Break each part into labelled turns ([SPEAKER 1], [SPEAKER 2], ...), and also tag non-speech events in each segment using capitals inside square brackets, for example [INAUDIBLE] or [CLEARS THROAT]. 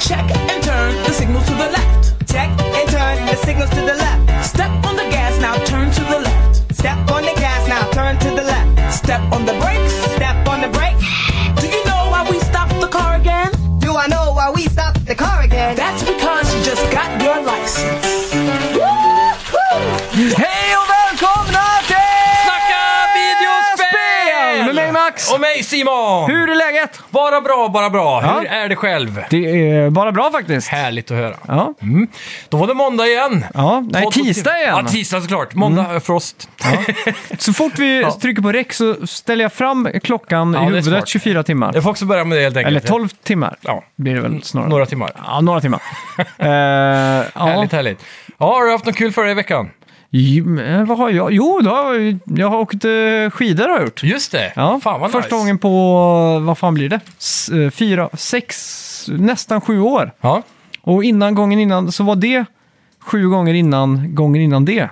[SPEAKER 1] Check and turn the signal to the left.
[SPEAKER 2] Check and turn the signals to the left.
[SPEAKER 1] Step on the gas, now turn to the left.
[SPEAKER 2] Step on the gas, now turn to the left.
[SPEAKER 1] Step on the brakes.
[SPEAKER 2] Step on the brakes.
[SPEAKER 1] Do you know why we stopped the car again?
[SPEAKER 2] Do I know why we stopped the car again?
[SPEAKER 1] That's because you just got your license.
[SPEAKER 3] Hej och välkomna till
[SPEAKER 4] Snacka videospel!
[SPEAKER 3] Med mig Max!
[SPEAKER 4] Och mig Simon!
[SPEAKER 3] Hur är läget?
[SPEAKER 4] Bara bra, bara bra.
[SPEAKER 3] Ja.
[SPEAKER 4] Hur är det själv?
[SPEAKER 3] Det är bara bra faktiskt.
[SPEAKER 4] Härligt att höra.
[SPEAKER 3] Ja,
[SPEAKER 4] Då var det måndag igen.
[SPEAKER 3] ja. nej
[SPEAKER 4] Två-
[SPEAKER 3] tisdag igen. Mm.
[SPEAKER 4] Ja, tisdag såklart. Måndag, eh, Frost.
[SPEAKER 3] Så fort vi trycker på rec så ställer jag fram klockan
[SPEAKER 4] Ja,
[SPEAKER 3] i
[SPEAKER 4] det är
[SPEAKER 3] huvudet
[SPEAKER 4] smart.
[SPEAKER 3] 24 timmar.
[SPEAKER 4] Jag får också börja med det helt enkelt.
[SPEAKER 3] Eller 12 timmar
[SPEAKER 4] Ja. Mm.
[SPEAKER 3] blir det väl snarare.
[SPEAKER 4] Några timmar.
[SPEAKER 3] Ja,
[SPEAKER 4] [LAUGHS]
[SPEAKER 3] några timmar. Eh, ja.
[SPEAKER 4] Härligt, härligt. Ja, har du haft något kul förra veckan?
[SPEAKER 3] Jo, men vad har jag? Jo, då har jag, jag har åkt eh, skidor har jag gjort.
[SPEAKER 4] Just det.
[SPEAKER 3] Ja,
[SPEAKER 4] Fan vad
[SPEAKER 3] Första
[SPEAKER 4] nice.
[SPEAKER 3] gången på, vad fan blir det? S, eh, fyra, sex, nästan sju år.
[SPEAKER 4] Ja.
[SPEAKER 3] Och innan gången innan så var det sju gånger innan gången innan det.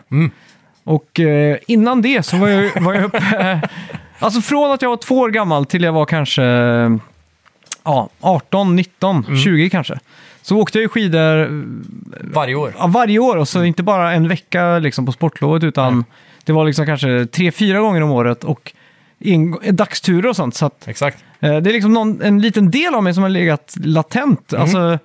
[SPEAKER 3] Och eh, innan det så var jag, var jag uppe... alltså från att jag var två år gammal till jag var kanske eh, ja, 18, 19, 20 kanske. Så åkte jag ju skidor
[SPEAKER 4] Varje år.
[SPEAKER 3] ja, varje år och så inte bara en vecka liksom, på sportlovet utan det var liksom kanske tre, fyra gånger om året och en, dagsturer och sånt. Så att,
[SPEAKER 4] Exakt.
[SPEAKER 3] eh, det är liksom någon, en liten del av mig som har legat latent. Alltså,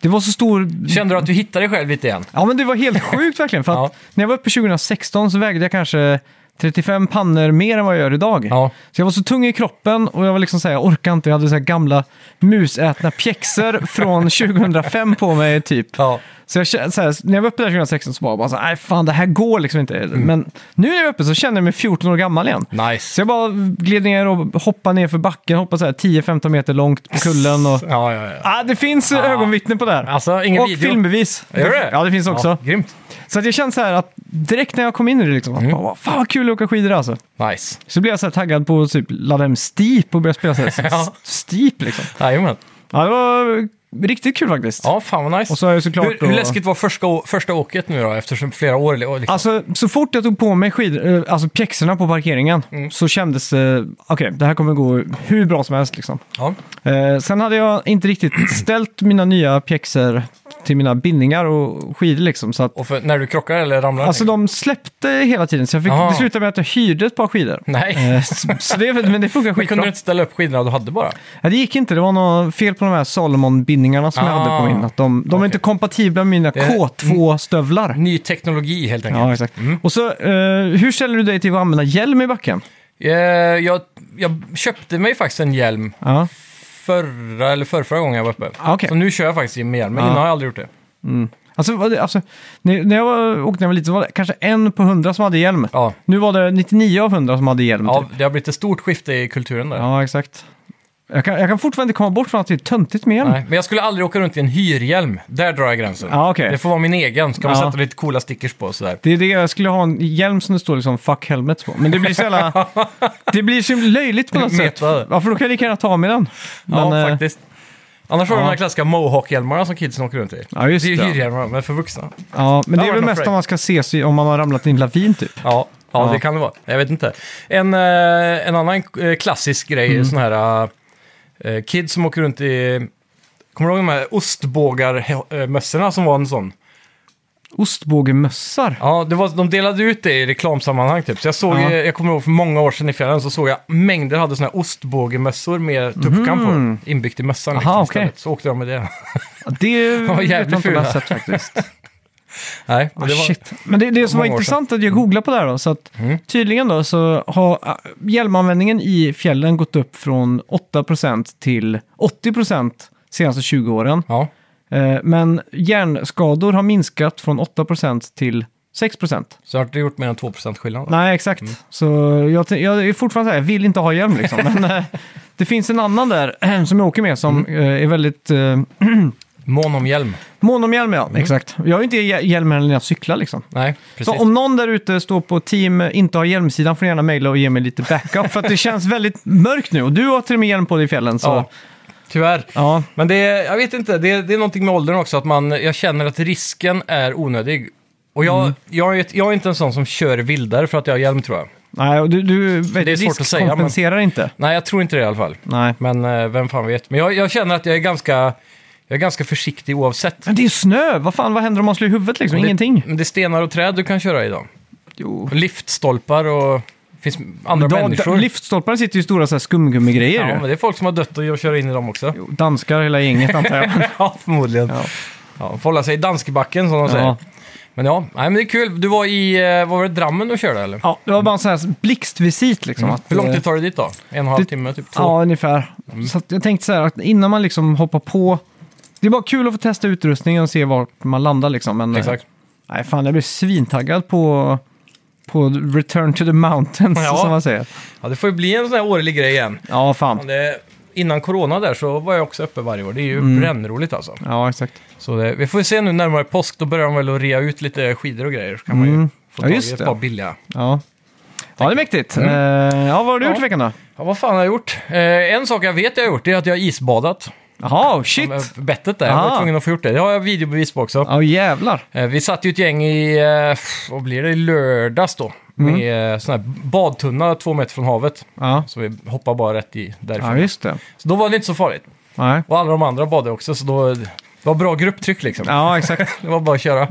[SPEAKER 3] det var så stor
[SPEAKER 4] Kände du att du hittade dig själv lite igen?
[SPEAKER 3] Ja, men det var helt sjukt verkligen. För
[SPEAKER 4] [LAUGHS]
[SPEAKER 3] att
[SPEAKER 4] Ja.
[SPEAKER 3] när jag var uppe 2016 så vägde jag kanske 35 pannor mer än vad jag gör idag.
[SPEAKER 4] Ja.
[SPEAKER 3] Så jag var så tung i kroppen och jag var liksom så här, jag orkar inte. Jag hade så här gamla musätna pjäxor
[SPEAKER 4] [LAUGHS]
[SPEAKER 3] från 2005 på mig typ.
[SPEAKER 4] Ja.
[SPEAKER 3] Så, jag, kä- så här, när jag var uppe där 2016 så var jag bara så här, nej fan det här går liksom inte. Men nu när jag är uppe så känner jag mig 14 år gammal igen. Så
[SPEAKER 4] Mm. Nice.
[SPEAKER 3] jag bara gled ner och hoppade ner för backen, hoppade så här 10-15 meter långt på kullen. Och...
[SPEAKER 4] Ja, ja, ja.
[SPEAKER 3] Ah, det finns eh, ögonvittnen på det här.
[SPEAKER 4] Alltså, ingen
[SPEAKER 3] och
[SPEAKER 4] video.
[SPEAKER 3] filmbevis.
[SPEAKER 4] Gör det?
[SPEAKER 3] Ja, det finns också.
[SPEAKER 4] Ja, grymt.
[SPEAKER 3] Så att jag känner så här att direkt när jag kom in i det liksom,
[SPEAKER 4] Mm.
[SPEAKER 3] att bara, fan vad kul att åka skidor alltså.
[SPEAKER 4] Nice.
[SPEAKER 3] Så blev jag så här taggad på att typ ladda hem steep och börja spela så här,
[SPEAKER 4] [LAUGHS] Ja.
[SPEAKER 3] steep liksom.
[SPEAKER 4] Jajamän.
[SPEAKER 3] Ja, det var riktigt kul faktiskt.
[SPEAKER 4] Ja, fan vad nice.
[SPEAKER 3] Och så har jag såklart
[SPEAKER 4] hur,
[SPEAKER 3] då-
[SPEAKER 4] hur läskigt var första, å- första åket nu då, efter flera år? Liksom.
[SPEAKER 3] Alltså, så fort jag tog på mig skid, eh, alltså pjäxorna på parkeringen
[SPEAKER 4] Mm.
[SPEAKER 3] så kändes det, eh, okej, det här kommer gå hur bra som helst liksom.
[SPEAKER 4] Ja.
[SPEAKER 3] Eh, sen hade jag
[SPEAKER 4] [CLEARS THROAT]
[SPEAKER 3] inte riktigt ställt mina nya pjäxor till mina bindningar och skidor liksom. Så att,
[SPEAKER 4] Och för, när du krockar eller ramlar?
[SPEAKER 3] alltså de släppte hela tiden, så jag fick,
[SPEAKER 4] Aha.
[SPEAKER 3] det slutade med att jag hyrde ett par skidor.
[SPEAKER 4] Nej.
[SPEAKER 3] Eh, så, så det, men det
[SPEAKER 4] Men
[SPEAKER 3] funkar
[SPEAKER 4] kunde du
[SPEAKER 3] skitbra.
[SPEAKER 4] inte ställa upp skidorna du hade bara?
[SPEAKER 3] Ja, det gick inte, det var något fel på de här Salomon-bindningarna som jag
[SPEAKER 4] Ah,
[SPEAKER 3] hade på min. Att de de är
[SPEAKER 4] okej. Eh, mm.
[SPEAKER 3] inte kompatibla med mina
[SPEAKER 4] är-
[SPEAKER 3] K2-stövlar.
[SPEAKER 4] Ny teknologi helt enkelt. Mm.
[SPEAKER 3] Ja, exakt. Och så, eh, hur ställer du dig till att använda hjälm i backen?
[SPEAKER 4] Eh, jag, jag köpte mig faktiskt en hjälm
[SPEAKER 3] Ja.
[SPEAKER 4] förra eller förrförra gången jag var uppe.
[SPEAKER 3] Ah, okej. Ah.
[SPEAKER 4] Så nu kör jag faktiskt med hjälm, men
[SPEAKER 3] Ja.
[SPEAKER 4] innan har jag aldrig gjort det.
[SPEAKER 3] Alltså, vad det- alltså när, när jag var, åkte när jag var liten så var det kanske en på hundra som hade hjälm.
[SPEAKER 4] Ja.
[SPEAKER 3] Nu var det 99 av 100 som hade hjälm.
[SPEAKER 4] Ja,
[SPEAKER 3] Typ.
[SPEAKER 4] det har blivit ett stort skifte i kulturen där.
[SPEAKER 3] ja exakt. Jag kan, jag kan fortfarande inte komma bort från att det är töntigt med hjälm.
[SPEAKER 4] Nej, men jag skulle aldrig åka runt i en hyrhjälm. Där drar jag gränsen.
[SPEAKER 3] Ja, Ah, okej.
[SPEAKER 4] Det får vara min egen. Ska man
[SPEAKER 3] Ja.
[SPEAKER 4] sätta lite coola stickers på och sådär.
[SPEAKER 3] Det är det, jag skulle ha en hjälm som det står liksom fuck helmet på. Men det blir
[SPEAKER 4] [LAUGHS]
[SPEAKER 3] så jävla... det blir så löjligt på något sätt.
[SPEAKER 4] Meta.
[SPEAKER 3] Ja, för då kan jag lika gärna ta med den. Men,
[SPEAKER 4] ja,
[SPEAKER 3] eh,
[SPEAKER 4] faktiskt. Annars har du
[SPEAKER 3] ja.
[SPEAKER 4] de här klassiska mohawk-hjälmarna som kidsen åker runt i.
[SPEAKER 3] Ja, just
[SPEAKER 4] det är ju
[SPEAKER 3] det, ja.
[SPEAKER 4] hyrhjälmarna, men för vuxna.
[SPEAKER 3] ja, men
[SPEAKER 4] Det
[SPEAKER 3] det är
[SPEAKER 4] har
[SPEAKER 3] väl
[SPEAKER 4] varit
[SPEAKER 3] mest
[SPEAKER 4] någon
[SPEAKER 3] om man ska ses i- om man har ramlat i en lavin typ.
[SPEAKER 4] Ja, ja,
[SPEAKER 3] Ja.
[SPEAKER 4] det kan det vara. Jag vet inte. En, eh, en annan eh, klassisk grej
[SPEAKER 3] Mm.
[SPEAKER 4] är sån här eh, kids som åker runt i... Kommer du ihåg de här ostbågarmössorna som var en sån?
[SPEAKER 3] Ostbågemössar.
[SPEAKER 4] Ja, det var, de delade ut det i reklamsammanhang typ. Så jag såg,
[SPEAKER 3] Ja.
[SPEAKER 4] eh, jag kommer ihåg för många år sedan i fjärran så såg jag mängder hade såna här ostbågemössor med tuppkam på. Inbyggt i mössan liksom,
[SPEAKER 3] Mm. Aha,
[SPEAKER 4] istället.
[SPEAKER 3] okej.
[SPEAKER 4] Så åkte de med det. [LAUGHS]
[SPEAKER 3] Det
[SPEAKER 4] var
[SPEAKER 3] vet jag
[SPEAKER 4] jävligt
[SPEAKER 3] inte om jag har
[SPEAKER 4] fula.
[SPEAKER 3] sett
[SPEAKER 4] [LAUGHS]
[SPEAKER 3] faktiskt.
[SPEAKER 4] Nej, det var,
[SPEAKER 3] Ah,
[SPEAKER 4] Mm.
[SPEAKER 3] shit. Men det, det som var
[SPEAKER 4] många år
[SPEAKER 3] intressant är att jag googlade på det här då, så att tydligen då så har ah, hjälmanvändningen i fjällen gått upp från 8% till 80% senaste 20 åren.
[SPEAKER 4] Ja,
[SPEAKER 3] Eh, Men hjärnskador har minskat från 8% till 6%.
[SPEAKER 4] så har du gjort mer än 2% skillnad. då.
[SPEAKER 3] Nej, exakt.
[SPEAKER 4] Mm.
[SPEAKER 3] Så jag, t- jag är fortfarande så här, jag vill inte ha hjälm liksom. Men eh, det finns en annan där [CLEARS THROAT] eh, som jag åker med som
[SPEAKER 4] Mm.
[SPEAKER 3] eh, är väldigt eh,
[SPEAKER 4] Mån om hjälm.
[SPEAKER 3] mån om hjälm.
[SPEAKER 4] Mm.
[SPEAKER 3] Ja. Exakt. Jag har ju inte hjä- hjälm när jag cyklar liksom.
[SPEAKER 4] Nej, precis.
[SPEAKER 3] Så om någon där ute står på team eh, inte har hjälmsidan får ni gärna mejla och ge mig lite backup. för att det känns väldigt mörkt nu och du har till och med hjälm på dig i fjällen. Så,
[SPEAKER 4] Ja,
[SPEAKER 3] ja.
[SPEAKER 4] tyvärr. Men det är, jag vet inte, det är, det är någonting med åldern också, att man, jag känner att risken är onödig. Och jag,
[SPEAKER 3] Mm.
[SPEAKER 4] jag, är, ett- jag är inte en sån som kör vildare för att jag har hjälm tror jag.
[SPEAKER 3] Nej, och du, du
[SPEAKER 4] Det är svårt att säga, men-
[SPEAKER 3] riskkompenserar inte.
[SPEAKER 4] Nej, jag tror inte det i alla fall.
[SPEAKER 3] Nej.
[SPEAKER 4] Men eh, vem fan vet. Men jag, jag känner att jag är ganska Jag är ganska försiktig oavsett.
[SPEAKER 3] Men det är ju snö! Vad fan, vad händer om man slår i huvudet liksom? Ingenting.
[SPEAKER 4] Det, men det är stenar och träd du kan köra i då.
[SPEAKER 3] Jo.
[SPEAKER 4] Liftstolpar och... Det finns andra
[SPEAKER 3] Da, da,
[SPEAKER 4] människor.
[SPEAKER 3] liftstolpar sitter ju i stora så här skumgummigrejer.
[SPEAKER 4] ja,
[SPEAKER 3] ju.
[SPEAKER 4] men det är folk som har dött och jag kör in i dem också.
[SPEAKER 3] Jo, Danskar hela gänget antar [LAUGHS] jag.
[SPEAKER 4] [LAUGHS] ja, förmodligen. Ja.
[SPEAKER 3] Ja.
[SPEAKER 4] får hålla sig i danskebacken som de säger.
[SPEAKER 3] Ja.
[SPEAKER 4] Men ja, nej, men det är kul. Du var i, eh, vad var det, Drammen och körde eller?
[SPEAKER 3] Ja, det var bara en sån här blixtvisit liksom. Att,
[SPEAKER 4] Hur lång
[SPEAKER 3] eh,
[SPEAKER 4] tid tar det dit då? En och en halv
[SPEAKER 3] det-
[SPEAKER 4] timme,
[SPEAKER 3] Mm.
[SPEAKER 4] typ två?
[SPEAKER 3] Ja, ungefär. Så att jag tänkte så här att innan man liksom hoppar på... Det är bara kul att få testa utrustningen och se vart man landar liksom. Men, eh,
[SPEAKER 4] Exakt.
[SPEAKER 3] Nej, fan jag blev svintaggad på, på Return to the [LAUGHS] Mountains
[SPEAKER 4] Ja.
[SPEAKER 3] som man säger.
[SPEAKER 4] Ja, det får ju bli en sån här årlig grej igen.
[SPEAKER 3] Ja, fan.
[SPEAKER 4] Men Det, innan corona där så var jag också uppe varje år. Det är ju
[SPEAKER 3] Mm.
[SPEAKER 4] brännroligt alltså.
[SPEAKER 3] Ja, exakt.
[SPEAKER 4] Så det, vi får se nu närmare påsk, då börjar de väl att rea ut lite skidor och grejer. Så kan man ju
[SPEAKER 3] Mm.
[SPEAKER 4] få
[SPEAKER 3] Ja,
[SPEAKER 4] tag i
[SPEAKER 3] just
[SPEAKER 4] ett
[SPEAKER 3] det.
[SPEAKER 4] par billiga.
[SPEAKER 3] Ja, ja det är mäktigt. Eh, ja, vad har du gjort i veckan då?
[SPEAKER 4] Ja, vad fan har jag gjort? Eh, en sak jag vet jag har gjort, det är att jag har isbadat.
[SPEAKER 3] Jaha, shit!
[SPEAKER 4] Eh, Bettet där, jag var
[SPEAKER 3] Ah.
[SPEAKER 4] tvungen att få gjort det. Det har jag videobevis på också.
[SPEAKER 3] Ja, jävlar.
[SPEAKER 4] Eh, Vi satt ju ett gäng i, eh, vad blir det, i lördags då.
[SPEAKER 3] Mm.
[SPEAKER 4] Med eh, sån här badtunna två meter från havet.
[SPEAKER 3] Ja,
[SPEAKER 4] Så vi hoppar bara rätt i därifrån.
[SPEAKER 3] ja just det.
[SPEAKER 4] Så då var det inte så farligt.
[SPEAKER 3] Nej.
[SPEAKER 4] Och alla de andra badade också, så då, det var bra grupptryck liksom.
[SPEAKER 3] Ja, exakt.
[SPEAKER 4] Det var bara att köra.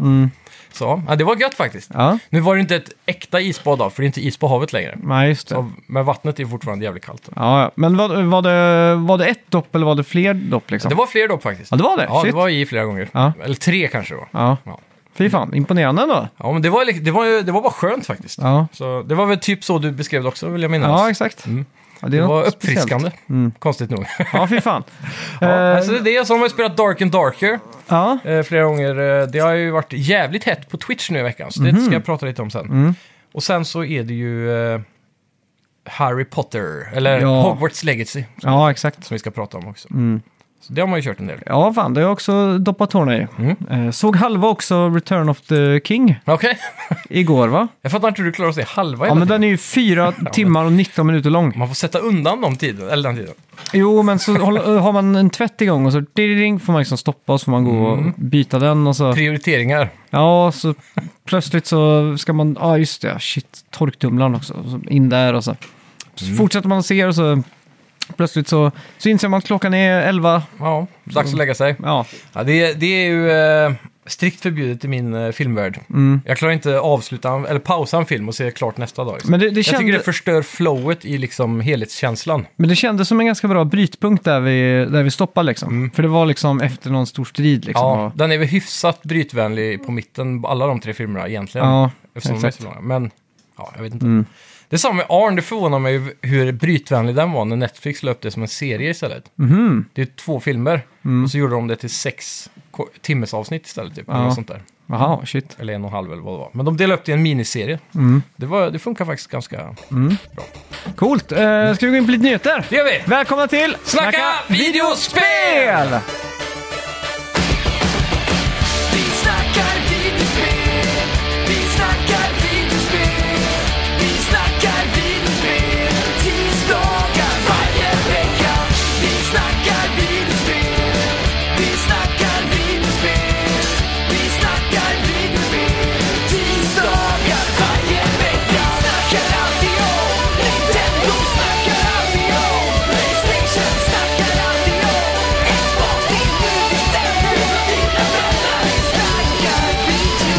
[SPEAKER 4] Så, ja, det var gött faktiskt.
[SPEAKER 3] Ja,
[SPEAKER 4] Nu var det inte ett äkta isbad då, för det är inte is på havet längre.
[SPEAKER 3] nej, just det.
[SPEAKER 4] Så, men vattnet är fortfarande jävligt kallt.
[SPEAKER 3] Ja, ja. men var, var, det, var det ett dopp eller var det fler dopp liksom?
[SPEAKER 4] Det var fler dopp faktiskt.
[SPEAKER 3] Ja, det var det.
[SPEAKER 4] Ja, det
[SPEAKER 3] Shit.
[SPEAKER 4] var i flera gånger.
[SPEAKER 3] Ja.
[SPEAKER 4] Eller tre kanske då.
[SPEAKER 3] Ja.
[SPEAKER 4] Ja.
[SPEAKER 3] Fy fan, imponerande ändå.
[SPEAKER 4] Ja, men det var, li- det var, ju- det var bara skönt faktiskt.
[SPEAKER 3] Ja,
[SPEAKER 4] Så det var väl typ så du beskrev det också, vill jag minnas.
[SPEAKER 3] ja exakt. Ja, det,
[SPEAKER 4] Mm. Det
[SPEAKER 3] är något
[SPEAKER 4] var
[SPEAKER 3] speciellt. Mm.
[SPEAKER 4] uppfriskande, konstigt
[SPEAKER 3] [LAUGHS]
[SPEAKER 4] nog.
[SPEAKER 3] Ja, fy fan.
[SPEAKER 4] [LAUGHS] ja,
[SPEAKER 3] Eh,
[SPEAKER 4] alltså det är det, som har jag spelat Dark and Darker
[SPEAKER 3] ja,
[SPEAKER 4] eh, flera gånger. Eh, Det har ju varit jävligt hett på Twitch nu i veckan, så
[SPEAKER 3] Mhm.
[SPEAKER 4] det ska jag prata lite om sen.
[SPEAKER 3] Mm.
[SPEAKER 4] Och sen så är det ju eh, Harry Potter, eller
[SPEAKER 3] Ja. Mm.
[SPEAKER 4] Hogwarts Legacy,
[SPEAKER 3] ja, exakt.
[SPEAKER 4] som vi ska prata om också. Så det har man ju kört en del.
[SPEAKER 3] Ja, fan, det har jag också doppat tårna i.
[SPEAKER 4] Mm.
[SPEAKER 3] Eh, såg halva också Return of the King
[SPEAKER 4] Okej, [LAUGHS]
[SPEAKER 3] igår, va?
[SPEAKER 4] jag fattar inte hur du klarar att se halva
[SPEAKER 3] Ja,
[SPEAKER 4] hela
[SPEAKER 3] men
[SPEAKER 4] tiden.
[SPEAKER 3] den är
[SPEAKER 4] [LAUGHS]
[SPEAKER 3] ju fyra timmar och 19 minuter lång.
[SPEAKER 4] Man får sätta undan de tiden, eller den tiden.
[SPEAKER 3] Jo, men så håll- eh, har man en tvätt igång och så ding, får man liksom stoppa och så får man gå
[SPEAKER 4] Mm.
[SPEAKER 3] och byta den och så...
[SPEAKER 4] Prioriteringar.
[SPEAKER 3] Ja, så plötsligt så ska man... Ja, just det. Shit, torktumlaren också. Och så In där och så. Så
[SPEAKER 4] Mm.
[SPEAKER 3] fortsätter man och ser och så... Plötsligt så, så inser man att klockan är 11.
[SPEAKER 4] Ja, dags att lägga sig.
[SPEAKER 3] Ja,
[SPEAKER 4] Ja, det, det är ju eh, strikt förbjudet i min eh, filmvärld.
[SPEAKER 3] Mm.
[SPEAKER 4] Jag klarar inte avsluta, en- eller pausa en film och se klart nästa dag. Liksom.
[SPEAKER 3] Men det- det
[SPEAKER 4] Jag tycker
[SPEAKER 3] kände-
[SPEAKER 4] det förstör flowet i liksom helhetskänslan.
[SPEAKER 3] Men det kändes som en ganska bra brytpunkt där vi, där vi stoppade liksom. För det var liksom efter någon stor strid liksom.
[SPEAKER 4] Mm. Ja,
[SPEAKER 3] Och-
[SPEAKER 4] Den är väl hyfsat brytvänlig på mitten, alla de tre filmerna egentligen.
[SPEAKER 3] Ja,
[SPEAKER 4] eftersom de är
[SPEAKER 3] exakt. Mm.
[SPEAKER 4] så långa. Men, ja, jag vet inte. Det är samma med Arn, det förvånar mig ju hur brytvänlig den var när Netflix la upp det som en serie istället.
[SPEAKER 3] Mhm.
[SPEAKER 4] Det är två filmer,
[SPEAKER 3] Mm.
[SPEAKER 4] och så gjorde de det till sex ko- timmes avsnitt istället, typ.
[SPEAKER 3] Ja.
[SPEAKER 4] Eller något sånt där.
[SPEAKER 3] Jaha, shit.
[SPEAKER 4] Eller en och en halv eller vad det var. Men de delade upp det i en miniserie. Det, var, det funkar faktiskt ganska...
[SPEAKER 3] Coolt. Eh, ska vi gå in på lite nyheter?
[SPEAKER 4] Det gör vi!
[SPEAKER 3] Välkomna till
[SPEAKER 4] Snacka, videospel!
[SPEAKER 3] Spel!
[SPEAKER 1] Vi snackar videospel, vi snackar videospel, vi snackar videospel, tisdagar varje vecka. Vi snackar videospel, vi snackar videospel, vi snackar videospel, tisdagar varje vecka. Snackar alltid om Nintendo, snackar alltid om Playstation, snackar alltid om Xbox, det är nu vi sänder, mina vänner. Vi snackar video.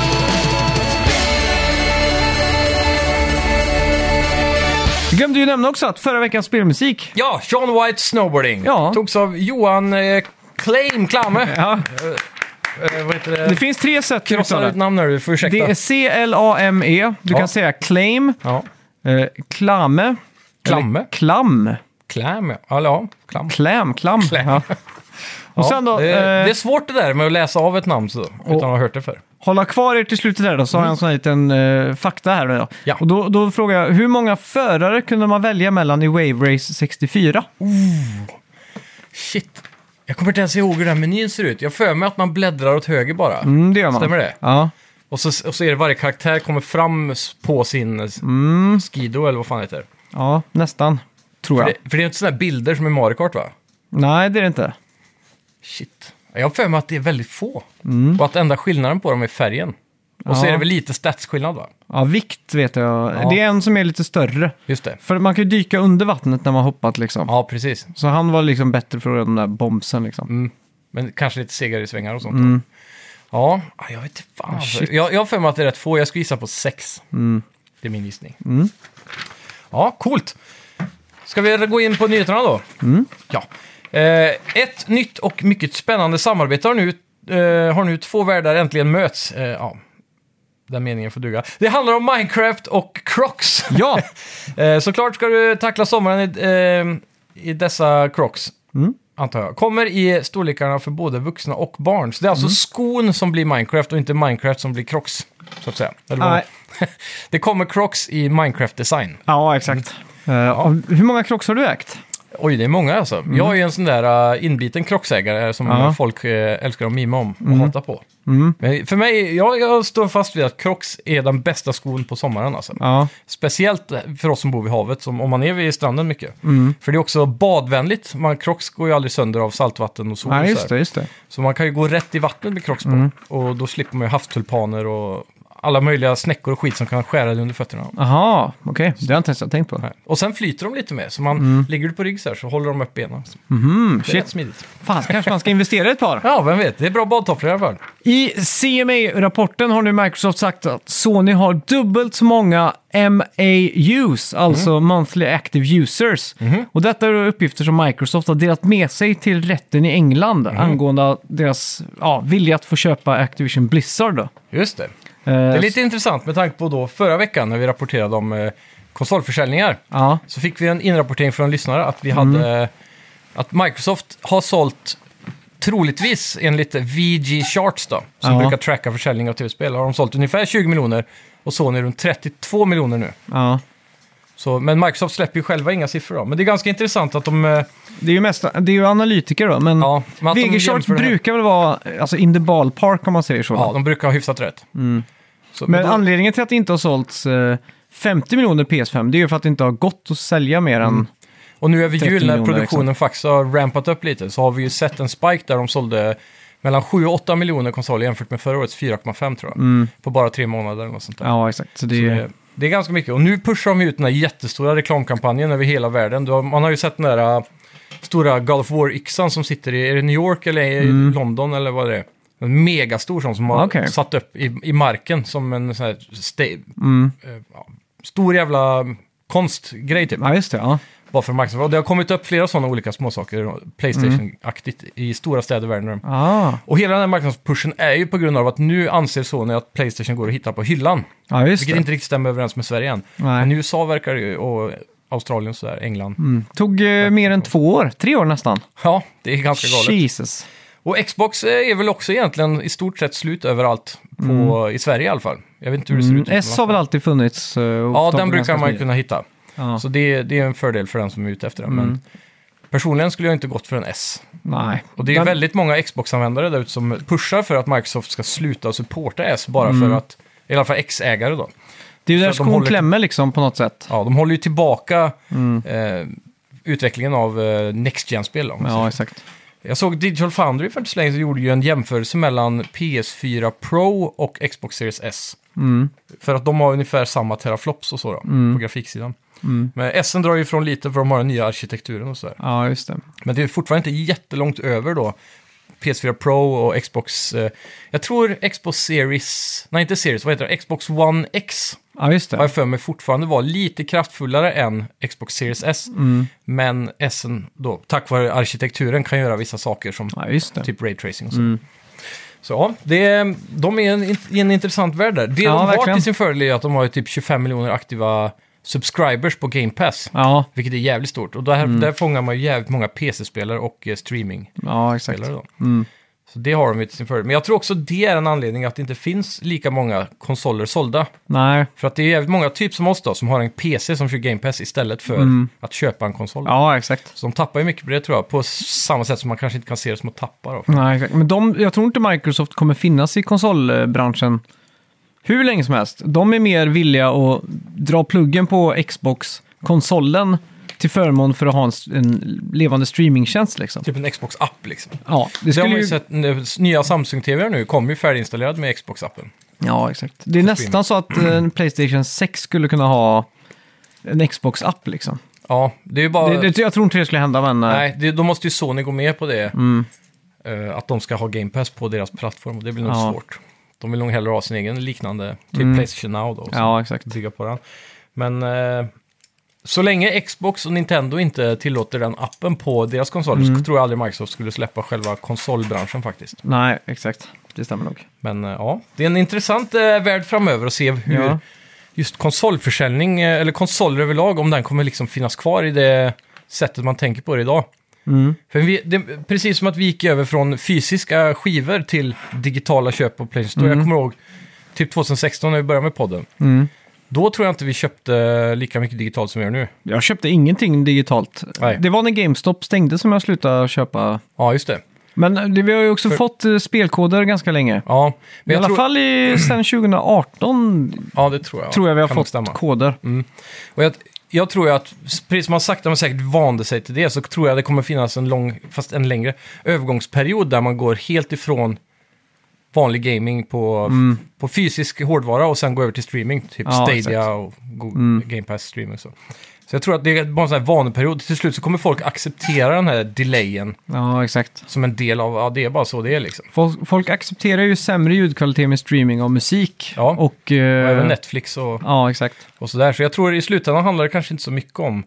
[SPEAKER 3] Vi glömde ju nämna också att förra veckans spelmusik...
[SPEAKER 4] Ja, Sean White Snowboarding.
[SPEAKER 3] Ja.
[SPEAKER 4] Togs av Johan eh, Claim [LAUGHS] Klamme.
[SPEAKER 3] Ja,
[SPEAKER 4] Eh, vad heter
[SPEAKER 3] det
[SPEAKER 4] det?
[SPEAKER 3] finns tre sätt att
[SPEAKER 4] Krossar
[SPEAKER 3] uttala.
[SPEAKER 4] ut namn här, du får ursäkta.
[SPEAKER 3] Det är C-L-A-M-E. E. Du
[SPEAKER 4] Ja.
[SPEAKER 3] kan säga claim,
[SPEAKER 4] Ja.
[SPEAKER 3] eh, klamme,
[SPEAKER 4] Klamme?
[SPEAKER 3] eller klam,
[SPEAKER 4] Klam, ja. Eller ja, klam.
[SPEAKER 3] kläm, klam.
[SPEAKER 4] Kläm. [LAUGHS]
[SPEAKER 3] Ja. Och sen då,
[SPEAKER 4] Ja, det,
[SPEAKER 3] eh,
[SPEAKER 4] det är svårt det där med att läsa av ett namn så, utan att ha hört det förr.
[SPEAKER 3] hålla kvar er till slutet där då, så har jag en sån här liten eh, fakta här. Då.
[SPEAKER 4] Mm. Ja.
[SPEAKER 3] Och då, då frågar jag, hur många förare kunde man välja mellan i Wave Race 64?
[SPEAKER 4] Oh, Shit. Jag kommer inte ens ihåg hur den här menyn ser ut. Jag för mig att man bläddrar åt höger bara.
[SPEAKER 3] Mm, det gör man.
[SPEAKER 4] Stämmer det?
[SPEAKER 3] Ja.
[SPEAKER 4] Och, så, och så är det varje karaktär kommer fram s- på sin eh, s- Skido eller vad fan det heter.
[SPEAKER 3] ja, nästan. Tror jag.
[SPEAKER 4] Det, för det är inte sådana här bilder som i Mario Kart va?
[SPEAKER 3] Nej, det är det inte.
[SPEAKER 4] Shit. Jag har för mig att det är väldigt få. Och att enda skillnaden på dem är färgen. Och så
[SPEAKER 3] Ja.
[SPEAKER 4] är det väl lite statsskillnad va?
[SPEAKER 3] Ja, vikt vet jag.
[SPEAKER 4] Ja.
[SPEAKER 3] Det är en som är lite större.
[SPEAKER 4] Just det.
[SPEAKER 3] För man kan ju dyka under vattnet när man hoppat liksom.
[SPEAKER 4] Ja, precis. Mm.
[SPEAKER 3] Så han var liksom bättre för den där bombsen liksom.
[SPEAKER 4] Men kanske lite segare i svängar och sånt. Ja, ah, jag vet inte fan. jag, jag har för mig att det är rätt få. Jag skulle gissa på sex. Det är min gissning. Ja, coolt. Ska vi gå in på nyheterna då?
[SPEAKER 3] Mm.
[SPEAKER 4] Ja. Eh, ett nytt och mycket spännande samarbete har nu, eh, har nu två världar äntligen möts. Eh, ja. Den meningen får duga. Det handlar om Minecraft och Crocs.
[SPEAKER 3] Ja,
[SPEAKER 4] [LAUGHS] Eh, såklart ska du tackla sommaren i, eh, i dessa Crocs,
[SPEAKER 3] Mm.
[SPEAKER 4] antar jag. Kommer i storlekarna för både vuxna och barn. Så det är
[SPEAKER 3] Mm.
[SPEAKER 4] alltså skon som blir Minecraft och inte Minecraft som blir Crocs, så att säga. Eller vad-
[SPEAKER 3] Nej.
[SPEAKER 4] [LAUGHS] det kommer Crocs i Minecraft-design.
[SPEAKER 3] ja exakt. Eh, av- Hur många Crocs har du ägt?
[SPEAKER 4] Oj, det är många alltså. Jag är ju en sån där eh, inbiten krocsägare som
[SPEAKER 3] Mm. Ja. Mm.
[SPEAKER 4] folk eh, älskar att mima om och hata på. Men för mig, jag, jag står fast vid att Crocs är den bästa skon på sommaren alltså.
[SPEAKER 3] Ja,
[SPEAKER 4] Speciellt för oss som bor vid havet, som, om man är vid stranden mycket.
[SPEAKER 3] Mm.
[SPEAKER 4] För det är också badvänligt. Man, crocs går ju aldrig sönder av saltvatten och sol.
[SPEAKER 3] Nej,
[SPEAKER 4] och
[SPEAKER 3] just
[SPEAKER 4] så,
[SPEAKER 3] det, Mm.
[SPEAKER 4] här.
[SPEAKER 3] just det.
[SPEAKER 4] så man kan ju gå rätt i vattnet med crocs på. Och då slipper man ju havstulpaner och alla möjliga snäckor och skit som kan skära dig under fötterna.
[SPEAKER 3] Aha, okej. Det har jag inte ens tänkt på.
[SPEAKER 4] Nej. Och sen flyter de lite med, så man ligger du på rygg så här så håller de upp benen.
[SPEAKER 3] Mm,
[SPEAKER 4] Det är rätt
[SPEAKER 3] shit.
[SPEAKER 4] smidigt.
[SPEAKER 3] Fan, så kanske man ska investera i
[SPEAKER 4] [LAUGHS]
[SPEAKER 3] ett par.
[SPEAKER 4] Ja, vem vet. Det är bra badtofflor i alla fall.
[SPEAKER 3] I CMA-rapporten har nu Microsoft sagt att Sony har dubbelt så många MAUs, alltså
[SPEAKER 4] Mm.
[SPEAKER 3] Monthly Active Users.
[SPEAKER 4] Mm-hmm.
[SPEAKER 3] Och detta är då uppgifter som Microsoft har delat med sig till rätten i England
[SPEAKER 4] Mm-hmm.
[SPEAKER 3] angående deras ja, vilja att få köpa Activision Blizzard. Då.
[SPEAKER 4] Just det.
[SPEAKER 3] Eh,
[SPEAKER 4] Det är lite intressant med tanke på då förra veckan när vi rapporterade om eh, konsolförsäljningar.
[SPEAKER 3] Ja,
[SPEAKER 4] Så fick vi en inrapportering från en lyssnare att vi
[SPEAKER 3] Mm.
[SPEAKER 4] hade eh, att Microsoft har sålt troligtvis enligt VG Charts då, som
[SPEAKER 3] Ja.
[SPEAKER 4] brukar tracka försäljning av tv-spel, har de sålt ungefär 20 miljoner och Sony runt 32 miljoner nu.
[SPEAKER 3] ja.
[SPEAKER 4] Så, men Microsoft släpper ju själva inga siffror då. Men det är ganska intressant att de... eh,
[SPEAKER 3] Det är ju, mest, det är ju analytiker då, men
[SPEAKER 4] Ja, men att de
[SPEAKER 3] VG Charts
[SPEAKER 4] jämför det här-
[SPEAKER 3] Mm. brukar väl vara alltså, in the ballpark om man säger så.
[SPEAKER 4] Ja, de brukar ha hyfsat rätt. Så,
[SPEAKER 3] Men
[SPEAKER 4] då-
[SPEAKER 3] anledningen till att det inte har sålts eh, 50 miljoner PS5, det är ju för att det inte har gått att sälja mer än...
[SPEAKER 4] Mm. Och nu över
[SPEAKER 3] 30
[SPEAKER 4] jul när
[SPEAKER 3] miljoner,
[SPEAKER 4] produktionen faktiskt har rampat upp lite så har vi ju sett en spike där de sålde mellan 7 och 8 miljoner konsoler jämfört med förra årets 4,5 tror jag. På bara tre månader eller något sånt där.
[SPEAKER 3] Ja, exakt. Så det,
[SPEAKER 4] Så
[SPEAKER 3] är-
[SPEAKER 4] Det, Eh, det är ganska mycket. Och nu pushar de ut den här jättestora reklamkampanjen över hela världen. Du har, man har ju sett den där äh, stora God of War-yxan som sitter i, är det New York eller i London eller vad det är? En megastor sån som har
[SPEAKER 3] Okej.
[SPEAKER 4] satt upp i, i marken som en sån här sta- eh, ja, stor jävla konstgrej typ.
[SPEAKER 3] Ja, just det. Ja.
[SPEAKER 4] Bara för marknadsföring. Och Det har kommit upp flera sådana olika småsaker, eh, Playstation-aktigt, i stora städer världen runt.
[SPEAKER 3] Ah.
[SPEAKER 4] Och hela den här marknadspushen är ju på grund av att nu anser Sony att Playstation går att hitta på hyllan.
[SPEAKER 3] ja, just
[SPEAKER 4] Vilket
[SPEAKER 3] det.
[SPEAKER 4] inte riktigt stämmer överens med Sverige än.
[SPEAKER 3] Nej.
[SPEAKER 4] Men i USA verkar det ju, och Australien och sådär, England.
[SPEAKER 3] Tog eh, mer än två år, tre år nästan.
[SPEAKER 4] Ja, det är ganska galet.
[SPEAKER 3] Jesus.
[SPEAKER 4] Och Xbox eh, är väl också egentligen i stort sett slut överallt, på, i Sverige i alla fall. Jag vet inte hur det ser ut. utomlands.
[SPEAKER 3] Mm. S har väl alltid funnits? eh, och
[SPEAKER 4] Ja,
[SPEAKER 3] fått
[SPEAKER 4] den
[SPEAKER 3] upp
[SPEAKER 4] brukar
[SPEAKER 3] ganska
[SPEAKER 4] man ju
[SPEAKER 3] smidigt.
[SPEAKER 4] kunna hitta.
[SPEAKER 3] Ja. Mm.
[SPEAKER 4] Så det, det är en fördel för den som är ute efter den. Men personligen skulle jag inte gått för en S.
[SPEAKER 3] Nej.
[SPEAKER 4] Och det är ju
[SPEAKER 3] Den-
[SPEAKER 4] väldigt många Xbox-användare där ute som pushar för att Microsoft ska sluta supporta S bara
[SPEAKER 3] Mm.
[SPEAKER 4] för att, i alla fall X-ägare då.
[SPEAKER 3] det är ju
[SPEAKER 4] för
[SPEAKER 3] där
[SPEAKER 4] att de
[SPEAKER 3] skon
[SPEAKER 4] håller-
[SPEAKER 3] klämmer liksom på något sätt.
[SPEAKER 4] Ja, de håller ju tillbaka eh, utvecklingen av eh, Next Gen-spel. om man säger.
[SPEAKER 3] Ja, exakt.
[SPEAKER 4] Jag såg Digital Foundry för inte så länge sedan gjorde ju en jämförelse mellan PS4 Pro och Xbox Series S. För att de har ungefär samma teraflops och så då, på grafiksidan. Men S drar ju ifrån lite för de har den nya arkitekturen och sådär.
[SPEAKER 3] Ja, just det.
[SPEAKER 4] Men det är fortfarande inte jättelångt över då PS4 Pro och Xbox... Eh, jag tror Xbox Series... Nej, inte Series. Vad heter det? Xbox One X
[SPEAKER 3] Ja, just det.
[SPEAKER 4] har jag för mig fortfarande var lite kraftfullare än Xbox Series S.
[SPEAKER 3] Mm.
[SPEAKER 4] Men S då, tack vare arkitekturen, kan göra vissa saker som
[SPEAKER 3] Ja, Mm. just det.
[SPEAKER 4] typ raytracing och så. Så ja, det, de är en, i en intressant värld där. Det
[SPEAKER 3] Ja,
[SPEAKER 4] de har
[SPEAKER 3] verkligen.
[SPEAKER 4] till sin fördel är att de har ju typ 25 miljoner aktiva subscribers på Game Pass.
[SPEAKER 3] Ja,
[SPEAKER 4] Vilket är jävligt stort. Och där,
[SPEAKER 3] Mm.
[SPEAKER 4] där fångar man ju jävligt många PC-spelare och eh, streaming-spelare.
[SPEAKER 3] ja exakt.
[SPEAKER 4] Då.
[SPEAKER 3] Mm.
[SPEAKER 4] Så det har de ju till sin fördel. Men jag tror också det är en anledning att det inte finns lika många konsoler sålda.
[SPEAKER 3] Nej.
[SPEAKER 4] För att det är jävligt många, typ som oss då, som har en PC som kör Game Pass istället för att köpa en konsol.
[SPEAKER 3] Mm. Ja, exakt.
[SPEAKER 4] Så de tappar ju mycket på det tror jag, på samma sätt som man kanske inte kan se det som att tappa då.
[SPEAKER 3] Nej, exakt. Men de, jag tror inte Microsoft kommer finnas i konsolbranschen hur länge som helst. De är mer villiga att dra pluggen på Xbox-konsolen till förmån för att ha en, s- en levande streamingtjänst. Liksom.
[SPEAKER 4] Typ en Xbox-app liksom.
[SPEAKER 3] Ja, det
[SPEAKER 4] Det har
[SPEAKER 3] skulle
[SPEAKER 4] man ju
[SPEAKER 3] ju...
[SPEAKER 4] sett, nu- nya Samsung-TV nu kommer ju färdiginstallerad med Xbox-appen.
[SPEAKER 3] Ja, exakt. Det är nästan så att eh, en Playstation 6 skulle kunna ha en Xbox-app. Liksom.
[SPEAKER 4] Ja, det är ju bara...
[SPEAKER 3] Det, det, jag tror inte det skulle hända, men... eh, Mm.
[SPEAKER 4] Nej, det, då måste ju Sony gå med på det. eh, att de ska ha Game Pass på deras plattform. Och det blir nog
[SPEAKER 3] Ja. Mm.
[SPEAKER 4] svårt. De vill nog hellre ha sin egen liknande, typ Playstation Now då. och så
[SPEAKER 3] Ja, exakt.
[SPEAKER 4] Bygga på den. Men eh, så länge Xbox och Nintendo inte tillåter den appen på deras konsoler så tror jag aldrig Microsoft skulle släppa själva konsolbranschen faktiskt.
[SPEAKER 3] Nej, exakt. Det stämmer nog.
[SPEAKER 4] Men eh, ja, det är en intressant eh, värld framöver att se hur
[SPEAKER 3] Ja.
[SPEAKER 4] just konsolförsäljning, eh, eller konsoler överlag, om den kommer liksom finnas kvar i det sättet man tänker på det idag.
[SPEAKER 3] Mm.
[SPEAKER 4] För vi, det, precis som att vi gick över från fysiska skivor till digitala köp på Playstation Store. Jag
[SPEAKER 3] Mm.
[SPEAKER 4] kommer ihåg typ 2016 när vi började med podden. Då tror jag inte vi köpte lika mycket digitalt som vi gör nu.
[SPEAKER 3] Jag köpte ingenting digitalt.
[SPEAKER 4] Nej.
[SPEAKER 3] Det var när GameStop stängde som jag slutade köpa.
[SPEAKER 4] Ja, just det.
[SPEAKER 3] Men det, vi har ju också fått eh, spelkoder ganska länge.
[SPEAKER 4] Ja, men
[SPEAKER 3] I
[SPEAKER 4] jag
[SPEAKER 3] alla
[SPEAKER 4] tror,
[SPEAKER 3] fall i,
[SPEAKER 4] [CLEARS THROAT]
[SPEAKER 3] sen 2018
[SPEAKER 4] ja, det tror jag.
[SPEAKER 3] tror jag vi har
[SPEAKER 4] Kan Mm. nog
[SPEAKER 3] fått koder.
[SPEAKER 4] Och jag, jag tror ju att, precis som man sakta men säkert vande sig till det, så tror jag det kommer finnas en lång, fast en längre, övergångsperiod där man går helt ifrån vanlig gaming på, på fysisk hårdvara och sen går över till streaming, typ
[SPEAKER 3] Mm. Ja,
[SPEAKER 4] Stadia
[SPEAKER 3] exakt. Mm.
[SPEAKER 4] och Go- Game Pass streaming. Så. så jag tror att det är bara en sån här vaneperiod. Till slut så kommer folk acceptera den här delayen
[SPEAKER 3] Ja, exakt.
[SPEAKER 4] som en del av, ja det är bara så det är liksom.
[SPEAKER 3] Folk, folk accepterar ju sämre ljudkvalitet med streaming av musik.
[SPEAKER 4] Ja.
[SPEAKER 3] Och, eh,
[SPEAKER 4] Och Även Netflix och,
[SPEAKER 3] Ja, exakt.
[SPEAKER 4] och sådär. Så jag tror i slutändan handlar det kanske inte så mycket om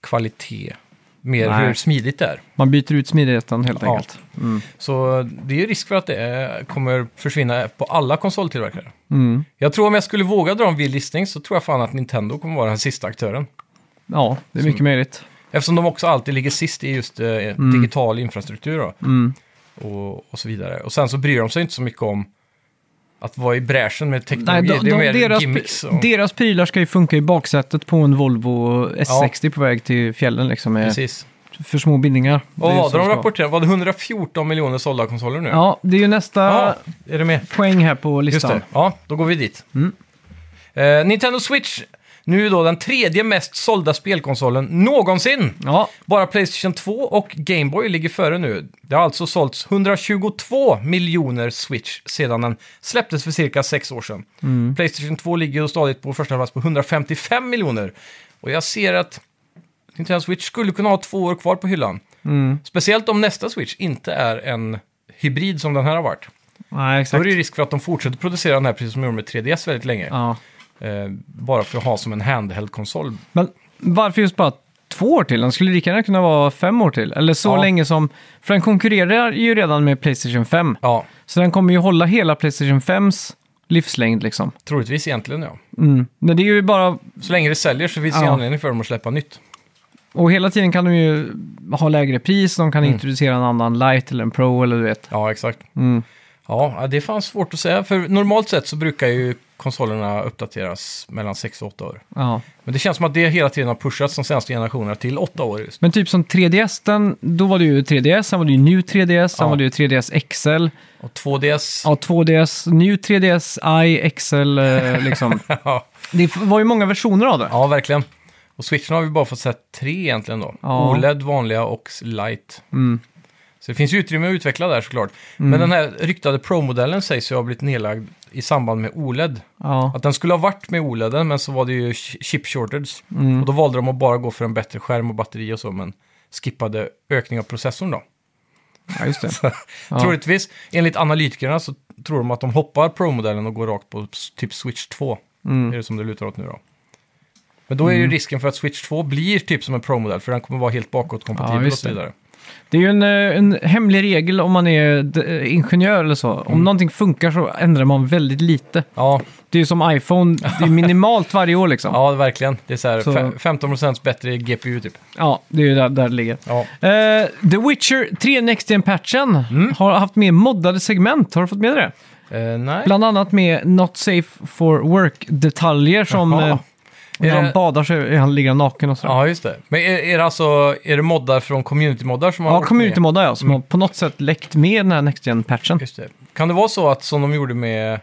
[SPEAKER 4] kvalitet, mer
[SPEAKER 3] Nej.
[SPEAKER 4] hur smidigt det är.
[SPEAKER 3] Man byter ut smidigheten helt
[SPEAKER 4] Ja.
[SPEAKER 3] enkelt.
[SPEAKER 4] Så det är ju risk för att det eh, kommer försvinna på alla konsoltillverkare.
[SPEAKER 3] Mm.
[SPEAKER 4] Jag tror om jag skulle våga dra en vild listning så tror jag fan att Nintendo kommer vara den sista aktören.
[SPEAKER 3] Ja, det är mycket möjligt.
[SPEAKER 4] Eftersom de också alltid ligger sist i just eh, digital infrastruktur då.
[SPEAKER 3] Mm.
[SPEAKER 4] Och, och så vidare. Och sen så bryr de sig inte så mycket om att vara i bräschen med
[SPEAKER 3] Nej,
[SPEAKER 4] teknologi.
[SPEAKER 3] de,
[SPEAKER 4] det är
[SPEAKER 3] de,
[SPEAKER 4] mer
[SPEAKER 3] deras,
[SPEAKER 4] gimmicks. Och,
[SPEAKER 3] deras prylar ska ju funka i baksätet på en Volvo S60 på väg till fjällen liksom med
[SPEAKER 4] precis.
[SPEAKER 3] för små bindningar. Det
[SPEAKER 4] Och
[SPEAKER 3] är ju
[SPEAKER 4] vad
[SPEAKER 3] så
[SPEAKER 4] hade de
[SPEAKER 3] det ska
[SPEAKER 4] rapporterat? Var det 114 miljoner sålda konsoler nu?
[SPEAKER 3] vara. Ja, det är ju nästa
[SPEAKER 4] Ah, är det med?
[SPEAKER 3] poäng här på
[SPEAKER 4] Just
[SPEAKER 3] listan.
[SPEAKER 4] det. Mm. Ja, då går vi dit. Eh, Nintendo Switch, nu då den tredje mest sålda spelkonsolen någonsin.
[SPEAKER 3] Ja,
[SPEAKER 4] Bara Playstation 2 och Game Boy ligger före nu. Det har alltså sålts 122 miljoner Switch sedan den släpptes för cirka sex år sedan. Playstation 2 ligger ju stadigt på första plats på 155 miljoner. Och jag ser att Nintendo Switch skulle kunna ha två år kvar på hyllan. Speciellt om nästa Switch inte är en hybrid som den här har varit.
[SPEAKER 3] nej
[SPEAKER 4] Då är
[SPEAKER 3] exakt.
[SPEAKER 4] det ju risk för att de fortsätter producera den här precis som de gjorde med 3DS väldigt länge.
[SPEAKER 3] Ja.
[SPEAKER 4] Eh, bara för att ha som en handheld-konsol.
[SPEAKER 3] Men varför just bara två år till? Den skulle lika gärna kunna vara fem år till. Eller så
[SPEAKER 4] Ja.
[SPEAKER 3] länge som... För den konkurrerar ju redan med Playstation 5.
[SPEAKER 4] Ja,
[SPEAKER 3] Så den kommer ju hålla hela Playstation 5s livslängd liksom.
[SPEAKER 4] troligtvis egentligen ja.
[SPEAKER 3] Mm. Men det är ju bara...
[SPEAKER 4] Så länge det säljer så finns det
[SPEAKER 3] Ja.
[SPEAKER 4] anledning för dem att släppa nytt.
[SPEAKER 3] Och hela tiden kan de ju ha lägre pris, de
[SPEAKER 4] Mm.
[SPEAKER 3] kan introducera en annan light eller en pro eller du vet.
[SPEAKER 4] Ja, exakt.
[SPEAKER 3] Mm.
[SPEAKER 4] Ja, det är fan svårt att säga. För normalt sett så brukar ju konsolerna uppdateras mellan 6 och 8 år.
[SPEAKER 3] Ja.
[SPEAKER 4] Men det känns som att det hela tiden har pushats de senaste generationerna till 8 år just.
[SPEAKER 3] Men typ som 3DS, den, då var det ju 3DS, sen var det ju New 3DS, sen
[SPEAKER 4] Ja.
[SPEAKER 3] var det ju 3DS XL,
[SPEAKER 4] Och 2DS...
[SPEAKER 3] ja 2DS, New 3DS, I, XL eh, liksom.
[SPEAKER 4] [LAUGHS] Ja,
[SPEAKER 3] Det f- var ju många versioner av det.
[SPEAKER 4] ja verkligen. Och switchen har vi bara fått sett tre egentligen då.
[SPEAKER 3] Ja.
[SPEAKER 4] OLED, vanliga och light. Så det finns ju utrymme att utveckla där såklart. Men den här ryktade Pro-modellen sägs ju ha blivit nedlagd i samband med OLED.
[SPEAKER 3] Ja.
[SPEAKER 4] Att den skulle ha varit med OLEDen, men så var det ju ch- chip shortage. Och då valde de att bara gå för en bättre skärm och batteri och så, men skippade ökning av processorn då.
[SPEAKER 3] ja, just det.
[SPEAKER 4] Troligtvis, enligt analytikerna så tror de att de hoppar Pro-modellen och går rakt på s- typ Switch 2.
[SPEAKER 3] Mm.
[SPEAKER 4] Det är det som det lutar åt nu då. Men då är ju risken för att Switch 2 blir typ som en Pro-modell, för den kommer vara helt
[SPEAKER 3] Ja,
[SPEAKER 4] bakåtkompatibel och
[SPEAKER 3] just
[SPEAKER 4] så
[SPEAKER 3] det.
[SPEAKER 4] vidare.
[SPEAKER 3] Det är ju en, eh, en hemlig regel om man är d- eh, ingenjör eller så.
[SPEAKER 4] Mm.
[SPEAKER 3] Om någonting funkar så ändrar man väldigt lite.
[SPEAKER 4] Ja,
[SPEAKER 3] Det är ju som iPhone, det är minimalt varje år liksom. Ja,
[SPEAKER 4] ja verkligen. Det är så här
[SPEAKER 3] Så-
[SPEAKER 4] fe- 15% bättre GPU typ.
[SPEAKER 3] det är ju där, där det ligger.
[SPEAKER 4] Ja.
[SPEAKER 3] Eh, The Witcher 3 Next Gen-patchen
[SPEAKER 4] Mm.
[SPEAKER 3] har haft med moddade segment. Har du fått med det?
[SPEAKER 4] Eh, nej.
[SPEAKER 3] Bland annat med Not Safe for Work-detaljer som
[SPEAKER 4] Jaha.
[SPEAKER 3] eh, när
[SPEAKER 4] Är
[SPEAKER 3] han
[SPEAKER 4] det-
[SPEAKER 3] badar så är han ligger naken och sådär.
[SPEAKER 4] Ja, just det. Men är, är det alltså är det moddar från community-moddar som har
[SPEAKER 3] Ja,
[SPEAKER 4] åkt med?
[SPEAKER 3] community-moddar ja, som har på något sätt läckt med den här Next Gen-patchen.
[SPEAKER 4] Mm. Just det. Kan det vara så att som de gjorde med,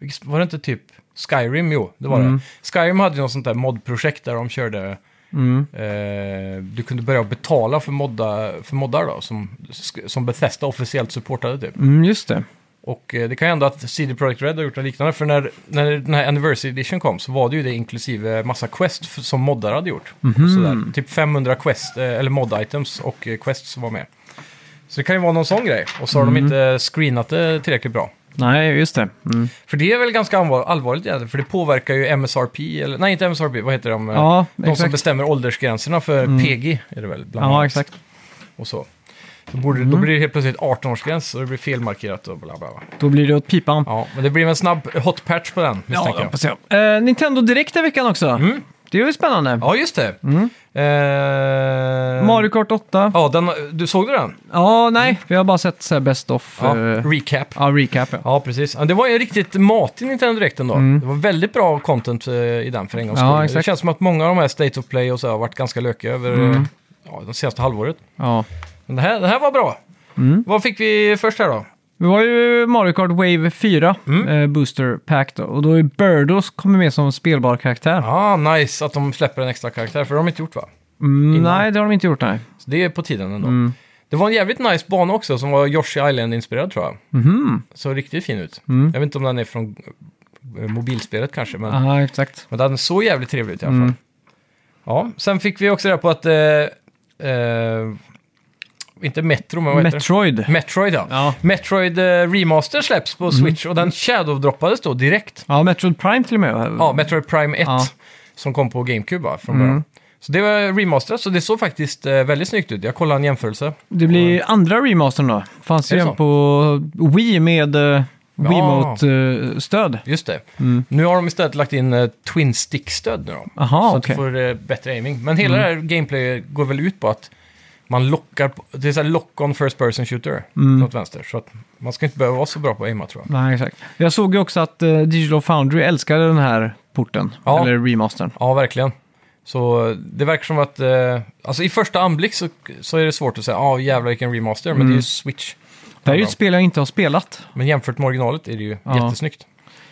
[SPEAKER 4] vilket- var det inte typ Skyrim? Jo, det var det. Skyrim hade ju något sånt där modprojekt där de körde, eh, du kunde börja betala för, modda, för moddar då, som, som Bethesda officiellt supportade typ.
[SPEAKER 3] Mm, just det.
[SPEAKER 4] Och eh, det kan ju hända att CD Projekt Red har gjort något liknande, för när, när den här Anniversary Edition kom så var det ju det inklusive massa quest f- som moddar
[SPEAKER 3] Mhm.
[SPEAKER 4] hade gjort. Och Sådär. Typ 500 quest, eh, eller mod-items och eh, quests som var med. Så det kan ju vara någon sån grej. Och så har
[SPEAKER 3] Mhm.
[SPEAKER 4] de inte eh, screenat det tillräckligt bra.
[SPEAKER 3] Nej, just det. Mm.
[SPEAKER 4] För det är väl ganska allvar- allvarligt egentligen, för det påverkar ju MSRP, eller nej inte MSRP, vad heter de? eh,
[SPEAKER 3] Ja,
[SPEAKER 4] de som
[SPEAKER 3] exakt. Mm.
[SPEAKER 4] bestämmer åldersgränserna för PG är det väl? Bland
[SPEAKER 3] Ja,
[SPEAKER 4] annat.
[SPEAKER 3] exakt. Mm.
[SPEAKER 4] Och så. Så borde, Då blir det helt plötsligt 18-årsgräns så det blir felmarkerat och bla bla bla.
[SPEAKER 3] Då blir det åt pipan.
[SPEAKER 4] Ja, men det blir en snabb hot patch på den misstänker jag.
[SPEAKER 3] hoppas jag. Eh, Nintendo Direkt i veckan också. Det är ju spännande.
[SPEAKER 4] Mm. Ja, just det. Eh,
[SPEAKER 3] Mm. Mario Kart 8. Ja,
[SPEAKER 4] Ja, den, du såg du den?
[SPEAKER 3] nej. Vi har bara sett så här Best of.
[SPEAKER 4] Ja,
[SPEAKER 3] eh,
[SPEAKER 4] recap.
[SPEAKER 3] ja recap. Ja.
[SPEAKER 4] Ja, precis. Ja, Det var ju riktigt matig Nintendo Direct ändå. Det var väldigt bra content eh, i den för en gångs
[SPEAKER 3] Mm.
[SPEAKER 4] skull.
[SPEAKER 3] Ja,
[SPEAKER 4] Det
[SPEAKER 3] exakt.
[SPEAKER 4] känns som att många av de här State of Play och så har varit ganska lökiga över eh,
[SPEAKER 3] Mm.
[SPEAKER 4] ja, det senaste halvåret.
[SPEAKER 3] Ja.
[SPEAKER 4] Men det här, det här var bra.
[SPEAKER 3] Mm.
[SPEAKER 4] Vad fick vi först här då?
[SPEAKER 3] Det var ju Mario Kart Wave 4,
[SPEAKER 4] Mm.
[SPEAKER 3] eh, Booster Pack då. Och då är Birdos kommer med som spelbar karaktär.
[SPEAKER 4] Ah, nice att de släpper en extra karaktär, för det har de inte gjort va?
[SPEAKER 3] Mm,
[SPEAKER 4] innan.
[SPEAKER 3] nej, det har de inte gjort nej.
[SPEAKER 4] Så det är på tiden ändå.
[SPEAKER 3] Mm.
[SPEAKER 4] Det var en jävligt nice bana också som var Yoshi Island-inspirerad tror jag.
[SPEAKER 3] Mhm.
[SPEAKER 4] Så riktigt fin ut. Jag vet inte om den är från eh, mobilspelet kanske, men
[SPEAKER 3] Mm. Ja, Mm. exakt.
[SPEAKER 4] Men den såg jävligt trevlig ut i alla fall. Ja, sen fick vi också reda på att... Eh, eh, inte Metro, men vad heter
[SPEAKER 3] Metroid.
[SPEAKER 4] det? Mm. Metroid, ja.
[SPEAKER 3] Ja. Mm.
[SPEAKER 4] Metroid eh, Remaster släpps på Switch och den shadow-droppades då direkt.
[SPEAKER 3] Ja, Metroid Prime till och med.
[SPEAKER 4] Ja, Metroid Prime 1
[SPEAKER 3] Mm. Ja. Mm.
[SPEAKER 4] som kom på GameCube va, från början. Så det var remasterat, så det såg faktiskt eh, väldigt snyggt ut. Jag kollade en jämförelse.
[SPEAKER 3] Det blir andra remastern då. Fanns
[SPEAKER 4] Är
[SPEAKER 3] ju
[SPEAKER 4] det så?
[SPEAKER 3] en på Wii med uh,
[SPEAKER 4] Ja.
[SPEAKER 3] Wiimote-stöd.
[SPEAKER 4] Just det.
[SPEAKER 3] Mm.
[SPEAKER 4] Nu har de istället lagt in eh, Twin Stick-stöd nu då.
[SPEAKER 3] Aha,
[SPEAKER 4] så
[SPEAKER 3] okej. Mm.
[SPEAKER 4] att du får eh, bättre aiming. Men hela det här gameplayet går väl ut på att man lockar, på- det är så här lock-on first person shooter, mm. åt vänster. Så att man ska inte behöva vara så bra på att aima tror jag.
[SPEAKER 3] Nej, exakt. Jag såg ju också att eh, Digital Foundry älskade den här porten,
[SPEAKER 4] Ja.
[SPEAKER 3] eller remastern.
[SPEAKER 4] Ja, verkligen. Så eh, det verkar som att, eh, alltså i första anblick så, så är det svårt att säga, ja jävlar vilken remaster, men det
[SPEAKER 3] Mm.
[SPEAKER 4] är ju Switch.
[SPEAKER 3] Det här är ju ett spel jag inte har spelat.
[SPEAKER 4] Men jämfört med originalet är det ju
[SPEAKER 3] Ja.
[SPEAKER 4] jättesnyggt.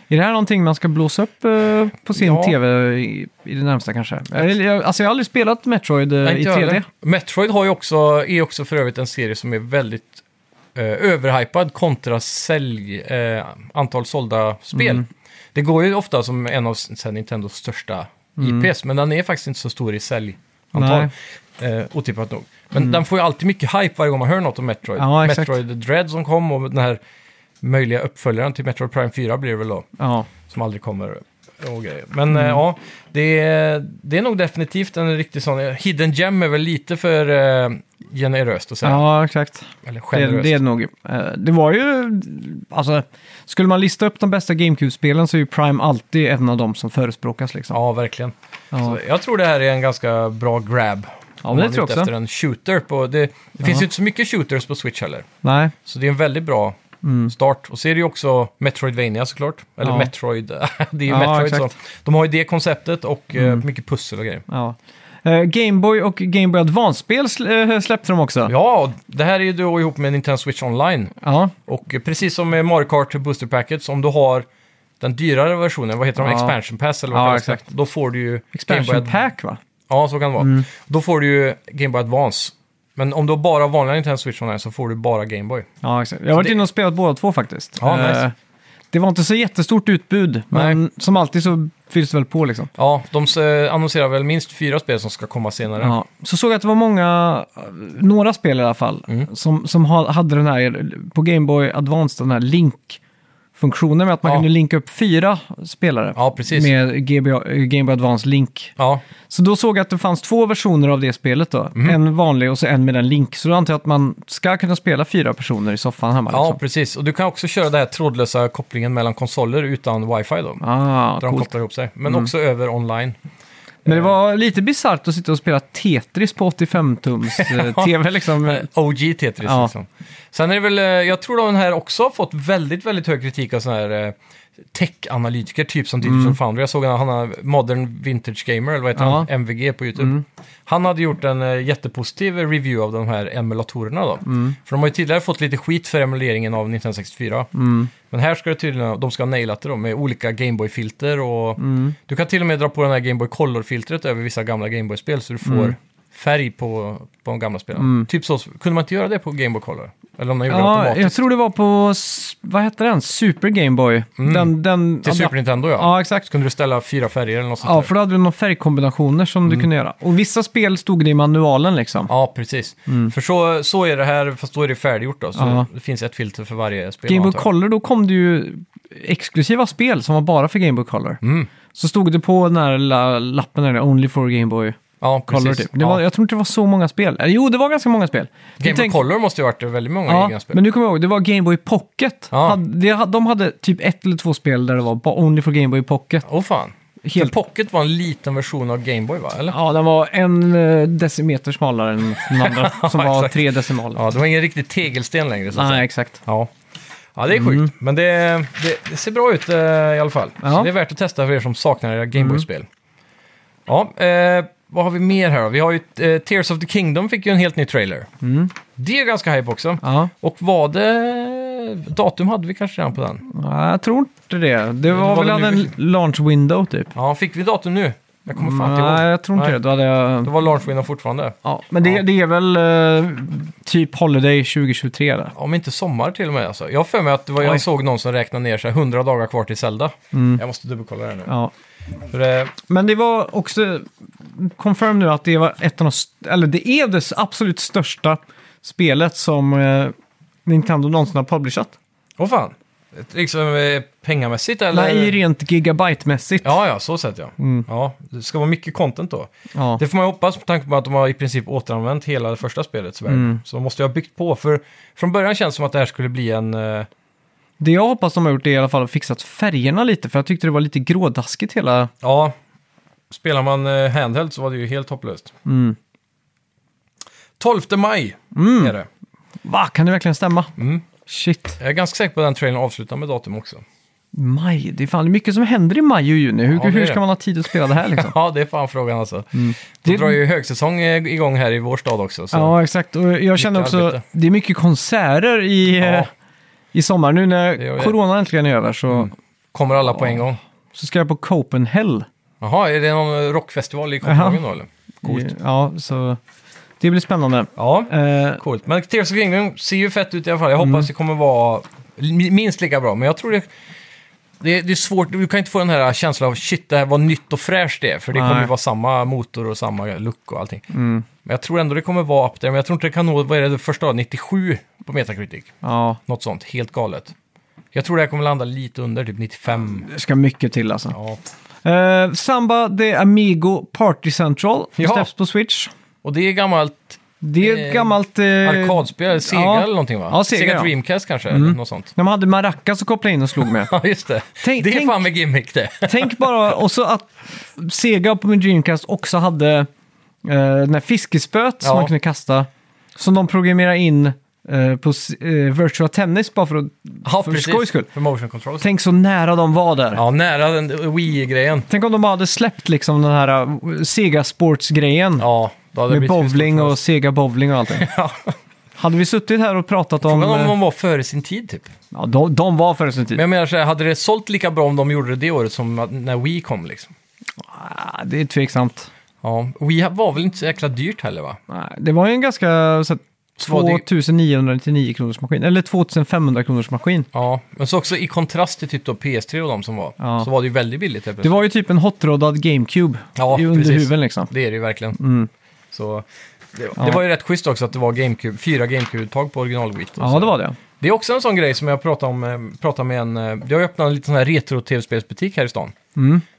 [SPEAKER 3] Är det här någonting man ska blåsa upp eh, på sin
[SPEAKER 4] Ja.
[SPEAKER 3] tv i, i det närmsta kanske? Eller, jag, alltså jag har aldrig spelat Metroid eh,
[SPEAKER 4] Nej,
[SPEAKER 3] i
[SPEAKER 4] inte jag
[SPEAKER 3] 3D.
[SPEAKER 4] heller. Metroid har ju också, är också för övrigt en serie som är väldigt eh, överhypad kontra sälj, eh, antal sålda spel.
[SPEAKER 3] Mm.
[SPEAKER 4] Det går ju ofta som en av så här, Nintendos största
[SPEAKER 3] Mm.
[SPEAKER 4] IPs, men den är faktiskt inte så stor i säljantal. Eh, otippat nog. Men den får ju alltid mycket hype varje gång man hör något om Metroid.
[SPEAKER 3] Mm. Ja, exakt.
[SPEAKER 4] Metroid Dread som kom och den här möjliga uppföljaren till Metroid Prime 4 blir det väl då
[SPEAKER 3] Ja.
[SPEAKER 4] som aldrig kommer. Och grejer. Men eh,
[SPEAKER 3] Mm.
[SPEAKER 4] ja, det är, det är nog definitivt en riktig sån. Hidden gem är väl lite för eh, generöst att säga.
[SPEAKER 3] ja, exakt.
[SPEAKER 4] Eller
[SPEAKER 3] Det,
[SPEAKER 4] generöst.
[SPEAKER 3] det är det nog. Eh, det var ju, alltså, skulle man lista upp de bästa GameCube-spelen så är ju Prime alltid en av dem som förespråkas liksom.
[SPEAKER 4] Ja, verkligen.
[SPEAKER 3] Ja.
[SPEAKER 4] Så jag tror det här är en ganska bra grab. om
[SPEAKER 3] men det
[SPEAKER 4] man är
[SPEAKER 3] tror jag
[SPEAKER 4] ute
[SPEAKER 3] också.
[SPEAKER 4] efter en shooter på... Det, det finns ju inte så mycket shooters på Switch heller.
[SPEAKER 3] Nej,
[SPEAKER 4] Så det är en väldigt bra start. Och så är det ju också Metroidvania såklart. Eller
[SPEAKER 3] Mm. Ja.
[SPEAKER 4] Metroid. [LAUGHS] det är ju
[SPEAKER 3] Ja,
[SPEAKER 4] Metroid.
[SPEAKER 3] exakt. Mm.
[SPEAKER 4] Så. De har ju det konceptet och eh, mycket pussel och grejer.
[SPEAKER 3] ja. Gameboy och Gameboy Advance-spel sl- eh, släppte de också.
[SPEAKER 4] Ja, och det här är ju då ihop med Nintendo Switch Online.
[SPEAKER 3] Ja.
[SPEAKER 4] Och eh, precis som med Mario Kart Booster Packets, om du har den dyrare versionen, vad heter de,
[SPEAKER 3] Ja.
[SPEAKER 4] Expansion Pass eller vad
[SPEAKER 3] Ja,
[SPEAKER 4] kallas det?
[SPEAKER 3] exakt.
[SPEAKER 4] Då får du ju... Game
[SPEAKER 3] Expansion Mm.
[SPEAKER 4] Boy Ad-
[SPEAKER 3] Pack va?
[SPEAKER 4] Ja, så kan det vara. Då får du ju Game Boy Advance. Men om du har bara vanliga Nintendo Switch Online så får du bara Game Boy.
[SPEAKER 3] Ja, exakt. Jag har varit
[SPEAKER 4] det-
[SPEAKER 3] inne och spelat båda två faktiskt.
[SPEAKER 4] Ja, nice.
[SPEAKER 3] Eh, Det var inte så jättestort utbud, men
[SPEAKER 4] Nej.
[SPEAKER 3] som alltid så fylls det väl på liksom.
[SPEAKER 4] Ja, de s- eh, annonserar väl minst fyra spel som ska komma senare.
[SPEAKER 3] Ja. Så såg jag att det var många, eh, några spel i alla fall,
[SPEAKER 4] Mm.
[SPEAKER 3] som, som ha- hade den här, på Game Boy Advance, den här link-funktionen med att man
[SPEAKER 4] Ja.
[SPEAKER 3] kunde linka upp fyra spelare
[SPEAKER 4] Ja, precis.
[SPEAKER 3] med GBA, eh, Game Boy Advance Link.
[SPEAKER 4] Ja,
[SPEAKER 3] Så då såg jag att det fanns två versioner av det spelet då.
[SPEAKER 4] Mhm.
[SPEAKER 3] En vanlig och så en med en link. Så då antar jag att man ska kunna spela fyra personer i soffan hemma.
[SPEAKER 4] ja
[SPEAKER 3] liksom.
[SPEAKER 4] precis. Och du kan också köra den här trådlösa kopplingen mellan konsoler utan wifi då.
[SPEAKER 3] Ah,
[SPEAKER 4] där de
[SPEAKER 3] coolt. Mm.
[SPEAKER 4] kopplar ihop sig. Men också över online.
[SPEAKER 3] Men det var lite bisarrt att sitta och spela Tetris
[SPEAKER 4] [LAUGHS]
[SPEAKER 3] på 85-tums-tv liksom.
[SPEAKER 4] OG eh, Tetris
[SPEAKER 3] Ja.
[SPEAKER 4] liksom. Sen är det väl, eh, jag tror då den här också har fått väldigt, väldigt hög kritik av sådana här eh, tech-analytiker, typ som
[SPEAKER 3] Mm.
[SPEAKER 4] Digital Foundry. Jag såg en, han har Modern Vintage Gamer, eller vad heter
[SPEAKER 3] Ja. Mm.
[SPEAKER 4] han? MVG på YouTube. Han hade gjort en eh, jättepositiv review av de här emulatorerna då.
[SPEAKER 3] Mm.
[SPEAKER 4] För de har ju tidigare fått lite skit för emuleringen av 1964.
[SPEAKER 3] Mm.
[SPEAKER 4] Men här ska det tydligen, de ska ha nailat det då med olika Gameboy-filter och
[SPEAKER 3] Mm.
[SPEAKER 4] du kan till och med dra på den här Gameboy Color-filtret över vissa gamla
[SPEAKER 3] Mm.
[SPEAKER 4] Gameboy-spel så du får färg på, på de gamla spelen. Typ så, kunde man inte göra det på Gameboy Color? Eller om de gjorde det
[SPEAKER 3] Ja,
[SPEAKER 4] automatiskt.
[SPEAKER 3] jag tror det var på, s- vad hette den? Super Game Boy. Den, den,
[SPEAKER 4] Mm. Till Super Nintendo ja.
[SPEAKER 3] Ja, exakt.
[SPEAKER 4] Så kunde du ställa fyra färger eller något sånt
[SPEAKER 3] Ja,
[SPEAKER 4] där.
[SPEAKER 3] för då hade du några färgkombinationer som
[SPEAKER 4] Mm.
[SPEAKER 3] du kunde göra. Och vissa spel stod det i manualen liksom.
[SPEAKER 4] Ja, precis. För så, så är det här, fast då är det färdiggjort då. Så
[SPEAKER 3] Ja.
[SPEAKER 4] det finns ett filter för varje spel.
[SPEAKER 3] Game Boy
[SPEAKER 4] antar jag.
[SPEAKER 3] Color, då kom det ju exklusiva spel som var bara för Game Boy Color.
[SPEAKER 4] Mm.
[SPEAKER 3] Så stod det på den här la- lappen, där, Only for Game Boy
[SPEAKER 4] Ja, precis.
[SPEAKER 3] Color typ. Det
[SPEAKER 4] ja.
[SPEAKER 3] var, Jag tror inte det var så många spel. Eller, jo, det var ganska många spel. Du
[SPEAKER 4] Game Boy
[SPEAKER 3] tänk-
[SPEAKER 4] Color måste ju ha varit väldigt många
[SPEAKER 3] Ja,
[SPEAKER 4] egna spel.
[SPEAKER 3] men nu kommer jag ihåg, det var Game Boy Pocket.
[SPEAKER 4] Ja.
[SPEAKER 3] Hade, det hade- de hade typ ett eller två spel där det var bara Only for Game Boy Pocket.
[SPEAKER 4] Åh fan.
[SPEAKER 3] Helt,
[SPEAKER 4] För Pocket var en liten version av Game Boy va? Eller?
[SPEAKER 3] ja, den var en eh, decimeter smalare än
[SPEAKER 4] [LAUGHS]
[SPEAKER 3] den andra som var
[SPEAKER 4] exakt.
[SPEAKER 3] tre decimaler.
[SPEAKER 4] Ja, det var ingen riktig tegelsten längre så att
[SPEAKER 3] Nej,
[SPEAKER 4] säga.
[SPEAKER 3] exakt.
[SPEAKER 4] Ja. ja, det är sjukt. Men det, det, det ser bra ut eh, i alla fall.
[SPEAKER 3] Ja. Mm.
[SPEAKER 4] Så det är värt att testa för er som saknar era Gameboy-spel. Ja, eh, vad har vi mer här då? Vi har ju eh, Tears of the Kingdom fick ju en helt ny trailer. Det är ganska hype också.
[SPEAKER 3] Mm. Ja,
[SPEAKER 4] Och var det... Datum hade vi kanske redan på den.
[SPEAKER 3] nej, jag tror inte det. Det var,
[SPEAKER 4] var
[SPEAKER 3] väl
[SPEAKER 4] det
[SPEAKER 3] en
[SPEAKER 4] nu
[SPEAKER 3] launch window typ.
[SPEAKER 4] Ja, fick vi datum nu? Jag kommer fan inte
[SPEAKER 3] Nej,
[SPEAKER 4] ihåg.
[SPEAKER 3] jag tror inte
[SPEAKER 4] Nej.
[SPEAKER 3] det. Då hade jag...
[SPEAKER 4] Det var launchwindow fortfarande.
[SPEAKER 3] Ja, men det,
[SPEAKER 4] Ja.
[SPEAKER 3] det är väl eh, typ Holiday 2023 där.
[SPEAKER 4] Om inte sommar till och med alltså. Jag har för mig att det var,
[SPEAKER 3] Oj. Mm.
[SPEAKER 4] jag såg någon som räknade ner sig 100 dagar kvar till Zelda. Jag måste dubbelkolla det här nu.
[SPEAKER 3] Ja.
[SPEAKER 4] För, eh,
[SPEAKER 3] Men det var också confirm nu att det var ett av de, st- eller det är det s- absolut största spelet som eh, Nintendo någonsin har publicerat.
[SPEAKER 4] Åh fan. Liksom eh, pengamässigt eller?
[SPEAKER 3] Nej, rent gigabyte-mässigt. Mm,
[SPEAKER 4] Ja, ja, så sett ja. ja. Det ska vara mycket content då.
[SPEAKER 3] Ja.
[SPEAKER 4] Det får man ju hoppas med tanke på att de har i princip återanvänt hela det första spelets värld.
[SPEAKER 3] Mm.
[SPEAKER 4] Så de måste ju ha byggt på. För från början känns det som att det här skulle bli en... eh,
[SPEAKER 3] Det jag hoppas de har gjort är i alla fall fixat färgerna lite, för jag tyckte det var lite grådaskigt hela...
[SPEAKER 4] Ja, spelar man eh, handheld så var det ju helt hopplöst.
[SPEAKER 3] Mm.
[SPEAKER 4] 12 maj är det.
[SPEAKER 3] Va, kan det verkligen stämma?
[SPEAKER 4] Mm.
[SPEAKER 3] Shit.
[SPEAKER 4] Jag är ganska säker på att den trailern avslutar med datum också. [LAUGHS]
[SPEAKER 3] Maj, det är fan mycket som händer i maj och juni. Hur,
[SPEAKER 4] Ja, det är
[SPEAKER 3] hur
[SPEAKER 4] det.
[SPEAKER 3] ska man ha tid att spela det här liksom?
[SPEAKER 4] Ja, det är fan frågan alltså. Det
[SPEAKER 3] Mm. Det-
[SPEAKER 4] drar ju högsäsong eh, igång här i vår stad också. Så.
[SPEAKER 3] Ja, exakt. Och jag känner
[SPEAKER 4] Mycket
[SPEAKER 3] också,
[SPEAKER 4] arbete.
[SPEAKER 3] det är mycket konserter i,
[SPEAKER 4] Ja.
[SPEAKER 3] eh, i sommar. Nu
[SPEAKER 4] Det gör Mm.
[SPEAKER 3] när
[SPEAKER 4] det.
[SPEAKER 3] corona äntligen är över så,
[SPEAKER 4] Kommer alla på en gång.
[SPEAKER 3] så ska jag på Copenhagen.
[SPEAKER 4] Jaha, är det någon rockfestival i Kopenhagen då eller? Coolt.
[SPEAKER 3] I- Ja, så det blir spännande.
[SPEAKER 4] Ja,
[SPEAKER 3] Eh,
[SPEAKER 4] coolt. Men Tears of the Kingdom ser ju fett ut i alla fall. Jag hoppas
[SPEAKER 3] Mm.
[SPEAKER 4] det kommer vara mi- minst lika bra. Men jag tror det, det, det är svårt. Du kan inte få den här känslan av shit, det här var nytt och fräscht det är, För det
[SPEAKER 3] Nej. Mm.
[SPEAKER 4] kommer ju vara samma motor och samma look och allting. Men jag tror ändå det kommer vara upp där. Men jag tror inte det kan nå, vad är det, det första då? 97 på Metacritic.
[SPEAKER 3] ja,
[SPEAKER 4] Något sånt, helt galet. Jag tror det här kommer landa lite under, typ 95.
[SPEAKER 3] det ska mycket till alltså.
[SPEAKER 4] Ja.
[SPEAKER 3] Eh, Samba de Amigo Party Central
[SPEAKER 4] Ja.
[SPEAKER 3] släpps på Switch.
[SPEAKER 4] Och det är gammalt
[SPEAKER 3] Det är ett
[SPEAKER 4] Eh,
[SPEAKER 3] gammalt... Eh,
[SPEAKER 4] arkadspel, Sega
[SPEAKER 3] ja.
[SPEAKER 4] eller någonting va?
[SPEAKER 3] Ja, Sega, ja. Mm.
[SPEAKER 4] Dreamcast kanske, eller något sånt.
[SPEAKER 3] När man hade maracas och kopplade in och slog med.
[SPEAKER 4] Ja, just [LAUGHS] det.
[SPEAKER 3] Tänk-
[SPEAKER 4] det är
[SPEAKER 3] tänk-
[SPEAKER 4] fan med gimmick det.
[SPEAKER 3] Tänk bara också att Sega på min Dreamcast också hade eh, den här fiskespöet
[SPEAKER 4] Ja.
[SPEAKER 3] som man kunde kasta. Som de programmerade in eh, på s- eh, Virtua Tennis bara för att...
[SPEAKER 4] Ja,
[SPEAKER 3] för skojs skull.
[SPEAKER 4] För motion control.
[SPEAKER 3] Tänk så nära de var där.
[SPEAKER 4] Ja, nära den Wii-grejen.
[SPEAKER 3] Tänk om de bara hade släppt liksom den här eh, Sega Sports-grejen.
[SPEAKER 4] Ja, då hade det
[SPEAKER 3] med
[SPEAKER 4] blivit hur
[SPEAKER 3] bowling
[SPEAKER 4] stort som
[SPEAKER 3] och Sega bowling
[SPEAKER 4] [LAUGHS]
[SPEAKER 3] och allting.
[SPEAKER 4] Ja.
[SPEAKER 3] [LAUGHS] Hade vi suttit här och pratat om...
[SPEAKER 4] helst. Frågan om
[SPEAKER 3] eh,
[SPEAKER 4] de var före sin tid typ.
[SPEAKER 3] Ja, de, de var före sin tid.
[SPEAKER 4] Men jag menar så här, hade det sålt lika bra om de gjorde det det året som att- när Wii kom liksom?
[SPEAKER 3] Ah, det är tveksamt.
[SPEAKER 4] Ja, Wii var väl inte så jäkla dyrt heller va?
[SPEAKER 3] Nej, det var ju en ganska... Så, här,
[SPEAKER 4] Så var det-
[SPEAKER 3] 2999 kronors maskin, eller 2500 kronors maskin.
[SPEAKER 4] Ja, men så också i kontrast till typ då PS3 och de som var,
[SPEAKER 3] Ja.
[SPEAKER 4] så var det ju väldigt billigt. helt
[SPEAKER 3] Det
[SPEAKER 4] plötsligt.
[SPEAKER 3] var ju typ en hotroddad GameCube
[SPEAKER 4] Ja,
[SPEAKER 3] i under
[SPEAKER 4] precis.
[SPEAKER 3] huven liksom.
[SPEAKER 4] Det är det ju verkligen. Så, det,
[SPEAKER 3] Ja.
[SPEAKER 4] det var ju rätt schysst också att det var GameCube, fyra GameCube-uttag på original Wii.
[SPEAKER 3] Ja, det var det.
[SPEAKER 4] Det är också en sån grej som jag pratade om, eh, pratade med en, eh, jag har öppnat en liten sån här retro-tv-spelsbutik här i stan.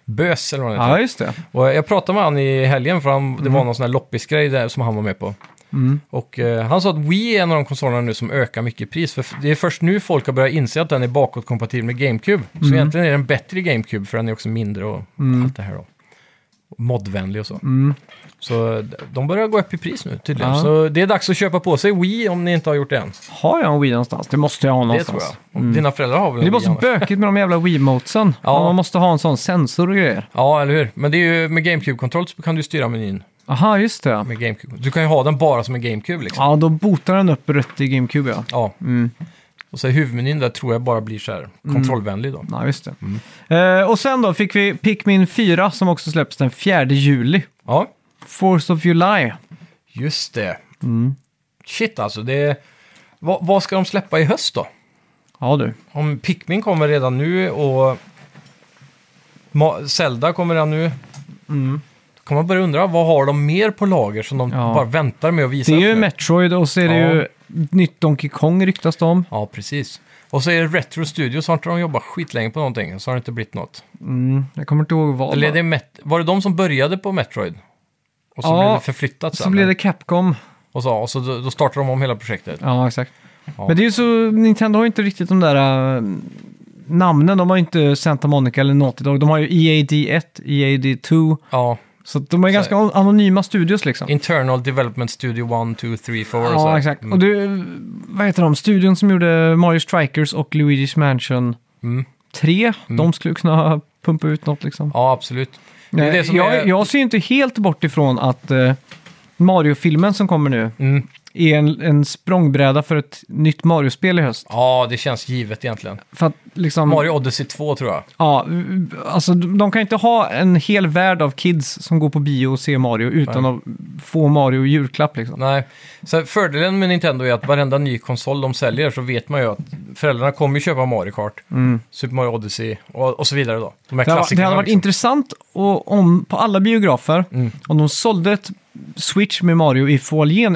[SPEAKER 4] Bös eller vad den heter.
[SPEAKER 3] Mm. Ja, Mm. just det.
[SPEAKER 4] Och jag pratade med han i helgen för han, det var någon sån här loppisgrej där som han var med på.
[SPEAKER 3] Mm.
[SPEAKER 4] Och eh, han sa att Wii är en av de konsolerna nu som ökar mycket i pris. För f- det är först nu folk har börjat inse att den är bakåtkompatibel med GameCube.
[SPEAKER 3] Mm.
[SPEAKER 4] Så egentligen är den bättre i GameCube för den är också mindre och allt det här då. Modvänlig och så. Så eh, de börjar gå upp i pris nu tydligen.
[SPEAKER 3] Mm. Ja.
[SPEAKER 4] Så det är dags att köpa på sig Wii om ni inte har gjort det än.
[SPEAKER 3] Har jag en Wii någonstans? Det måste jag ha
[SPEAKER 4] Det
[SPEAKER 3] någonstans. Mm.
[SPEAKER 4] tror jag. Och Dina föräldrar har väl
[SPEAKER 3] Det är
[SPEAKER 4] en
[SPEAKER 3] bara
[SPEAKER 4] Wii
[SPEAKER 3] så
[SPEAKER 4] annars?
[SPEAKER 3] bökigt med de jävla Wiimotesen.
[SPEAKER 4] Ja.
[SPEAKER 3] Man måste ha en sån sensor och grejer.
[SPEAKER 4] Ja, eller hur. Men det är ju med GameCube-kontroll så kan du styra menyn
[SPEAKER 3] Aha, just det.
[SPEAKER 4] med GameCube. Du kan ju ha den bara som en GameCube liksom.
[SPEAKER 3] Ja, då botar den upp rött i GameCube ja.
[SPEAKER 4] Ja.
[SPEAKER 3] Mm.
[SPEAKER 4] Och så huvudmenyn där tror jag bara blir så här kontrollvänlig då.
[SPEAKER 3] Ja, just det.
[SPEAKER 4] Mm.
[SPEAKER 3] Eh, och sen då fick vi Pikmin 4 som också släpps den 4 juli.
[SPEAKER 4] Ja,
[SPEAKER 3] Force of July. Mm.
[SPEAKER 4] just det. Shit alltså, det... Vad- vad ska de släppa i höst då?
[SPEAKER 3] Ja du.
[SPEAKER 4] Om Pikmin kommer redan nu och Ma- Zelda kommer redan nu. Då kan man börja undra, vad har de mer på lager som de
[SPEAKER 3] Mm. Ja.
[SPEAKER 4] bara väntar med att visa
[SPEAKER 3] Det är
[SPEAKER 4] upp
[SPEAKER 3] ju
[SPEAKER 4] nu?
[SPEAKER 3] Metroid och så är det
[SPEAKER 4] Ja.
[SPEAKER 3] ju nytt Donkey Kong ryktas det om.
[SPEAKER 4] Ja, precis. Och så är det Retro Studios, har inte de jobbat skitlänge på någonting? Så har det inte blivit något.
[SPEAKER 3] Mm, jag kommer inte ihåg vad.
[SPEAKER 4] Eller är det Met- var det de som började på Metroid? Och så
[SPEAKER 3] Ja,
[SPEAKER 4] blev det förflyttat
[SPEAKER 3] Så
[SPEAKER 4] sen?
[SPEAKER 3] blev det Capcom.
[SPEAKER 4] Och så, och så då då startar de om hela projektet.
[SPEAKER 3] Ja, exakt.
[SPEAKER 4] Ja.
[SPEAKER 3] Men det är ju så, Nintendo har ju inte riktigt de där äh, namnen. De har ju inte Santa Monica eller Naughty Dog. De har ju E EAD1, EAD2.
[SPEAKER 4] Ja,
[SPEAKER 3] Så att de är ganska anonyma studios liksom.
[SPEAKER 4] Internal Development Studio 1, 2, 3, 4 och så.
[SPEAKER 3] Ja,
[SPEAKER 4] här.
[SPEAKER 3] exakt.
[SPEAKER 4] Mm.
[SPEAKER 3] Och du, vad heter de? Studion som gjorde Mario Strikers och Luigi's Mansion
[SPEAKER 4] Mm.
[SPEAKER 3] 3. De skulle kunna [LAUGHS] pumpa ut något liksom.
[SPEAKER 4] Ja, absolut. Det är
[SPEAKER 3] Nej,
[SPEAKER 4] det som
[SPEAKER 3] jag,
[SPEAKER 4] är-
[SPEAKER 3] jag ser ju inte helt bort ifrån att eh, Mario-filmen som kommer nu
[SPEAKER 4] Mm.
[SPEAKER 3] är en, en språngbräda för ett nytt Mario-spel i höst.
[SPEAKER 4] Ja, det känns givet egentligen.
[SPEAKER 3] För att liksom...
[SPEAKER 4] Mario Odyssey 2 tror jag.
[SPEAKER 3] Ja, alltså de de kan inte ha en hel värld av kids som går på bio och ser Mario utan att få Mario i julklapp liksom.
[SPEAKER 4] Nej. Så fördelen med Nintendo är att varenda ny konsol de säljer så vet man ju att föräldrarna kommer ju köpa Mario Kart, Super Mario Odyssey och, och så vidare då. De här
[SPEAKER 3] Mm. Det hade, det
[SPEAKER 4] klassikerna
[SPEAKER 3] hade varit
[SPEAKER 4] liksom. Mm.
[SPEAKER 3] intressant och, om, på alla biografer om de sålde ett Switch med Mario i foajén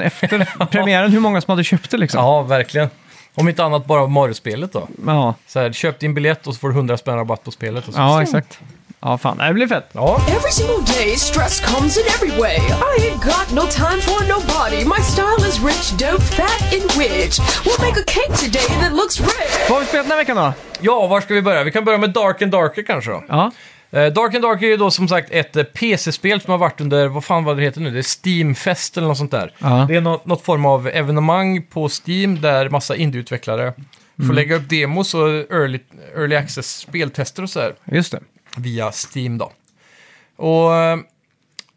[SPEAKER 4] [LAUGHS]
[SPEAKER 3] efter premiären, hur många som hade köpt det liksom.
[SPEAKER 4] Ja, verkligen. Om inte annat bara av Mario-spelet då.
[SPEAKER 3] Ja,
[SPEAKER 4] Så här, köp din biljett och så får du 100 spänn rabatt på spelet. Och så.
[SPEAKER 3] ja exakt. Ja, fan. Det blir fett.
[SPEAKER 4] Ja,
[SPEAKER 5] Every single day, stress comes in every way. I ain't got no time for nobody. My style is rich, dope, fat, and rich. We'll make a cake today that looks rich.
[SPEAKER 3] Vad har vi spelat den här veckan då?
[SPEAKER 4] ja, var ska vi börja? Vi kan börja med Dark and Darker kanske då.
[SPEAKER 3] Ja,
[SPEAKER 4] Eh, Dark and Darker är ju då som sagt ett eh, PC-spel som har varit under, vad fan vad det heter nu, det är Steam-fest eller något sånt där.
[SPEAKER 3] Ja.
[SPEAKER 4] Det är något, något form av evenemang på Steam där massa indieutvecklare får lägga upp demos och early, early access-speltester och sådär
[SPEAKER 3] just det.
[SPEAKER 4] via Steam då. Och eh,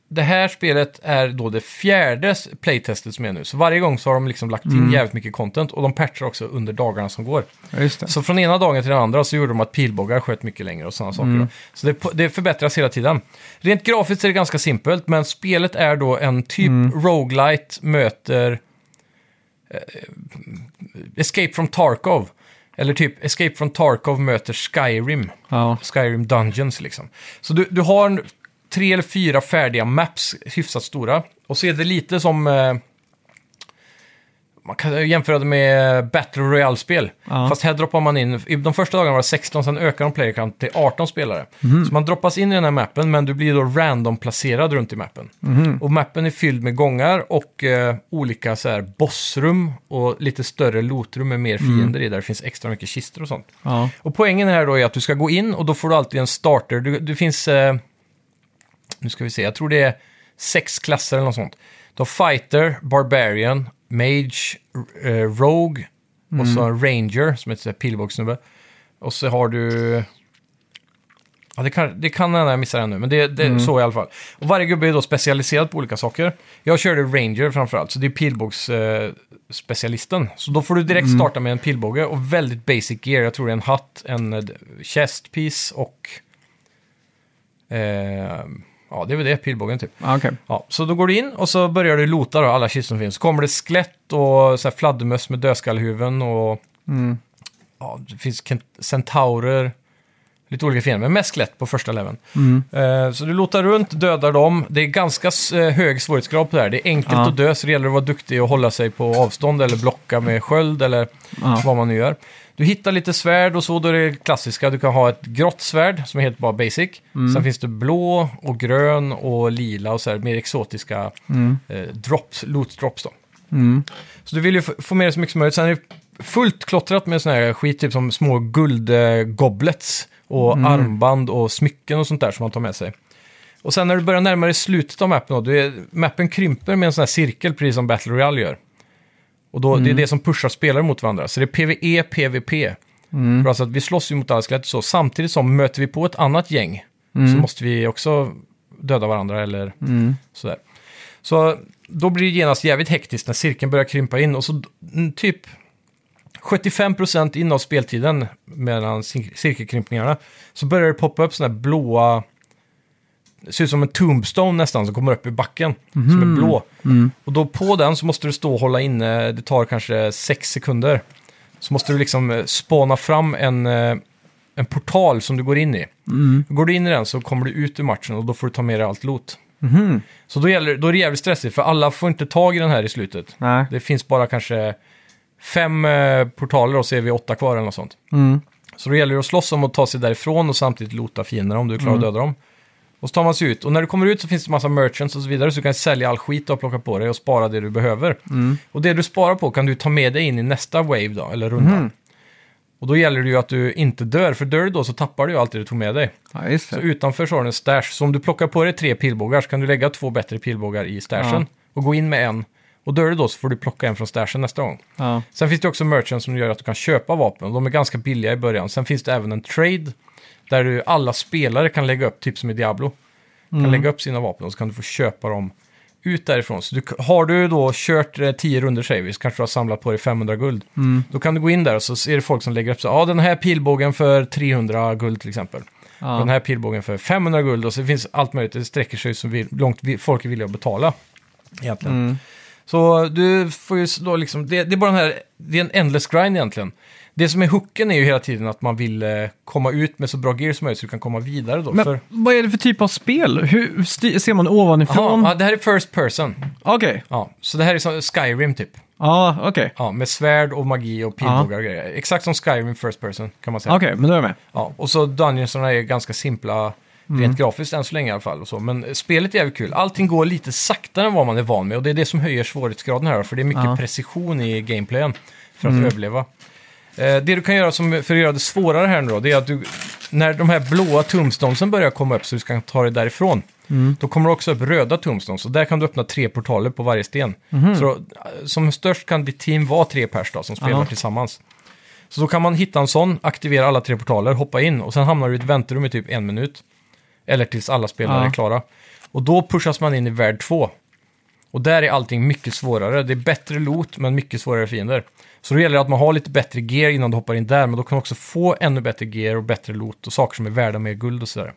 [SPEAKER 4] det här spelet är då det fjärde s- playtestet som är nu. Så varje gång så har de liksom lagt in jävligt mycket content och de patchar också under dagarna som går.
[SPEAKER 3] Ja, just det.
[SPEAKER 4] Så från ena dagen till den andra så gjorde de att pilbågar sköt mycket längre och sådana saker.
[SPEAKER 3] Mm.
[SPEAKER 4] då. Så det, det förbättras hela tiden. Rent grafiskt är det ganska simpelt, men spelet är då en typ
[SPEAKER 3] Mm.
[SPEAKER 4] roguelite möter eh, Escape from Tarkov. Eller typ Escape from Tarkov möter Skyrim.
[SPEAKER 3] Ja.
[SPEAKER 4] Skyrim Dungeons liksom. Så du, du har en- tre eller fyra färdiga maps, hyfsat stora. Och så är det lite som... Eh, man kan jämföra det med Battle Royale-spel.
[SPEAKER 3] Ja.
[SPEAKER 4] Fast här droppar man in, i de första dagarna var det 16, sen ökar de player count till 18 spelare.
[SPEAKER 3] Mhm.
[SPEAKER 4] Så man droppas in i den här mappen, men du blir då random-placerad runt i mappen.
[SPEAKER 3] Mhm.
[SPEAKER 4] Och mappen är fylld med gångar och eh, olika så här bossrum och lite större lootrum med mer fiender i, där det finns extra mycket kistor och sånt.
[SPEAKER 3] Mm. Ja.
[SPEAKER 4] Och poängen här då är att du ska gå in och då får du alltid en starter. Du, det finns, eh, nu ska vi se, jag tror det är sex klasser eller något sånt. Du har fighter, barbarian, mage, r- eh, rogue och så en ranger som heter pilbågssnubbe. Och så har du... Ja, det kan, det kan hända jag missar den nu, men det, det är så i alla fall. Och varje gubbe är då specialiserad på olika saker. Jag körde Ranger framförallt, så det är pilbågsspecialisten. Eh, specialisten. så då får du direkt starta med en pilbåge och väldigt basic gear. Jag tror det är en hatt, en eh, chest piece och... Eh, ja, det är väl det, pilbågen typ.
[SPEAKER 3] Ja, okej.
[SPEAKER 4] Ja, så då går du in och så börjar du lota då, alla kistor som finns. Så kommer det skelett och så här fladdermöss med dödskallhuvuden och... Ja, det finns kent- centaurer. Lite olika fiender, men mest skelett på första leveln.
[SPEAKER 3] Mm.
[SPEAKER 4] Eh, så du lotar runt, dödar dem. Det är ganska s- eh, hög svårighetsgrad på det här. Det är enkelt
[SPEAKER 3] Ja.
[SPEAKER 4] att dö, så det gäller att vara duktig och hålla sig på avstånd eller blocka med sköld eller
[SPEAKER 3] Ja.
[SPEAKER 4] vad man nu gör. Du hittar lite svärd och så, då är det klassiska. Du kan ha ett grått svärd som är helt bara basic.
[SPEAKER 3] Mm.
[SPEAKER 4] Sen finns det blå och grön och lila och så här mer exotiska
[SPEAKER 3] Mm.
[SPEAKER 4] eh, drops, loot drops då. Så du vill ju f- få med dig så mycket som möjligt. Sen är det fullt klottrat med sån här skit, typ som små guldgoblets och armband och smycken och sånt där som man tar med sig. Och sen när du börjar närma dig slutet av mappen, då, du är, mappen krymper med en sån här cirkel, precis som Battle Royale gör. Och då, det är det som pushar spelare mot varandra. Så det är E, PVE, PVP. För alltså att vi slåss ju mot alla skelett och så. Samtidigt som möter vi på ett annat gäng så måste vi också döda varandra eller sådär. Så då blir det genast jävligt hektiskt när cirkeln börjar krympa in och så mm, typ 75% in av speltiden mellan cir- cirkelkrympningarna så börjar det poppa upp sådana här blåa det ser ut som en tombstone nästan som kommer upp i backen, som är blå. Och då på den så måste du stå och hålla inne, det tar kanske sex sekunder. Så måste du liksom eh, spana fram en, eh, en portal som du går in i. Går du in i den så kommer du ut ur matchen och då får du ta med dig allt loot. Så då, gäller, då är det jävligt stressigt, för alla får inte tag i den här i slutet.
[SPEAKER 3] Nej.
[SPEAKER 4] Det finns bara kanske fem eh, portaler och så är vi åtta kvar eller något sånt. Så då gäller det att slåss om att ta sig därifrån och samtidigt lota fienderna om du klarar att döda dem. Och så tar man sig ut. Och när du kommer ut så finns det massa merchants och så vidare. Så du kan sälja all skit du har plockat på dig och spara det du behöver. Och det du sparar på kan du ta med dig in i nästa wave då, eller runda. Och då gäller det ju att du inte dör, för dör du då så tappar du ju allt det du tog med dig.
[SPEAKER 3] Ja, just
[SPEAKER 4] Så
[SPEAKER 3] det.
[SPEAKER 4] utanför så har du en stash. Så om du plockar på dig tre pilbågar så kan du lägga två bättre pilbågar i stashen. Och gå in med en. Och dör du då så får du plocka en från stashen nästa gång.
[SPEAKER 3] Ja.
[SPEAKER 4] Sen finns det också merchants som gör att du kan köpa vapen. De är ganska billiga i början. Sen finns det även en trade där du, alla spelare kan lägga upp, typ som i Diablo, kan
[SPEAKER 3] Mm.
[SPEAKER 4] lägga upp sina vapen och så kan du få köpa dem ut därifrån. Så du, har du då kört eh, 10 runder säger vi, så kanske du har samlat på dig 500 guld.
[SPEAKER 3] Mm.
[SPEAKER 4] Då kan du gå in där och så är det folk som lägger upp så ja den här pilbågen för 300 guld till exempel.
[SPEAKER 3] Ja.
[SPEAKER 4] Och Den här pilbågen för 500 guld och så finns allt möjligt. Det sträcker sig så vi- långt vi- folk är villiga att betala. Egentligen.
[SPEAKER 3] Mm.
[SPEAKER 4] Så du får ju då liksom, det, det är bara den här, det är en endless grind egentligen. Det som är hooken är ju hela tiden att man vill eh, komma ut med så bra gear som möjligt så du kan komma vidare då.
[SPEAKER 3] Men
[SPEAKER 4] för,
[SPEAKER 3] vad är det för typ av spel? Hur sti- ser man ovanifrån?
[SPEAKER 4] Aha, ja, det här är first person.
[SPEAKER 3] Okej.
[SPEAKER 4] Ja, så det här är som Skyrim typ.
[SPEAKER 3] Ja, okej.
[SPEAKER 4] Ja, med svärd och magi och pilbågar och grejer. Exakt som Skyrim first person kan man säga.
[SPEAKER 3] Okej, men då är jag med.
[SPEAKER 4] Ja, och så dungeonsarna är ganska simpla
[SPEAKER 3] Mm.
[SPEAKER 4] rent grafiskt än så länge i alla fall. Och så. Men spelet är jävligt kul. Allting går lite saktare än vad man är van med och det är det som höjer svårighetsgraden här. För det är mycket
[SPEAKER 3] Ja. Mm.
[SPEAKER 4] precision i gameplayen för att överleva. Eh, det du kan göra som, för att göra det svårare här nu då, det är att du, när de här blåa tombstonesen börjar komma upp så du ska ta dig därifrån,
[SPEAKER 3] Mm.
[SPEAKER 4] då kommer det också upp röda tombstones och där kan du öppna tre portaler på varje sten.
[SPEAKER 3] Mhm.
[SPEAKER 4] Så då, eh, som störst kan ditt team vara tre pers då, som spelar
[SPEAKER 3] Ja.
[SPEAKER 4] tillsammans. Så då kan man hitta en sån, aktivera alla tre portaler, hoppa in och sen hamnar du i ett väntrum i typ en minut. Eller tills alla spelare
[SPEAKER 3] Ja.
[SPEAKER 4] är klara. Och då pushas man in i värld två. Och där är allting mycket svårare. Det är bättre loot, men mycket svårare fiender. Så då gäller det att man har lite bättre gear innan du hoppar in där, men då kan du också få ännu bättre gear och bättre loot och saker som är värda mer guld och sådär.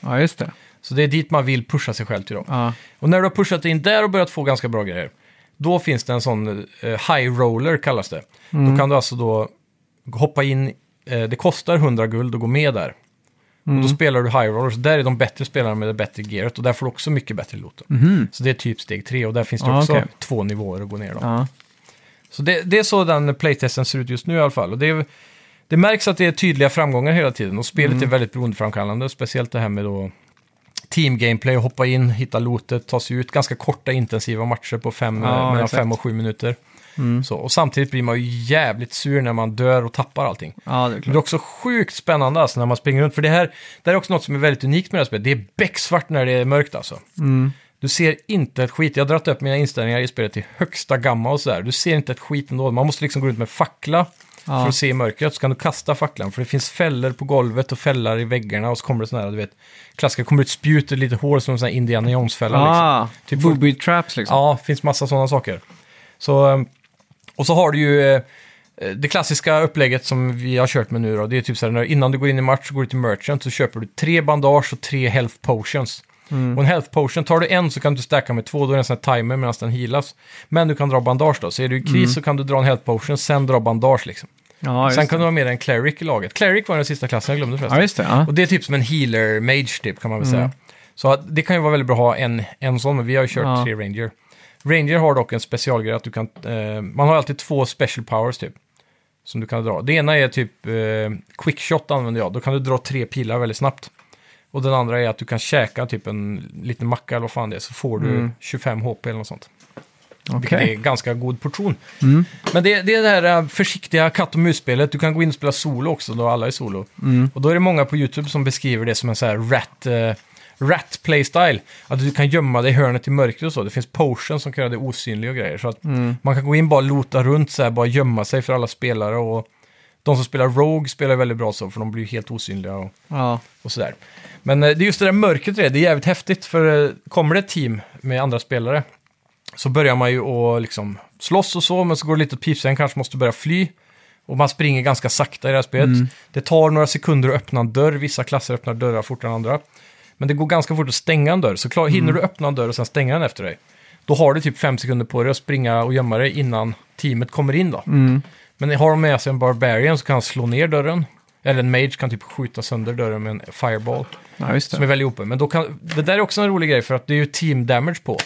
[SPEAKER 3] Ja, just det.
[SPEAKER 4] Så det är dit man vill pusha sig själv till då.
[SPEAKER 3] Ja.
[SPEAKER 4] Och när du har pushat in där och börjat få ganska bra grejer, då finns det en sån eh, high roller kallas det.
[SPEAKER 3] Mm.
[SPEAKER 4] Då kan du alltså då hoppa in, eh, det kostar 100 guld att gå med där. Och
[SPEAKER 3] Mm.
[SPEAKER 4] då spelar du high rollers, där är de bättre spelarna med det bättre gearet och där får du också mycket bättre loot. då. Så det är typ steg tre och där finns det
[SPEAKER 3] Ja,
[SPEAKER 4] också
[SPEAKER 3] Mm-hmm. Ah, okej.
[SPEAKER 4] två nivåer att gå ner då.
[SPEAKER 3] Ja.
[SPEAKER 4] Så det, det är så den playtesten ser ut just nu i alla fall. Och det, är- det märks att det är tydliga framgångar hela tiden och spelet
[SPEAKER 3] Mm.
[SPEAKER 4] är väldigt beroendeframkallande. Speciellt det här med då team gameplay, hoppa in, hitta lootet, ta sig ut. Ganska korta intensiva matcher på fem,
[SPEAKER 3] Ja,
[SPEAKER 4] eh, mellan
[SPEAKER 3] exakt. Mm.
[SPEAKER 4] fem och sju minuter. Så, och samtidigt blir man ju jävligt sur när man dör och tappar allting.
[SPEAKER 3] ja, det är
[SPEAKER 4] Det är
[SPEAKER 3] klart.
[SPEAKER 4] också sjukt spännande alltså när man springer runt. För det här, det här är också något som är väldigt unikt med det här spelet. Det är becksvart när det är mörkt alltså. Du ser inte ett skit. Jag har dragit upp mina inställningar i spelet till högsta gamma och sådär. Du ser inte ett skit ändå. Man måste liksom gå runt med fackla för att se i mörkret. Så kan du kasta facklan. För det finns fällor på golvet och fällar i väggarna. Och så kommer det sådana här, du vet, klassiska, kommer ut spjut i lite hål som en sån här Indiana Jones-fälla. liksom.
[SPEAKER 3] Ah,
[SPEAKER 4] Typ-
[SPEAKER 3] booby traps liksom.
[SPEAKER 4] Ja, det finns massa sådana saker. Så, eh, och så har du ju eh, det klassiska upplägget som vi har kört med nu då. Det är typ så här, när, innan du går in i match så går du till merchant så köper du tre bandage och tre health potions.
[SPEAKER 3] Mm.
[SPEAKER 4] Och en health potion, tar du en så kan du stacka med två, då är det en sån här timer medan den healas. Men du kan dra bandage då, så är du i kris så kan du dra en health potion, sen dra bandage liksom.
[SPEAKER 3] Mm. Ja, just
[SPEAKER 4] Sen kan
[SPEAKER 3] det.
[SPEAKER 4] du ha med dig en cleric i laget. Cleric var den sista klassen jag glömde förresten.
[SPEAKER 3] Ja, just det. Ja. Mm.
[SPEAKER 4] Och det är typ som en healer mage typ kan man väl säga. Så att det kan ju vara väldigt bra att ha en, en sån, men vi har ju kört
[SPEAKER 3] Ja.
[SPEAKER 4] tre ranger. Ranger har dock en specialgrej att du kan, eh, man har alltid två special powers typ. Som du kan dra. Det ena är typ eh, quickshot använder jag, då kan du dra tre pilar väldigt snabbt. Och den andra är att du kan käka typ en liten macka eller vad fan det är, så får du
[SPEAKER 3] Mm.
[SPEAKER 4] 25 HP eller något sånt.
[SPEAKER 3] Okej.
[SPEAKER 4] Vilket är ganska god portion. Men det, det är det här eh, försiktiga katt och mus-spelet. Du kan gå in och spela solo också då alla är solo. Och då är det många på YouTube som beskriver det som en så här rat, eh, rat playstyle. Att du kan gömma dig i hörnet i mörkret och så. Det finns potions som kan göra dig osynlig och grejer. Så att man kan gå in bara lota runt så här, bara gömma sig för alla spelare. Och de som spelar Rogue spelar väldigt bra så, för de blir ju helt osynliga. Och
[SPEAKER 3] Ja.
[SPEAKER 4] och sådär. Men eh, det är just det där mörkret det är, det är jävligt häftigt för eh, kommer det ett team med andra spelare så börjar man ju att liksom slåss och så, men så går det lite åt pipsen, kanske måste börja fly. Och man springer ganska sakta i det här spelet. Det tar några sekunder att öppna en dörr, vissa klasser öppnar dörrar fortare än andra. Men det går ganska fort att stänga en dörr. Så klar, hinner du öppna en dörr och sen stänga den efter dig, då har du typ fem sekunder på dig att springa och gömma dig innan teamet kommer in då. Men har de med sig en Barbarian så kan han slå ner dörren. Eller en Mage kan typ skjuta sönder dörren med en Fireball.
[SPEAKER 3] Ja, just
[SPEAKER 4] Som är
[SPEAKER 3] det.
[SPEAKER 4] väldigt open. Men då kan, det där är också en rolig grej för att det är ju team damage på.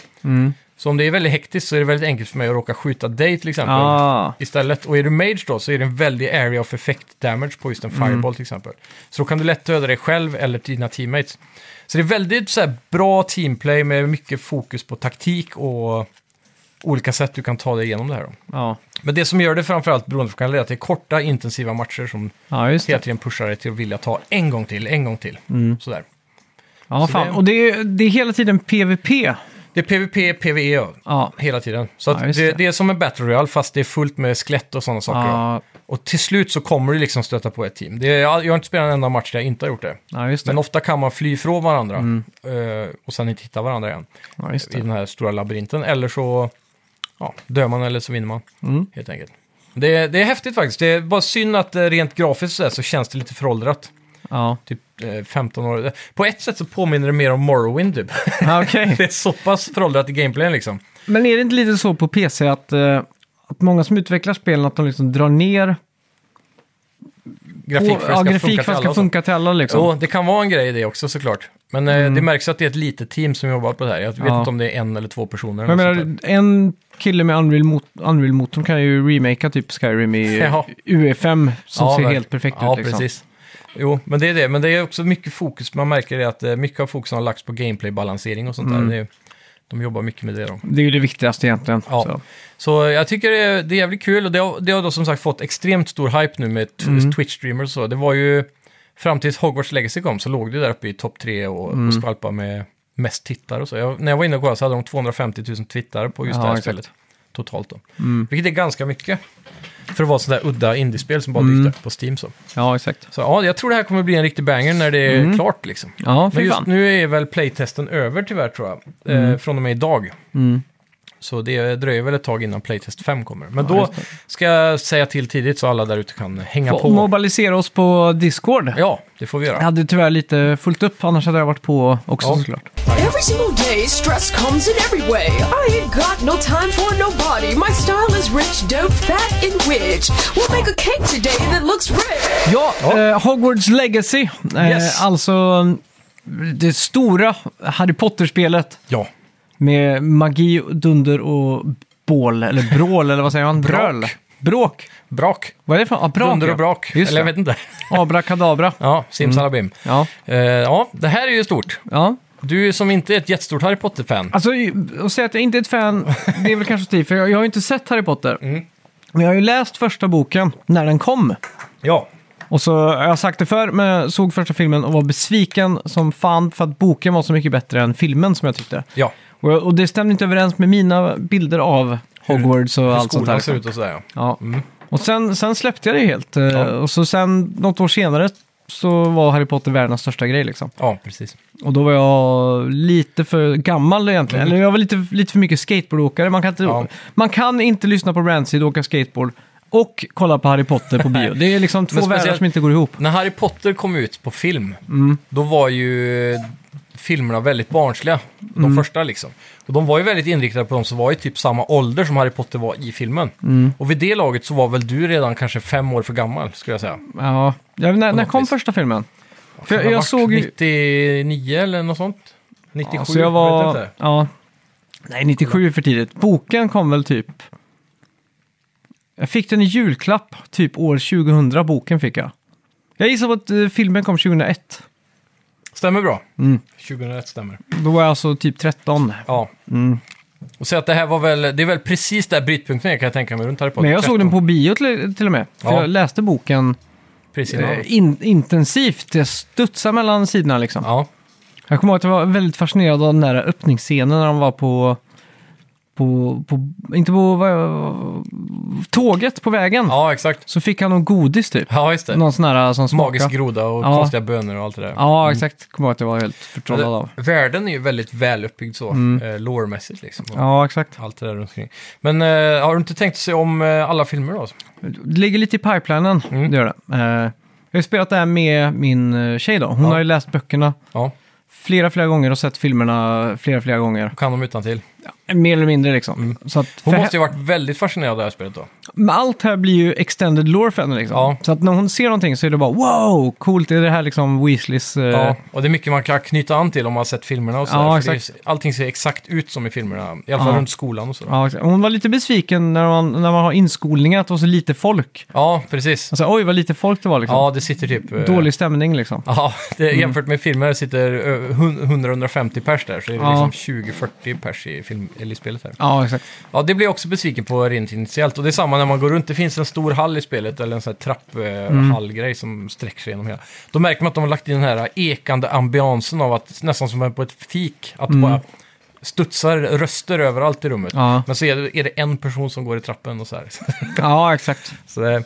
[SPEAKER 4] Så om det är väldigt hektiskt så är det väldigt enkelt för mig att råka skjuta dig till exempel.
[SPEAKER 3] Ah.
[SPEAKER 4] Istället. Och är du mage då så är det en väldig area of effect damage på just en fireball till exempel. Så då kan du lätt döda dig själv eller dina teammates. Så det är väldigt så här, bra teamplay med mycket fokus på taktik och olika sätt du kan ta dig igenom det här. Då.
[SPEAKER 3] Ja.
[SPEAKER 4] Men det som gör det framförallt beroende på kan leda till korta intensiva matcher som
[SPEAKER 3] ja, just
[SPEAKER 4] hela
[SPEAKER 3] det.
[SPEAKER 4] tiden pushar dig till att vilja ta en gång till, en gång till.
[SPEAKER 3] Mm.
[SPEAKER 4] Sådär.
[SPEAKER 3] Ja,
[SPEAKER 4] Så
[SPEAKER 3] fan.
[SPEAKER 4] det-
[SPEAKER 3] Och det är, det är hela tiden PVP.
[SPEAKER 4] Det är PVP, PVE ja.
[SPEAKER 3] Ja.
[SPEAKER 4] E hela tiden. Så att
[SPEAKER 3] Ja, just
[SPEAKER 4] det,
[SPEAKER 3] det.
[SPEAKER 4] det är som en battle royale fast det är fullt med skelett och sådana saker. då.
[SPEAKER 3] Ja,
[SPEAKER 4] Och till slut så kommer du liksom stöta på ett team. Det är, jag jag har inte spelat en enda match där jag inte har gjort det.
[SPEAKER 3] ja, just
[SPEAKER 4] Men
[SPEAKER 3] det. Mm.
[SPEAKER 4] ofta kan man fly från varandra eh, och sen inte hitta varandra igen
[SPEAKER 3] Ja, just
[SPEAKER 4] i
[SPEAKER 3] det.
[SPEAKER 4] den här stora labyrinten. Eller så ja, dör man eller så vinner man,
[SPEAKER 3] Mm.
[SPEAKER 4] helt enkelt. Det, är- det är häftigt faktiskt. Det är bara synd att eh, rent grafiskt så, så känns det lite föråldrat.
[SPEAKER 3] Ja,
[SPEAKER 4] Typ eh, 15 år. På ett sätt så påminner det mer om Morrowind typ. [LAUGHS]
[SPEAKER 3] ja okej.
[SPEAKER 4] det är så pass föråldrat i gameplayen liksom.
[SPEAKER 3] Men är det inte lite så på PC att, eh, att många som utvecklar spelen att de liksom drar ner
[SPEAKER 4] Grafik för att det
[SPEAKER 3] ja,
[SPEAKER 4] ska
[SPEAKER 3] grafik
[SPEAKER 4] funka
[SPEAKER 3] för
[SPEAKER 4] till
[SPEAKER 3] att
[SPEAKER 4] alla.
[SPEAKER 3] ska
[SPEAKER 4] och så.
[SPEAKER 3] funka till alla liksom. Mm.
[SPEAKER 4] Jo, det kan vara en grej i det också såklart. Men eh, det märks att det är ett litet team som jobbar på det här. Jag vet
[SPEAKER 3] Ja.
[SPEAKER 4] inte om det är en eller två personer.
[SPEAKER 3] Men
[SPEAKER 4] eller
[SPEAKER 3] jag
[SPEAKER 4] något sånt
[SPEAKER 3] menar, en kille med Unreal-motorn Unreal kan ju remakea typ Skyrim
[SPEAKER 4] [LAUGHS]
[SPEAKER 3] i
[SPEAKER 4] Ja.
[SPEAKER 3] UE5 som
[SPEAKER 4] där.
[SPEAKER 3] ser
[SPEAKER 4] Ja,
[SPEAKER 3] helt perfekt
[SPEAKER 4] ja,
[SPEAKER 3] ut. Liksom.
[SPEAKER 4] precis. Jo, men det är det. Men det är också mycket fokus. Man märker det att eh, mycket av fokusen har lagts på gameplay-balansering och sånt
[SPEAKER 3] Mm.
[SPEAKER 4] där. Det är, de jobbar mycket med det då.
[SPEAKER 3] Det är ju det viktigaste egentligen.
[SPEAKER 4] Ja.
[SPEAKER 3] Så.
[SPEAKER 4] Så eh, jag tycker det är, det är jävligt kul och det har, det har då som sagt fått extremt stor hype nu med t-
[SPEAKER 3] Mm.
[SPEAKER 4] Twitch-streamers och så. Det var ju, fram tills Hogwarts Legacy kom så låg det där uppe i topp tre och,
[SPEAKER 3] Mm.
[SPEAKER 4] och skvalpade med mest tittare och så. Jag, när jag var inne och kollade så hade de 250 000 tittare på just
[SPEAKER 3] Ja,
[SPEAKER 4] det här
[SPEAKER 3] exakt. Mm.
[SPEAKER 4] spelet. Totalt då. Vilket är ganska mycket. För att vara sådär udda indiespel som bara
[SPEAKER 3] Mm.
[SPEAKER 4] dykt upp på Steam så.
[SPEAKER 3] ja, exakt.
[SPEAKER 4] Så ja, jag tror det här kommer bli en riktig banger när det är klart liksom.
[SPEAKER 3] Mm. Ja,
[SPEAKER 4] Men
[SPEAKER 3] fy
[SPEAKER 4] just
[SPEAKER 3] fan. Mm.
[SPEAKER 4] nu är väl playtesten över tyvärr tror jag. Eh, från och med idag. Så det dröjer väl ett tag innan playtest 5 kommer. Men då
[SPEAKER 3] just
[SPEAKER 4] ska jag säga till tidigt så alla där ute kan hänga
[SPEAKER 3] Få
[SPEAKER 4] på.
[SPEAKER 3] mobilisera oss på Discord.
[SPEAKER 4] Ja, det får vi
[SPEAKER 3] Jag
[SPEAKER 4] göra.
[SPEAKER 3] hade tyvärr lite fullt upp, annars hade jag varit på också
[SPEAKER 4] Ja.
[SPEAKER 3] såklart.
[SPEAKER 5] Every single day, stress comes in every way. I ain't got no time for nobody. My style is rich, dope, fat, and rich. We'll make a cake today that looks rich.
[SPEAKER 3] Ja, Eh, Hogwarts Legacy. Eh,
[SPEAKER 4] Yes.
[SPEAKER 3] Alltså mm, det stora Harry Potter-spelet
[SPEAKER 4] Ja,
[SPEAKER 3] med magi, dunder och bål, eller brål, eller vad säger man? Bröl. Bråk.
[SPEAKER 4] brak.
[SPEAKER 3] Vad är det för ja, brak?
[SPEAKER 4] Dunder
[SPEAKER 3] ja.
[SPEAKER 4] och brak.
[SPEAKER 3] Just
[SPEAKER 4] Eller jag vet
[SPEAKER 3] det. Mm.
[SPEAKER 4] inte.
[SPEAKER 3] [LAUGHS] Abrakadabra.
[SPEAKER 4] Ja, simsalabim.
[SPEAKER 3] Ja.
[SPEAKER 4] Eh, ja, det här är ju stort.
[SPEAKER 3] ja.
[SPEAKER 4] Du som inte är ett jättestort Harry Potter-fan.
[SPEAKER 3] Alltså, att säga att jag inte är ett fan, det är väl kanske tid, för jag, jag har ju inte sett Harry Potter.
[SPEAKER 4] Mm.
[SPEAKER 3] Men jag har ju läst första boken när den kom.
[SPEAKER 4] Ja.
[SPEAKER 3] Och så, jag har sagt det förr, men jag såg första filmen och var besviken som fan för att boken var så mycket bättre än filmen som jag tyckte.
[SPEAKER 4] Ja,
[SPEAKER 3] Och, och det stämde inte överens med mina bilder av Hogwarts och
[SPEAKER 4] hur
[SPEAKER 3] allt sånt där.
[SPEAKER 4] skolan ser ut Mm. och sådär ja.
[SPEAKER 3] Ja. Och sen, sen släppte jag det helt. eh, Och så sen, något år senare, så var Harry Potter världens största grej liksom.
[SPEAKER 4] Ja, precis.
[SPEAKER 3] Och då var jag lite för gammal egentligen. Eller jag var lite, lite för mycket skateboardåkare. Man kan inte,
[SPEAKER 4] Mm. Ja.
[SPEAKER 3] man kan inte lyssna på Rancid och åka skateboard och kolla på Harry Potter på bio. Det är liksom
[SPEAKER 4] [LAUGHS]
[SPEAKER 3] två
[SPEAKER 4] Men speciellt-
[SPEAKER 3] världar som inte går ihop.
[SPEAKER 4] När Harry Potter kom ut på film, då var ju filmerna väldigt barnsliga. De
[SPEAKER 3] Mm.
[SPEAKER 4] första liksom. Och de var ju väldigt inriktade på de som var i typ samma ålder som Harry Potter var i filmen.
[SPEAKER 3] Mm.
[SPEAKER 4] Och vid det laget så var väl du redan kanske fem år för gammal, skulle jag säga.
[SPEAKER 3] Ja. Jag, när när
[SPEAKER 4] något
[SPEAKER 3] kom
[SPEAKER 4] vis.
[SPEAKER 3] första filmen? För
[SPEAKER 4] Kan
[SPEAKER 3] jag,
[SPEAKER 4] ha
[SPEAKER 3] jag
[SPEAKER 4] varit
[SPEAKER 3] såg ju...
[SPEAKER 4] 99 eller något sånt? 97?
[SPEAKER 3] Ja, så jag
[SPEAKER 4] vet
[SPEAKER 3] var...
[SPEAKER 4] inte.
[SPEAKER 3] Ja. Nej, 97 är för tidigt. Boken kom väl typ... Jag fick den i julklapp, typ år 2000, boken fick jag. Jag gissar på att eh, filmen kom 2001.
[SPEAKER 4] Stämmer bra.
[SPEAKER 3] Mm.
[SPEAKER 4] 2001 stämmer.
[SPEAKER 3] Då var jag alltså typ 13.
[SPEAKER 4] Ja.
[SPEAKER 3] Mm.
[SPEAKER 4] Och så att det här var väl, det är väl precis där brytpunkten är, kan jag tänka mig runt Harry Potter.
[SPEAKER 3] Men jag såg den
[SPEAKER 4] 13,
[SPEAKER 3] på bio till, till och med. För
[SPEAKER 4] Ja.
[SPEAKER 3] jag läste boken
[SPEAKER 4] Precis innan.
[SPEAKER 3] eh, in, intensivt. Jag studsade mellan sidorna liksom.
[SPEAKER 4] Ja.
[SPEAKER 3] Jag kommer ihåg att jag var väldigt fascinerad av den där öppningsscenen när de var på... På, på, inte på vad- tåget på vägen.
[SPEAKER 4] ja, exakt.
[SPEAKER 3] Så fick han någon godis typ.
[SPEAKER 4] Ja, just det.
[SPEAKER 3] Någon sån här som smakade.
[SPEAKER 4] Magisk groda och
[SPEAKER 3] Ja.
[SPEAKER 4] konstiga bönor och allt det där.
[SPEAKER 3] Ja, exakt. Kommer ihåg att jag var helt förtrollad
[SPEAKER 4] Men
[SPEAKER 3] av.
[SPEAKER 4] det- Världen är ju väldigt väl uppbyggd så, eh, lore-mässigt liksom. Och
[SPEAKER 3] Mm. Ja, exakt.
[SPEAKER 4] Allt det där runt omkring. Men eh, har du inte tänkt se om eh, alla filmer då?
[SPEAKER 3] Det ligger lite i pipelinen,
[SPEAKER 4] Mm.
[SPEAKER 3] det gör det. Eh, jag har ju spelat det här med min eh, tjej då. Hon
[SPEAKER 4] Ja.
[SPEAKER 3] har ju läst böckerna
[SPEAKER 4] Ja,
[SPEAKER 3] flera, flera gånger och sett filmerna flera, flera gånger.
[SPEAKER 4] Kan de utan till.
[SPEAKER 3] Mer eller mindre liksom. Så att
[SPEAKER 4] Mm. Hon
[SPEAKER 3] för-
[SPEAKER 4] måste ju ha varit väldigt fascinerad av det här spelet då.
[SPEAKER 3] Men allt här blir ju extended lore för henne liksom.
[SPEAKER 4] Ja.
[SPEAKER 3] Så att när hon ser någonting så är det bara wow, coolt, är det här liksom Weasleys... eh,
[SPEAKER 4] Ja, och det är mycket man kan knyta an till om man har sett filmerna och så.
[SPEAKER 3] Ja,
[SPEAKER 4] där, för
[SPEAKER 3] exakt.
[SPEAKER 4] det är ju- Allting ser exakt ut som i filmerna, i alla fall
[SPEAKER 3] Ja.
[SPEAKER 4] runt skolan och så. Ja,
[SPEAKER 3] Ja, exakt. hon var lite besviken när man, när man har inskolningar att det var så lite folk.
[SPEAKER 4] precis.
[SPEAKER 3] Alltså, oj vad lite folk det var liksom.
[SPEAKER 4] Ja, det sitter typ... eh,
[SPEAKER 3] Dålig stämning liksom.
[SPEAKER 4] [LAUGHS] Ja, det, jämfört med filmer sitter eh, hun- 100-150 pers där, så är det
[SPEAKER 3] Ja.
[SPEAKER 4] liksom 20-40 pers i, film, eller i spelet här.
[SPEAKER 3] Ja, exakt.
[SPEAKER 4] Ja, det blir jag också besviken på rent initiellt. Och det är samma när man går runt. Det finns en stor hall i spelet, eller en sån här trapphallgrej som sträcker sig genom hela. Då märker man att de har lagt in den här ekande ambiansen av att, nästan som på ett fik, att
[SPEAKER 3] Mm.
[SPEAKER 4] det bara studsar röster överallt i rummet.
[SPEAKER 3] Ja.
[SPEAKER 4] Men så är det, är det en person som går i trappen och så här. [LAUGHS]
[SPEAKER 3] Ja, exakt.
[SPEAKER 4] Så, eh,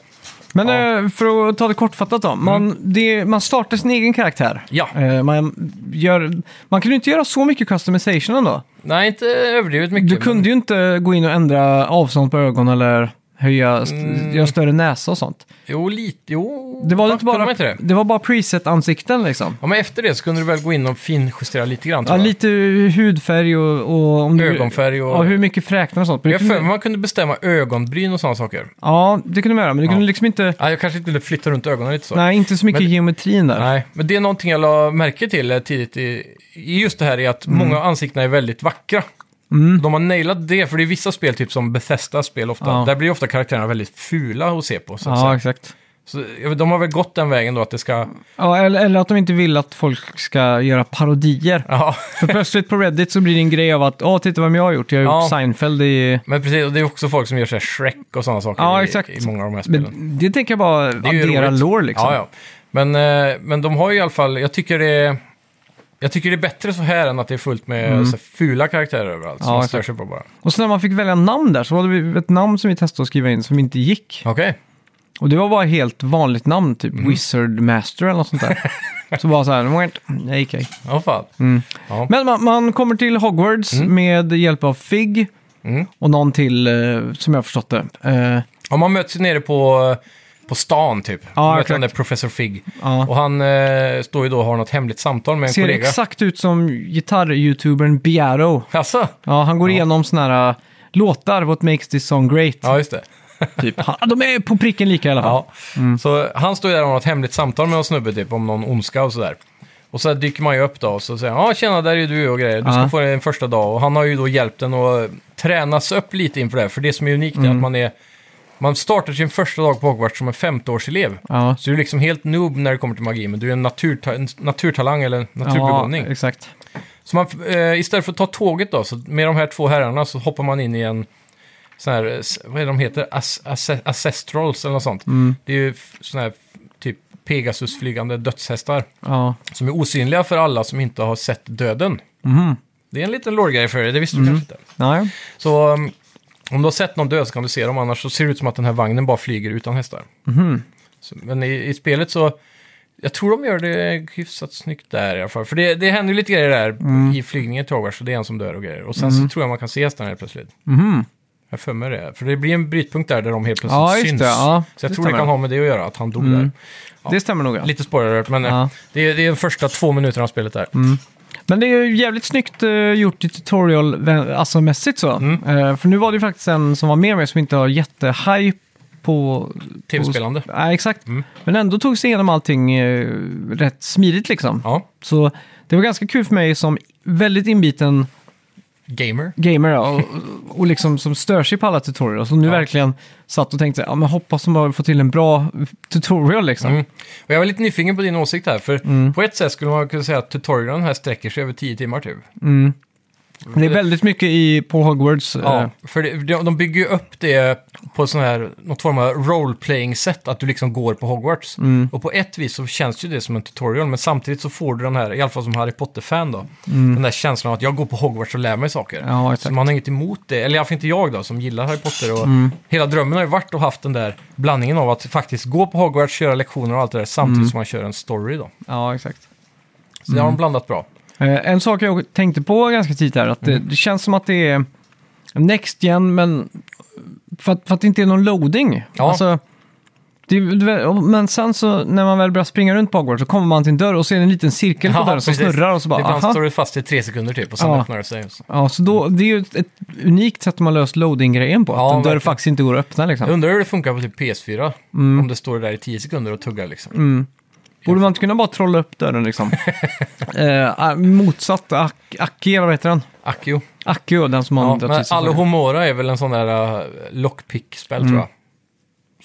[SPEAKER 3] Men
[SPEAKER 4] Ja. Mm.
[SPEAKER 3] eh, för att ta det kortfattat då. Man, det, man startar sin egen karaktär.
[SPEAKER 4] Ja.
[SPEAKER 3] Eh, man, gör, man kunde ju inte göra så mycket customization ändå.
[SPEAKER 4] nej, inte överdrivet mycket.
[SPEAKER 3] Du
[SPEAKER 4] men-
[SPEAKER 3] kunde ju inte gå in och ändra avstånd på ögon eller höja, st-
[SPEAKER 4] Mm.
[SPEAKER 3] göra större näsa och sånt.
[SPEAKER 4] Jo, lite. Jo,
[SPEAKER 3] Det var,
[SPEAKER 4] fan,
[SPEAKER 3] inte
[SPEAKER 4] kunde man
[SPEAKER 3] bara,
[SPEAKER 4] inte det?
[SPEAKER 3] det var bara preset-ansikten liksom.
[SPEAKER 4] Ja, men efter det så kunde du väl gå in och finjustera lite grann,
[SPEAKER 3] Ja,
[SPEAKER 4] tror jag.
[SPEAKER 3] lite hudfärg och... och om du-
[SPEAKER 4] Ögonfärg och-
[SPEAKER 3] Ja, hur mycket fräknar och sånt. Men
[SPEAKER 4] Jag
[SPEAKER 3] det
[SPEAKER 4] har för mig
[SPEAKER 3] kunde,
[SPEAKER 4] man kunde bestämma ögonbryn och sådana saker.
[SPEAKER 3] ja, det kunde man göra, men du kunde
[SPEAKER 4] Ja.
[SPEAKER 3] liksom inte...
[SPEAKER 4] Ja, jag kanske inte ville flytta runt ögonen lite så.
[SPEAKER 3] Nej, inte så mycket
[SPEAKER 4] Men-
[SPEAKER 3] geometrin där.
[SPEAKER 4] Nej, men det är någonting jag la märke till eh, tidigt i, i just det här är
[SPEAKER 3] Mm.
[SPEAKER 4] att många av ansiktena är väldigt vackra. De har nailat det, för det är vissa spel, typ som Bethesda-spel ofta,
[SPEAKER 3] Ja.
[SPEAKER 4] där blir ofta karaktärerna väldigt fula att se på. Så, att
[SPEAKER 3] Ja,
[SPEAKER 4] säga.
[SPEAKER 3] exakt.
[SPEAKER 4] så, jag vet, de har väl gått den vägen då, att det ska...
[SPEAKER 3] Ja, eller, eller att de inte vill att folk ska göra parodier.
[SPEAKER 4] Ja, [LAUGHS]
[SPEAKER 3] För plötsligt på Reddit så blir det en grej av att, åh, titta vem jag har gjort, jag har
[SPEAKER 4] Ja.
[SPEAKER 3] gjort Seinfeld i...
[SPEAKER 4] men precis, och det är också folk som gör så här Shrek och sådana saker
[SPEAKER 3] Ja,
[SPEAKER 4] i,
[SPEAKER 3] exakt.
[SPEAKER 4] i många av de här spelen.
[SPEAKER 3] Men det tänker jag bara
[SPEAKER 4] Det är ju
[SPEAKER 3] addera
[SPEAKER 4] roligt.
[SPEAKER 3] lore liksom.
[SPEAKER 4] Ja, ja. Men, eh, men de har ju i alla fall, jag tycker det är, jag tycker det är bättre så här än att det är fullt med så här, fula karaktärer överallt som
[SPEAKER 3] Mm. Ja,
[SPEAKER 4] man stör
[SPEAKER 3] exakt.
[SPEAKER 4] sig på bara.
[SPEAKER 3] Och så när man fick välja namn där så var det ett namn som vi testade att skriva in som inte gick.
[SPEAKER 4] Okej.
[SPEAKER 3] Och det var bara helt vanligt namn, typ
[SPEAKER 4] Mm.
[SPEAKER 3] Wizard Master eller något sånt
[SPEAKER 4] [LAUGHS]
[SPEAKER 3] där. så bara så här, "Mwent." nej okej.
[SPEAKER 4] Ja, fan. Ja.
[SPEAKER 3] Men man, man kommer till Hogwarts med hjälp av Fig
[SPEAKER 4] Mm.
[SPEAKER 3] och någon till, eh, som jag har förstått det. Eh,
[SPEAKER 4] Om man möts ju nere på, på stan typ.
[SPEAKER 3] Ja,
[SPEAKER 4] Man möter
[SPEAKER 3] exakt.
[SPEAKER 4] den där professor Fig.
[SPEAKER 3] Ja.
[SPEAKER 4] Och han eh, står ju då och har något hemligt samtal med en
[SPEAKER 3] ser
[SPEAKER 4] kollega.
[SPEAKER 3] exakt ut som gitarr-youtubern Biaro.
[SPEAKER 4] Jaså?
[SPEAKER 3] Ja, han går igenom såna här eh, låtar, What makes this song great.
[SPEAKER 4] Ja, just det.
[SPEAKER 3] Typ. Han, de är på pricken lika i alla fall.
[SPEAKER 4] Ja.
[SPEAKER 3] Mm.
[SPEAKER 4] Så han står ju där och har ett hemligt samtal med en snubbe typ, om någon ondska och sådär. Och så dyker man ju upp då och så säger han, ja tjena där är ju du och grejer, du ska
[SPEAKER 3] Ja.
[SPEAKER 4] få den första dag. Och han har ju då hjälpt en att tränas upp lite inför det här, för det som är unikt
[SPEAKER 3] Mm.
[SPEAKER 4] är att man är, man startar sin första dag på Hogwarts som en 15-årselev.
[SPEAKER 3] Ja.
[SPEAKER 4] Så du är liksom helt noob när det kommer till magi, men du är en, naturta- en naturtalang eller en naturbegåvning.
[SPEAKER 3] Ja, exakt.
[SPEAKER 4] Så man, eh, istället för att ta tåget då, så med de här två herrarna så hoppar man in i en sån här, eh, s- vad är de heter, As, Ace- Ancestrals eller något sånt. Det är ju f- sån här typ Pegasusflygande dödshästar
[SPEAKER 3] Ja.
[SPEAKER 4] som är osynliga för alla som inte har sett döden. Det är en liten lore-grej för er, det visste du kanske inte.
[SPEAKER 3] Nej.
[SPEAKER 4] Så um, om du har sett någon dö så kan du se dem, annars så ser det ut som att den här vagnen bara flyger utan hästar.
[SPEAKER 3] Mhm.
[SPEAKER 4] Så, men i, i spelet så, jag tror de gör det hyfsat snyggt där i alla fall. För det, det händer ju lite grejer där
[SPEAKER 3] Mm.
[SPEAKER 4] i flygningen till Hogwarts, så det är en som dör och grejer. Och sen
[SPEAKER 3] Mhm.
[SPEAKER 4] så tror jag man kan se hästarna helt plötsligt. Jag har för mig det. För det blir en brytpunkt där, där de helt plötsligt
[SPEAKER 3] Ja, just
[SPEAKER 4] syns.
[SPEAKER 3] det, ja.
[SPEAKER 4] så jag
[SPEAKER 3] Det
[SPEAKER 4] tror det
[SPEAKER 3] stämmer.
[SPEAKER 4] kan ha med det att göra, att han dog där.
[SPEAKER 3] Det stämmer nog. Ja.
[SPEAKER 4] Lite spårrört, men eh,
[SPEAKER 3] Ja. Mm.
[SPEAKER 4] det, är, det är de första två minuterna av spelet där.
[SPEAKER 3] Men det är ju jävligt snyggt eh, gjort i tutorial alltså mässigt så.
[SPEAKER 4] Mm.
[SPEAKER 3] Eh, för nu var det ju faktiskt en som var med mig som inte har jättehype på...
[SPEAKER 4] Tv-spelande. Mm.
[SPEAKER 3] på- Nej, exakt. Men ändå tog sig igenom allting eh, rätt smidigt liksom.
[SPEAKER 4] Ja,
[SPEAKER 3] Så det var ganska kul för mig som väldigt inbiten
[SPEAKER 4] gamer.
[SPEAKER 3] gamer ja, och, och liksom som stör sig på alla tutorials. Och nu verkligen satt och tänkte, ja men hoppas de bara får till en bra tutorial liksom.
[SPEAKER 4] Mm. Och jag var lite nyfiken på din åsikt här, för på ett sätt skulle man kunna säga att tutorialen här sträcker sig över 10 timmar typ.
[SPEAKER 3] Det är väldigt mycket i, på Hogwarts. eh,
[SPEAKER 4] Mm. Ja, för det, de de bygger ju upp det på sån här, något form av role-playing-sätt, att du liksom går på Hogwarts. Och på ett vis så känns ju det som en tutorial, men samtidigt så får du den här, i alla fall som Harry Potter-fan då, den där känslan av att jag går på Hogwarts och lär mig saker.
[SPEAKER 3] Ja, exakt.
[SPEAKER 4] så man har inget emot det, eller i alla fall inte jag då, som gillar Harry Potter. Och Hela drömmen har ju varit att haft den där blandningen av att faktiskt gå på Hogwarts, köra lektioner och allt det där, samtidigt som man kör en story då.
[SPEAKER 3] ja exakt.
[SPEAKER 4] Så det har de
[SPEAKER 3] Mm.
[SPEAKER 4] blandat bra.
[SPEAKER 3] Eh, En sak jag tänkte på ganska tidigt här, att det,
[SPEAKER 4] Mm.
[SPEAKER 3] det känns som att det är Next Gen, men för att, för att det inte är någon loading.
[SPEAKER 4] Ja.
[SPEAKER 3] Alltså, Det, är väl- men sen så när man väl börjar springa runt på Hogwarts så kommer man till en dörr och ser en liten cirkel på dörren som
[SPEAKER 4] precis.
[SPEAKER 3] snurrar och så bara
[SPEAKER 4] Ibland
[SPEAKER 3] aha.
[SPEAKER 4] står du fast i tre sekunder typ och sen
[SPEAKER 3] Ja.
[SPEAKER 4] öppnar det sig.
[SPEAKER 3] Ja, så då, det är ju ett, ett unikt sätt man löst loading-grejen på.
[SPEAKER 4] Ja,
[SPEAKER 3] att en dörr
[SPEAKER 4] verkligen.
[SPEAKER 3] faktiskt inte går att öppna liksom.
[SPEAKER 4] Jag undrar hur det funkar på typ PS4.
[SPEAKER 3] Mm.
[SPEAKER 4] Om det står där i 10 sekunder och tuggar liksom.
[SPEAKER 3] Borde man inte kunna bara trolla upp
[SPEAKER 4] [LAUGHS]
[SPEAKER 3] dörren liksom? eh, ah, motsatt Ak- Aki, eller vad heter han?
[SPEAKER 4] Akio.
[SPEAKER 3] Akio, den som har
[SPEAKER 4] Ja,
[SPEAKER 3] dött
[SPEAKER 4] men
[SPEAKER 3] i sig.
[SPEAKER 4] Alohomora är väl en sån där uh, lockpick-spel
[SPEAKER 3] Mm.
[SPEAKER 4] tror jag.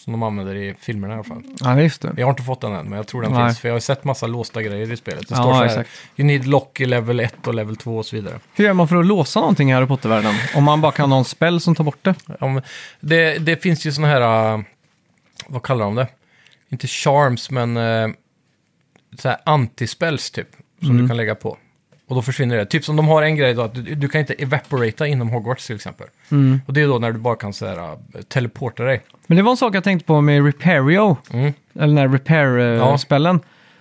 [SPEAKER 4] Som de använder i filmerna i alla fall.
[SPEAKER 3] Ja, just det.
[SPEAKER 4] Jag har inte fått den än, men jag tror den
[SPEAKER 3] Nej.
[SPEAKER 4] finns. För jag har sett massa låsta grejer i spelet. Det
[SPEAKER 3] Ja,
[SPEAKER 4] står så här,
[SPEAKER 3] exakt.
[SPEAKER 4] you need lock i level 1 och level 2 och så vidare.
[SPEAKER 3] Hur gör man för att låsa någonting i Harry Potter-världen? Om man bara kan ha en spell som tar bort det?
[SPEAKER 4] Om, det, det finns ju såna här, uh, vad kallar de det? Inte charms, men uh, så här antispells typ. Som
[SPEAKER 3] Mm.
[SPEAKER 4] du kan lägga på. Och då försvinner det. Typ som de har en grej då, att du, du kan inte evaporata inom Hogwarts till exempel.
[SPEAKER 3] Mm.
[SPEAKER 4] Och det är då när du bara kan så här, uh, teleporta dig.
[SPEAKER 3] Men det var en sak jag tänkte på med Repairio, eller den här
[SPEAKER 4] Mm. Ja.
[SPEAKER 3] repair-spellen.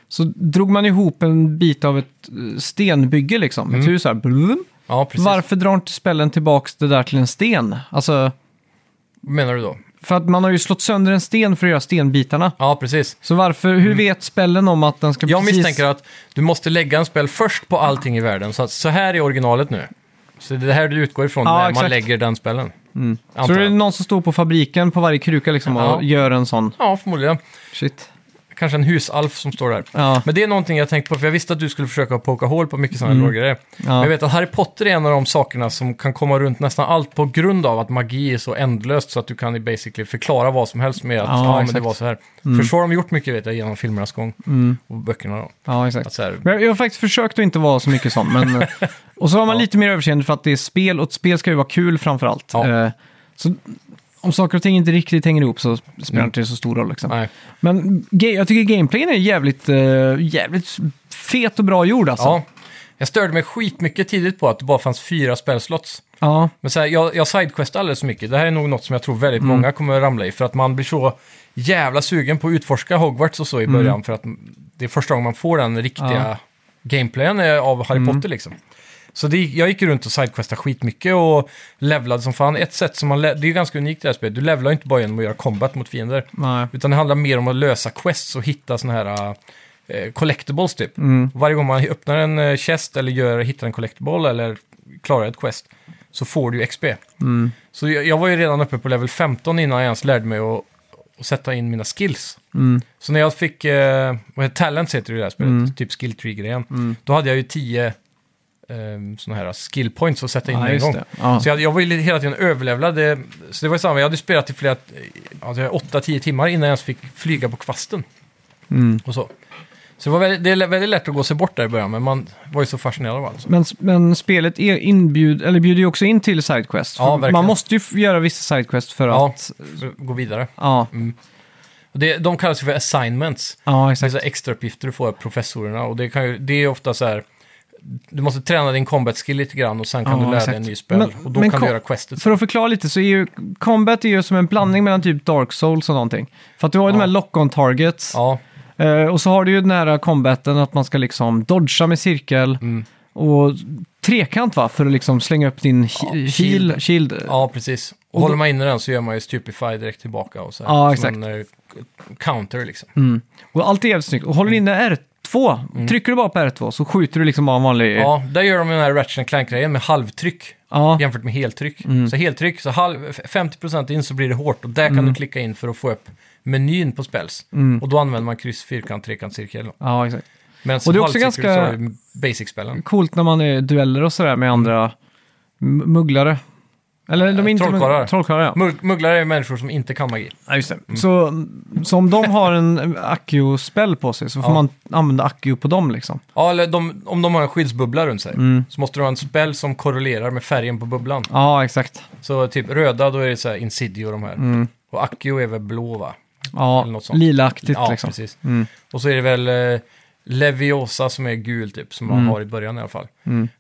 [SPEAKER 3] Så drog man ihop en bit av ett eh, stenbygge liksom, ett hus här. Blum.
[SPEAKER 4] Ja, Mm. precis.
[SPEAKER 3] Varför drar inte spellen tillbaks det där till en sten? Alltså,
[SPEAKER 4] menar du då?
[SPEAKER 3] för att man har ju slått sönder en sten för att göra stenbitarna.
[SPEAKER 4] Ja, precis. Så
[SPEAKER 3] Så varför, hur vet spellen om att den ska
[SPEAKER 4] Mm. Jag
[SPEAKER 3] precis...
[SPEAKER 4] misstänker att du måste lägga en spel först på allting i världen. Så, att, så här är originalet nu. Så det är det här du utgår ifrån
[SPEAKER 3] Ja,
[SPEAKER 4] när man
[SPEAKER 3] exakt. Mm.
[SPEAKER 4] lägger den spelen.
[SPEAKER 3] Så
[SPEAKER 4] Antar
[SPEAKER 3] det är
[SPEAKER 4] jag.
[SPEAKER 3] någon som står på fabriken på varje kruka liksom och
[SPEAKER 4] Ja.
[SPEAKER 3] gör en sån.
[SPEAKER 4] Ja, förmodligen.
[SPEAKER 3] Shit.
[SPEAKER 4] Kanske en husalf som står där.
[SPEAKER 3] Ja.
[SPEAKER 4] Men det är någonting jag tänkt på, för jag visste att du skulle försöka poka hål på mycket sådana mm. grejer. Men
[SPEAKER 3] Ja.
[SPEAKER 4] jag vet att Harry Potter är en av de sakerna som kan komma runt nästan allt på grund av att magi är så ändlöst så att du kan ju basically förklara vad som helst med att
[SPEAKER 3] Ja,
[SPEAKER 4] ja, men det
[SPEAKER 3] exakt. Mm.
[SPEAKER 4] var så här. För så har de gjort mycket vet jag genom filmernas gång och böckerna då.
[SPEAKER 3] Ja,
[SPEAKER 4] Att
[SPEAKER 3] exakt.
[SPEAKER 4] så här,
[SPEAKER 3] Men jag, jag har faktiskt försökt att inte vara så mycket
[SPEAKER 4] [LAUGHS]
[SPEAKER 3] sån, men... eh, och så har man lite mer överseende för att det är spel, och ett spel ska ju vara kul framför allt.
[SPEAKER 4] Ja.
[SPEAKER 3] Eh, så om saker och ting inte riktigt hänger ihop så spelar det inte så stor roll liksom.
[SPEAKER 4] Mm. nej.
[SPEAKER 3] Men ga- jag tycker gameplayen är jävligt, eh, jävligt fet och bra gjord alltså.
[SPEAKER 4] Ja. Jag störde mig skitmycket tidigt på att det bara fanns fyra spelslots.
[SPEAKER 3] Ja,
[SPEAKER 4] Men så här, jag, jag sidequestar alldeles för mycket. Det här är nog något som jag tror väldigt många kommer ramla i. För att man blir så jävla sugen på att utforska Hogwarts och så i början. För att det är första gången man får den riktiga gameplayen eh, av Harry Potter liksom. Så det, gick- jag gick runt och sidequestade skitmycket och levlade som fan. Ett sätt som man... le- Det är ju ganska unikt i det här spelet. Du levlar ju inte bara genom att göra combat mot fiender.
[SPEAKER 3] nej.
[SPEAKER 4] Utan det handlar mer om att lösa quests och hitta såna här eh, collectibles typ. Varje gång man öppnar en eh, chest eller gör, hittar en collectible eller klarar ett quest så får du ju XP. Så jag, jag var ju redan uppe på level 15 innan jag ens lärde mig att, att sätta in mina skills. Så när jag fick, eh, vad heter talents heter det i det här spelet,
[SPEAKER 3] Mm.
[SPEAKER 4] typ skill tree grejen då hade jag ju 10 eh, sådana här skill points att sätta in
[SPEAKER 3] Ja,
[SPEAKER 4] med en
[SPEAKER 3] just
[SPEAKER 4] gång.
[SPEAKER 3] det. Ja.
[SPEAKER 4] Så jag, jag var ju li- hela tiden överlevlad. Det, så det var ju samma, jag hade ju spelat i flera, alltså 8-10 timmar innan jag ens fick flyga på kvasten.
[SPEAKER 3] Mm.
[SPEAKER 4] Och så. Så det var väldigt, det är väldigt lätt att gå sig bort där i början, men man var ju så fascinerad av allt.
[SPEAKER 3] Men, men spelet är inbjud, eller bjuder ju också in till sidequest.
[SPEAKER 4] Ja, verkligen.
[SPEAKER 3] man måste ju f- göra vissa sidequest för
[SPEAKER 4] Ja, Mm.
[SPEAKER 3] att...
[SPEAKER 4] för att gå vidare.
[SPEAKER 3] Ja,
[SPEAKER 4] Och Det, de kallas ju för assignments.
[SPEAKER 3] ja
[SPEAKER 4] Det är
[SPEAKER 3] exakt.
[SPEAKER 4] så här extra uppgifter du får av professorerna. Och det, kan ju, det är ofta så här, du måste träna din combat skill lite grann och sen kan
[SPEAKER 3] Ja,
[SPEAKER 4] du lära dig
[SPEAKER 3] exakt.
[SPEAKER 4] en ny spel.
[SPEAKER 3] Men-
[SPEAKER 4] och då
[SPEAKER 3] men
[SPEAKER 4] kan
[SPEAKER 3] kom-
[SPEAKER 4] du göra questet.
[SPEAKER 3] För att förklara lite så är ju combat är ju som en blandning mellan typ Dark Souls och någonting. För att du har ju de här lock-on targets
[SPEAKER 4] Ja,
[SPEAKER 3] eh, och så har du ju den här combaten att man ska liksom dodga med cirkel
[SPEAKER 4] Mm.
[SPEAKER 3] och trekant va, för att liksom slänga upp din he- heal, shield.
[SPEAKER 4] shield. ja, precis. Och,
[SPEAKER 3] då-
[SPEAKER 4] håller man inne den så gör man ju stupify direkt tillbaka. Och så här,
[SPEAKER 3] Ja, Mm.
[SPEAKER 4] Som en eh, counter liksom.
[SPEAKER 3] Och allt är jävligt snyggt. Och håller du inne R2, trycker du bara på R2 så skjuter du liksom bara en vanlig...
[SPEAKER 4] Mm. Ja, där gör de den här Ratchet Clank-grejen med halvtryck.
[SPEAKER 3] Ja. Mm.
[SPEAKER 4] Jämfört med heltryck. Så heltryck, så halv, 50% in så blir det hårt. Och där kan du klicka in för att få upp menyn på spels.
[SPEAKER 3] Mm.
[SPEAKER 4] Och då använder man kryss, fyrkant, trekant, cirkel.
[SPEAKER 3] ja, exakt.
[SPEAKER 4] Men
[SPEAKER 3] Och det är också ganska-
[SPEAKER 4] basic-spelen.
[SPEAKER 3] coolt när man är i dueller och sådär med andra m- mugglare. Eller de är inte
[SPEAKER 4] trollkarlar.
[SPEAKER 3] Trollkarlar, ja.
[SPEAKER 4] Mugg- Mm. Mugglare är människor som inte kan magi.
[SPEAKER 3] ja just det. Så, så om de har en Accio-spell på sig så får
[SPEAKER 4] Ja.
[SPEAKER 3] man använda Accio på dem liksom.
[SPEAKER 4] Ja, eller de, om de har en skyddsbubbla runt sig
[SPEAKER 3] Mm.
[SPEAKER 4] så måste de ha en spell som korrelerar med färgen på bubblan.
[SPEAKER 3] Ja, exakt.
[SPEAKER 4] Så typ röda, då är det så här insidio de här.
[SPEAKER 3] Mm.
[SPEAKER 4] Och Accio är väl blå va?
[SPEAKER 3] Ja,
[SPEAKER 4] Eller något sånt.
[SPEAKER 3] lilaaktigt
[SPEAKER 4] ja,
[SPEAKER 3] liksom.
[SPEAKER 4] precis. Och så är det väl eh, Leviosa som är gul typ, som
[SPEAKER 3] Mm.
[SPEAKER 4] man har i början i alla fall.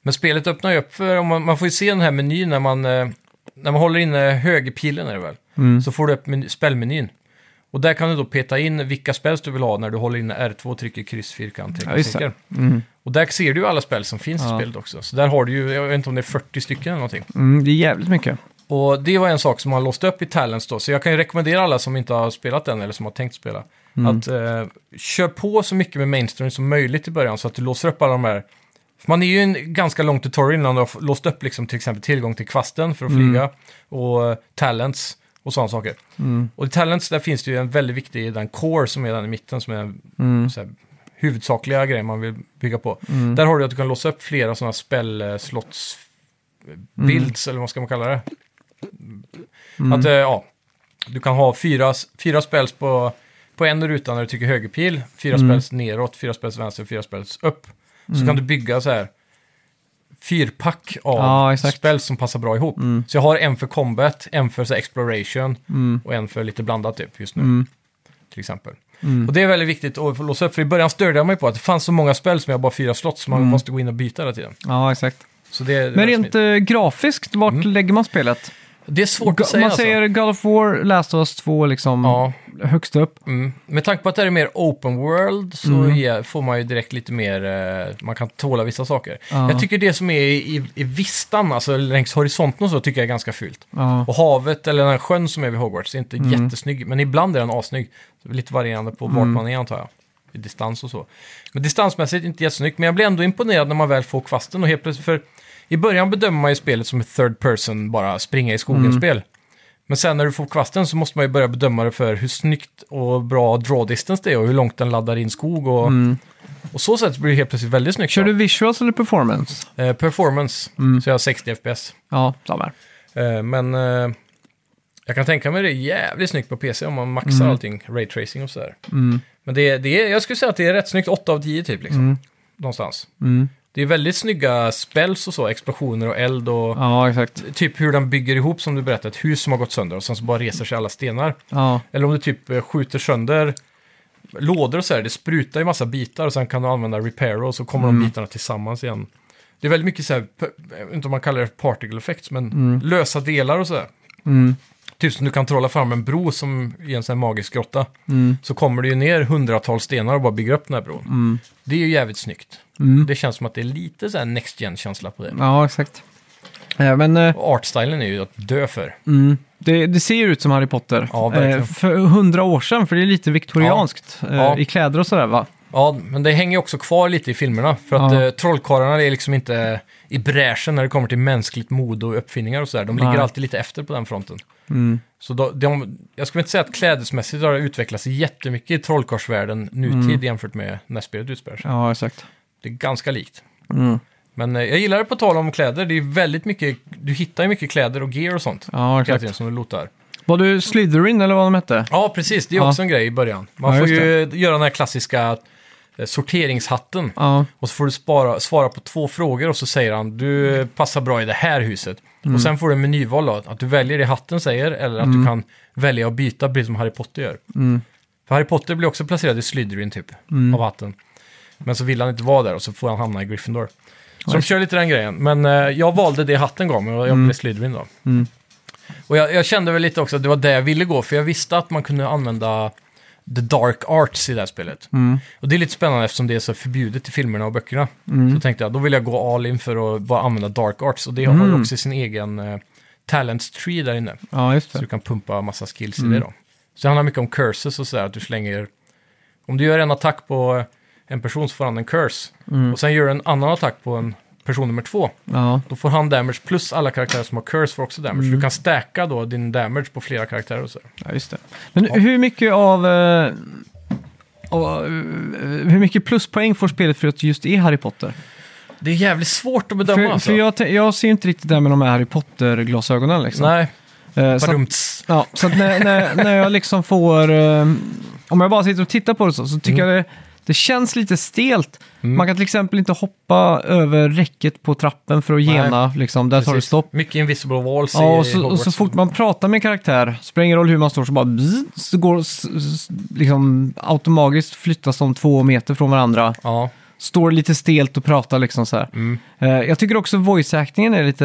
[SPEAKER 4] Men spelet öppnar ju upp för, om man, man får ju se den här menyn när man, eh, när man håller inne högerpilen är det väl,
[SPEAKER 3] Mm.
[SPEAKER 4] så får du upp meny, spelmenyn. Och där kan du då peta in vilka spels du vill ha när du håller inne R2 och trycker kryss, fyrkant,
[SPEAKER 3] Ja, just det.
[SPEAKER 4] trekant, mm. Och där ser du ju alla spel som finns i spelet också. Så där har du ju, jag vet inte om det är 40 stycken eller någonting.
[SPEAKER 3] Mm, det är jävligt mycket.
[SPEAKER 4] Och det var en sak som han låste upp i Talents då, så jag kan ju rekommendera alla som inte har spelat den eller som har tänkt spela. Att eh, kör på så mycket med mainstream som möjligt i början så att du låser upp alla de här. För man är ju en ganska lång tutorial innan du har låst upp liksom, till exempel tillgång till kvasten för att flyga och eh, talents och sådana saker. Och i talents där finns det ju en väldigt viktig, den core som är den i mitten som är den så här, huvudsakliga grejen man vill bygga på. Där har du att du kan låsa upp flera sådana spellslotts
[SPEAKER 3] Mm.
[SPEAKER 4] builds, eller vad ska man kalla det? Att, eh, ja, du kan ha fyra, fyra spels på, på en ruta när du trycker högerpil, fyra
[SPEAKER 3] Mm.
[SPEAKER 4] spels neråt, fyra spels vänster, fyra spels upp. Så kan du bygga så här fyrpack av
[SPEAKER 3] Ja, exakt. Mm.
[SPEAKER 4] spels som passar bra ihop. Så jag har en för combat, en för så här, exploration och en för lite blandat typ just nu.
[SPEAKER 3] Mm.
[SPEAKER 4] Till exempel. Och det är väldigt viktigt att få låsa upp, för i början störde jag mig på att det fanns så många spel som jag bara fyra slott, så man måste gå in och byta hela tiden.
[SPEAKER 3] Ja, exakt.
[SPEAKER 4] Så det, det var
[SPEAKER 3] Mm. Men rent eh, grafiskt, vart lägger man spelet?
[SPEAKER 4] Det är svårt att säga.
[SPEAKER 3] man
[SPEAKER 4] alltså.
[SPEAKER 3] säger God of War, Last of Us 2 liksom
[SPEAKER 4] Ja.
[SPEAKER 3] högst upp.
[SPEAKER 4] Mm. Med tanke på att det är mer open world så
[SPEAKER 3] Mm.
[SPEAKER 4] ge- får man ju direkt lite mer, eh, man kan tåla vissa saker.
[SPEAKER 3] Ja.
[SPEAKER 4] Jag tycker det som är i, i vistan, alltså längs horisonten och så, tycker jag är ganska fult.
[SPEAKER 3] Ja.
[SPEAKER 4] Och havet eller den här sjön som är vid Hogwarts är inte
[SPEAKER 3] Mm.
[SPEAKER 4] jättesnygg, men ibland är den assnygg. Så det är lite varierande på vart man är antar jag. I distans och så. Men distansmässigt inte jättesnyggt, men jag blir ändå imponerad när man väl får kvasten och helt plötsligt, för i början bedömer man ju spelet som ett third person, bara springa i
[SPEAKER 3] Mm.
[SPEAKER 4] skogen-spel. Men sen när du får kvasten så måste man ju börja bedöma det för hur snyggt och bra draw distance det är och hur långt den laddar in skog och... Och så sätt blir det helt plötsligt väldigt snyggt.
[SPEAKER 3] Mm. Kör du Mm. visuals eller performance?
[SPEAKER 4] eh, performance, så jag har 60 FPS.
[SPEAKER 3] Ja, samma här.
[SPEAKER 4] Eh, men eh, jag kan tänka mig det är jävligt snyggt på PC om man maxar allting, raytracing och sådär. Men det, är- det är, jag skulle säga att det är rätt snyggt, 8 av 10 typ liksom. Någonstans. Det är väldigt snygga spells och så, explosioner och eld och
[SPEAKER 3] Ja, exakt.
[SPEAKER 4] typ hur den bygger ihop som du berättade, ett hus som har gått sönder och sen så bara reser sig alla stenar.
[SPEAKER 3] Ja,
[SPEAKER 4] Eller om du typ eh, skjuter sönder lådor och sådär, det sprutar ju massa bitar och sen kan du använda repair och så kommer de bitarna tillsammans igen. Det är väldigt mycket så här, p- jag vet inte om man kallar det particle effects, men lösa delar och sådär. Typ som du kan trolla fram en bro som i en sån här magisk grotta. Så kommer det ju ner hundratals stenar och bara bygger upp den här bron. Det är ju jävligt snyggt. Det känns som att det är lite så här next gen-känsla på det.
[SPEAKER 3] ja exakt. Eh, Men eh,
[SPEAKER 4] Och artstylen är ju att dö för.
[SPEAKER 3] det, det ser ju ut som Harry Potter.
[SPEAKER 4] Ja, verkligen.
[SPEAKER 3] Eh, för hundra år sedan, för det är lite viktorianskt eh,
[SPEAKER 4] Ja.
[SPEAKER 3] i kläder och sådär va?
[SPEAKER 4] Ja, men det hänger ju också kvar lite i filmerna. För att
[SPEAKER 3] Ja.
[SPEAKER 4] eh, trollkarlarna är liksom inte i bräschen när det kommer till mänskligt mod och uppfinningar och sådär. De ligger
[SPEAKER 3] Nej.
[SPEAKER 4] alltid lite efter på den fronten.
[SPEAKER 3] Mm.
[SPEAKER 4] Så då, de, jag skulle inte säga att klädesmässigt har det utvecklats jättemycket i trollkarlsvärlden nutid
[SPEAKER 3] Mm.
[SPEAKER 4] jämfört med när spelet utspelar sig.
[SPEAKER 3] Ja, exakt.
[SPEAKER 4] Det är ganska likt.
[SPEAKER 3] Mm.
[SPEAKER 4] Men eh, jag gillar det på tal om kläder. Det är väldigt mycket, du hittar ju mycket kläder och gear och sånt.
[SPEAKER 3] Ja,
[SPEAKER 4] Hela
[SPEAKER 3] exakt.
[SPEAKER 4] tiden som du lotar.
[SPEAKER 3] Var du Slytherin eller vad de hette?
[SPEAKER 4] Ja, precis. Det är
[SPEAKER 3] Ja.
[SPEAKER 4] också en grej i början. Man
[SPEAKER 3] Ja,
[SPEAKER 4] får
[SPEAKER 3] just
[SPEAKER 4] ju göra den här klassiska eh, sorteringshatten.
[SPEAKER 3] Ja.
[SPEAKER 4] Och så får du spara, svara på två frågor och så säger han du passar bra i det här huset. Och sen får du en menyval då, att du väljer det hatten säger eller att du kan välja att byta precis som Harry Potter gör. För Harry Potter blir också placerad i Slytherin typ, av hatten. Men så vill han inte vara där och så får han hamna i Gryffindor. Så de kör lite den grejen. Men eh, jag valde det hatten gav mig och jag blev Slytherin då. Och jag, jag kände väl lite också att det var där jag ville gå, för jag visste att man kunde använda the dark arts i det här spelet. Och det är lite spännande eftersom det är så förbjudet i filmerna och böckerna.
[SPEAKER 3] Mm.
[SPEAKER 4] Så tänkte jag, då vill jag gå all in för att bara använda dark arts. Och det har
[SPEAKER 3] Mm.
[SPEAKER 4] ju också sin egen eh, talent tree där inne.
[SPEAKER 3] Ja, just
[SPEAKER 4] Så
[SPEAKER 3] det.
[SPEAKER 4] du kan pumpa massa skills
[SPEAKER 3] Mm.
[SPEAKER 4] i det då. Så det handlar mycket om curses och sådär, att du slänger... Om du gör en attack på en person så får han en curse.
[SPEAKER 3] Mm.
[SPEAKER 4] Och sen gör du en annan attack på en person nummer två.
[SPEAKER 3] Ja,
[SPEAKER 4] Då får han damage plus alla karaktärer som har curse får också damage. Så
[SPEAKER 3] Mm.
[SPEAKER 4] du kan stacka då din damage på flera karaktärer och så.
[SPEAKER 3] ja, just det. Men hur mycket av... eh, av, eh, hur mycket pluspoäng får spelet för att just är Harry Potter?
[SPEAKER 4] Det är jävligt svårt att bedöma
[SPEAKER 3] För,
[SPEAKER 4] alltså.
[SPEAKER 3] för jag, tän- jag ser inte riktigt det här med de här Harry Potter-glasögonen liksom.
[SPEAKER 4] Nej,
[SPEAKER 3] Eh, så, att-
[SPEAKER 4] badumts.
[SPEAKER 3] ja, så att när, när, när jag liksom får... eh, om jag bara sitter och tittar på det så, så tycker
[SPEAKER 4] Mm.
[SPEAKER 3] jag det, det känns lite stelt. Man kan till exempel inte hoppa över räcket på trappen för att gena, liksom. Där tar det
[SPEAKER 4] Precis.
[SPEAKER 3] stopp.
[SPEAKER 4] Mycket invisible walls i
[SPEAKER 3] Ja, och så, och
[SPEAKER 4] Hogwarts.
[SPEAKER 3] så fort man pratar med en karaktär, spelar ingen roll hur man står, så bara bzz, så går s- s- liksom automatiskt flyttas de två meter från varandra.
[SPEAKER 4] Ja,
[SPEAKER 3] Står lite stelt och pratar liksom så här.
[SPEAKER 4] Mm.
[SPEAKER 3] Eh, jag tycker också voice-actingen är lite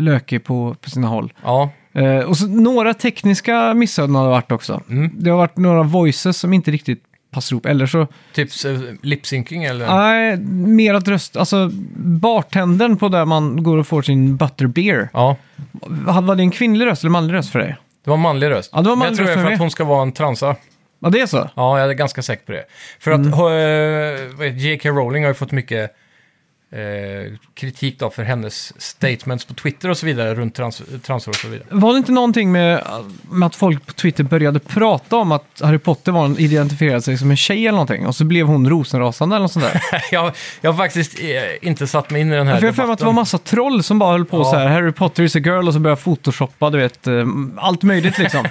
[SPEAKER 3] lökig på, på sina håll.
[SPEAKER 4] ja.
[SPEAKER 3] Eh, och så några tekniska missöden har det varit också. Det har varit några voices som inte riktigt passar ihop. Eller så,
[SPEAKER 4] typ så- lip-syncing eller?
[SPEAKER 3] nej, mer att röst, alltså bartendern på där man går och får sin butterbeer.
[SPEAKER 4] Ja,
[SPEAKER 3] Var det en kvinnlig röst eller manlig röst för dig?
[SPEAKER 4] Det var manlig röst.
[SPEAKER 3] Ja, det var
[SPEAKER 4] Men
[SPEAKER 3] manlig
[SPEAKER 4] jag tror det
[SPEAKER 3] röst
[SPEAKER 4] är för
[SPEAKER 3] med.
[SPEAKER 4] att hon ska vara en transa.
[SPEAKER 3] Ja, det är så?
[SPEAKER 4] Ja, jag är ganska säker på det. För
[SPEAKER 3] Mm.
[SPEAKER 4] att eh, vad heter- J.K. Rowling har ju fått mycket eh, kritik då för hennes statements på Twitter och så vidare runt trans, transor och så vidare. [LAUGHS]
[SPEAKER 3] Var det inte någonting med, med att folk på Twitter började prata om att Harry Potter var en, identifierade sig som en tjej eller någonting? Och så blev hon rosenrasande eller något sånt där.
[SPEAKER 4] jag, jag har faktiskt eh, inte satt mig in i den här
[SPEAKER 3] För jag har för mig att det var massa troll som bara höll på
[SPEAKER 4] Ja.
[SPEAKER 3] så här, Harry Potter is a girl, och så började photoshoppa, du vet, eh, allt
[SPEAKER 4] [LAUGHS]
[SPEAKER 3] möjligt liksom.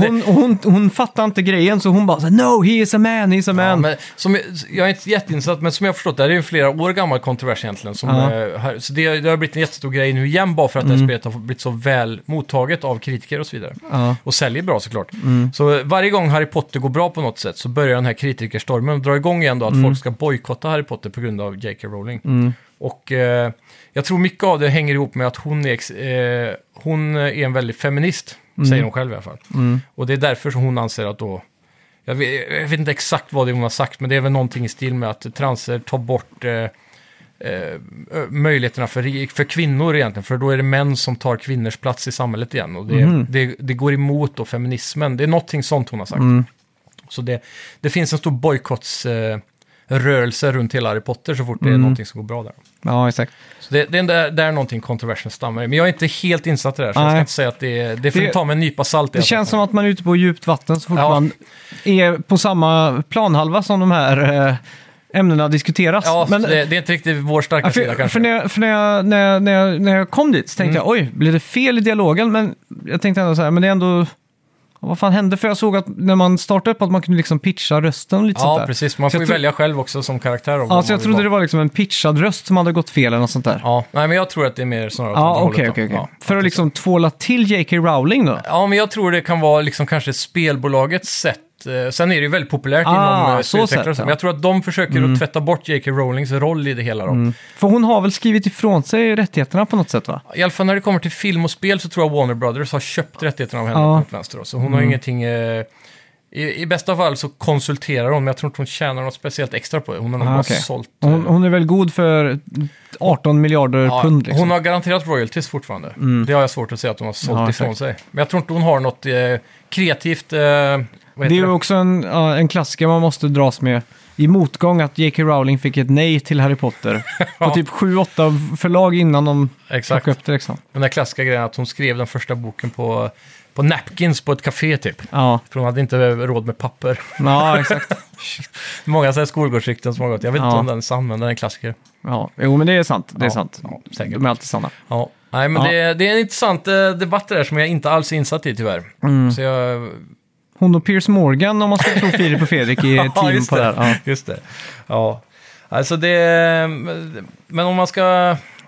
[SPEAKER 4] men det-
[SPEAKER 3] hon, och hon, hon fattade inte grejen, så hon bara så här, no, he is a man, he is a man.
[SPEAKER 4] Ja, men som, jag- jag är inte jätteinsatt, men som jag har förstått det här är ju en flera år gammal kontrovers egentligen. Som,
[SPEAKER 3] Ja. Mm.
[SPEAKER 4] eh, här, så det, det har blivit en jättestor grej nu igen bara för att det här spelet har blivit så väl mottaget av kritiker och så vidare.
[SPEAKER 3] Ja. Mm.
[SPEAKER 4] Och säljer bra såklart. Så varje gång Harry Potter går bra på något sätt så börjar den här kritikerstormen dra igång igen då
[SPEAKER 3] Mm.
[SPEAKER 4] att folk ska bojkotta Harry Potter på grund av J.K. Rowling. Och eh, jag tror mycket av det hänger ihop med att hon är, ex- eh, hon är en väldigt feminist,
[SPEAKER 3] Mm.
[SPEAKER 4] säger hon själv i alla fall. Och det är därför som hon anser att då jag vet, jag vet inte exakt vad det är hon har sagt, men det är väl någonting i stil med att transer tar bort eh, eh, möjligheterna för, för kvinnor egentligen, för då är det män som tar kvinnors plats i samhället igen. Och det,
[SPEAKER 3] Mhm.
[SPEAKER 4] det, det går emot då feminismen. Det är någonting sånt hon har sagt.
[SPEAKER 3] Mm.
[SPEAKER 4] Så det, det finns en stor bojkottsrörelse eh, rörelse runt hela Harry Potter så fort det
[SPEAKER 3] Mm.
[SPEAKER 4] är någonting som går bra där.
[SPEAKER 3] Ja, exakt.
[SPEAKER 4] Så det, det är där, där någonting kontroversen stammar i. Men jag är inte helt insatt i det här, så jag ska
[SPEAKER 3] Nej.
[SPEAKER 4] inte säga att det är... Det får
[SPEAKER 3] Det-
[SPEAKER 4] ni ta med en nypa salt. i
[SPEAKER 3] Det
[SPEAKER 4] alla fall.
[SPEAKER 3] känns som att man är ute på djupt vatten så fort
[SPEAKER 4] Ja.
[SPEAKER 3] man är på samma planhalva som de här eh, ämnena diskuteras.
[SPEAKER 4] Ja,
[SPEAKER 3] Men-
[SPEAKER 4] det, det är inte riktigt vår starka
[SPEAKER 3] Ja,
[SPEAKER 4] sida
[SPEAKER 3] för,
[SPEAKER 4] kanske. Mm.
[SPEAKER 3] för, när, jag- för när, jag, när, jag, när, jag, när jag kom dit så tänkte jag, oj, blev det fel i dialogen? Men jag tänkte ändå så här, men det är ändå... Vad fan hände? För jag såg att när man startade upp att man kunde liksom pitcha rösten och lite sånt
[SPEAKER 4] Ja,
[SPEAKER 3] där.
[SPEAKER 4] precis. Man
[SPEAKER 3] Så
[SPEAKER 4] får ju
[SPEAKER 3] jag tro-
[SPEAKER 4] välja själv också som karaktär.
[SPEAKER 3] Ja, så jag trodde det var liksom en pitchad röst som hade gått fel eller något sånt där.
[SPEAKER 4] Ja, nej, men jag tror att det är mer snarare åt andra
[SPEAKER 3] Ja,
[SPEAKER 4] hållet
[SPEAKER 3] okej,
[SPEAKER 4] då.
[SPEAKER 3] okej, okej.
[SPEAKER 4] Ja.
[SPEAKER 3] För att liksom tvåla till J.K. Rowling då?
[SPEAKER 4] Ja, men jag tror det kan vara liksom kanske spelbolagets sätt. eh, Sen är det ju väldigt populärt
[SPEAKER 3] Ah,
[SPEAKER 4] inom eh,
[SPEAKER 3] så
[SPEAKER 4] spelutvecklare
[SPEAKER 3] sätt,
[SPEAKER 4] och så,
[SPEAKER 3] ja. Mm.
[SPEAKER 4] men jag tror att de försöker att tvätta bort J.K. Rowlings roll i det hela. Då.
[SPEAKER 3] För hon har väl skrivit ifrån sig rättigheterna på något sätt va?
[SPEAKER 4] I alla fall när det kommer till film och spel så tror jag Warner Brothers har köpt rättigheterna av henne
[SPEAKER 3] Ja. Mm.
[SPEAKER 4] på något vänster. Då. Så hon har ingenting... eh, I, I bästa fall så konsulterar hon, men jag tror inte hon tjänar något speciellt extra på det. Hon har nog
[SPEAKER 3] Ah,
[SPEAKER 4] bara
[SPEAKER 3] okej.
[SPEAKER 4] sålt... eh,
[SPEAKER 3] Hon, hon är väl god för 18 miljarder
[SPEAKER 4] Ja,
[SPEAKER 3] pund liksom. Mm.
[SPEAKER 4] Hon har garanterat royalties fortfarande. Det har jag svårt att säga att hon har sålt
[SPEAKER 3] Ja,
[SPEAKER 4] ifrån sig. Men jag tror inte hon har något eh, kreativt... Eh, vad heter
[SPEAKER 3] Det är
[SPEAKER 4] det?
[SPEAKER 3] ju också en, ja, en klassiker man måste dras med i motgång att J.K. Rowling fick ett nej till Harry Potter.
[SPEAKER 4] [LAUGHS] Ja.
[SPEAKER 3] På typ 7-8 förlag innan de
[SPEAKER 4] Exakt.
[SPEAKER 3] plockade upp det liksom.
[SPEAKER 4] Den där klassiska grejen att hon skrev den första boken på, på napkins på ett café typ.
[SPEAKER 3] Ja,
[SPEAKER 4] För hon hade inte råd med papper. [LAUGHS]
[SPEAKER 3] ja exakt.
[SPEAKER 4] Många så här skolgårdsrykten som har gått. Jag vet inte
[SPEAKER 3] Ja.
[SPEAKER 4] om den är sann, men den är en klassiker.
[SPEAKER 3] Ja. Jo, men det är sant. Det är
[SPEAKER 4] Ja,
[SPEAKER 3] sant.
[SPEAKER 4] ja, säkert.
[SPEAKER 3] De är alltid sanna.
[SPEAKER 4] Ja. Nej, men
[SPEAKER 3] Ja.
[SPEAKER 4] Det, det är en intressant eh, debatt det där som jag inte alls är insatt i tyvärr.
[SPEAKER 3] Mm.
[SPEAKER 4] Så jag...
[SPEAKER 3] Hon och Piers Morgan, om man ska tro Filip och
[SPEAKER 4] [LAUGHS]
[SPEAKER 3] Fredrik, är team
[SPEAKER 4] just
[SPEAKER 3] på det här. Ja.
[SPEAKER 4] Just det. Ja. Alltså det... Men om man ska...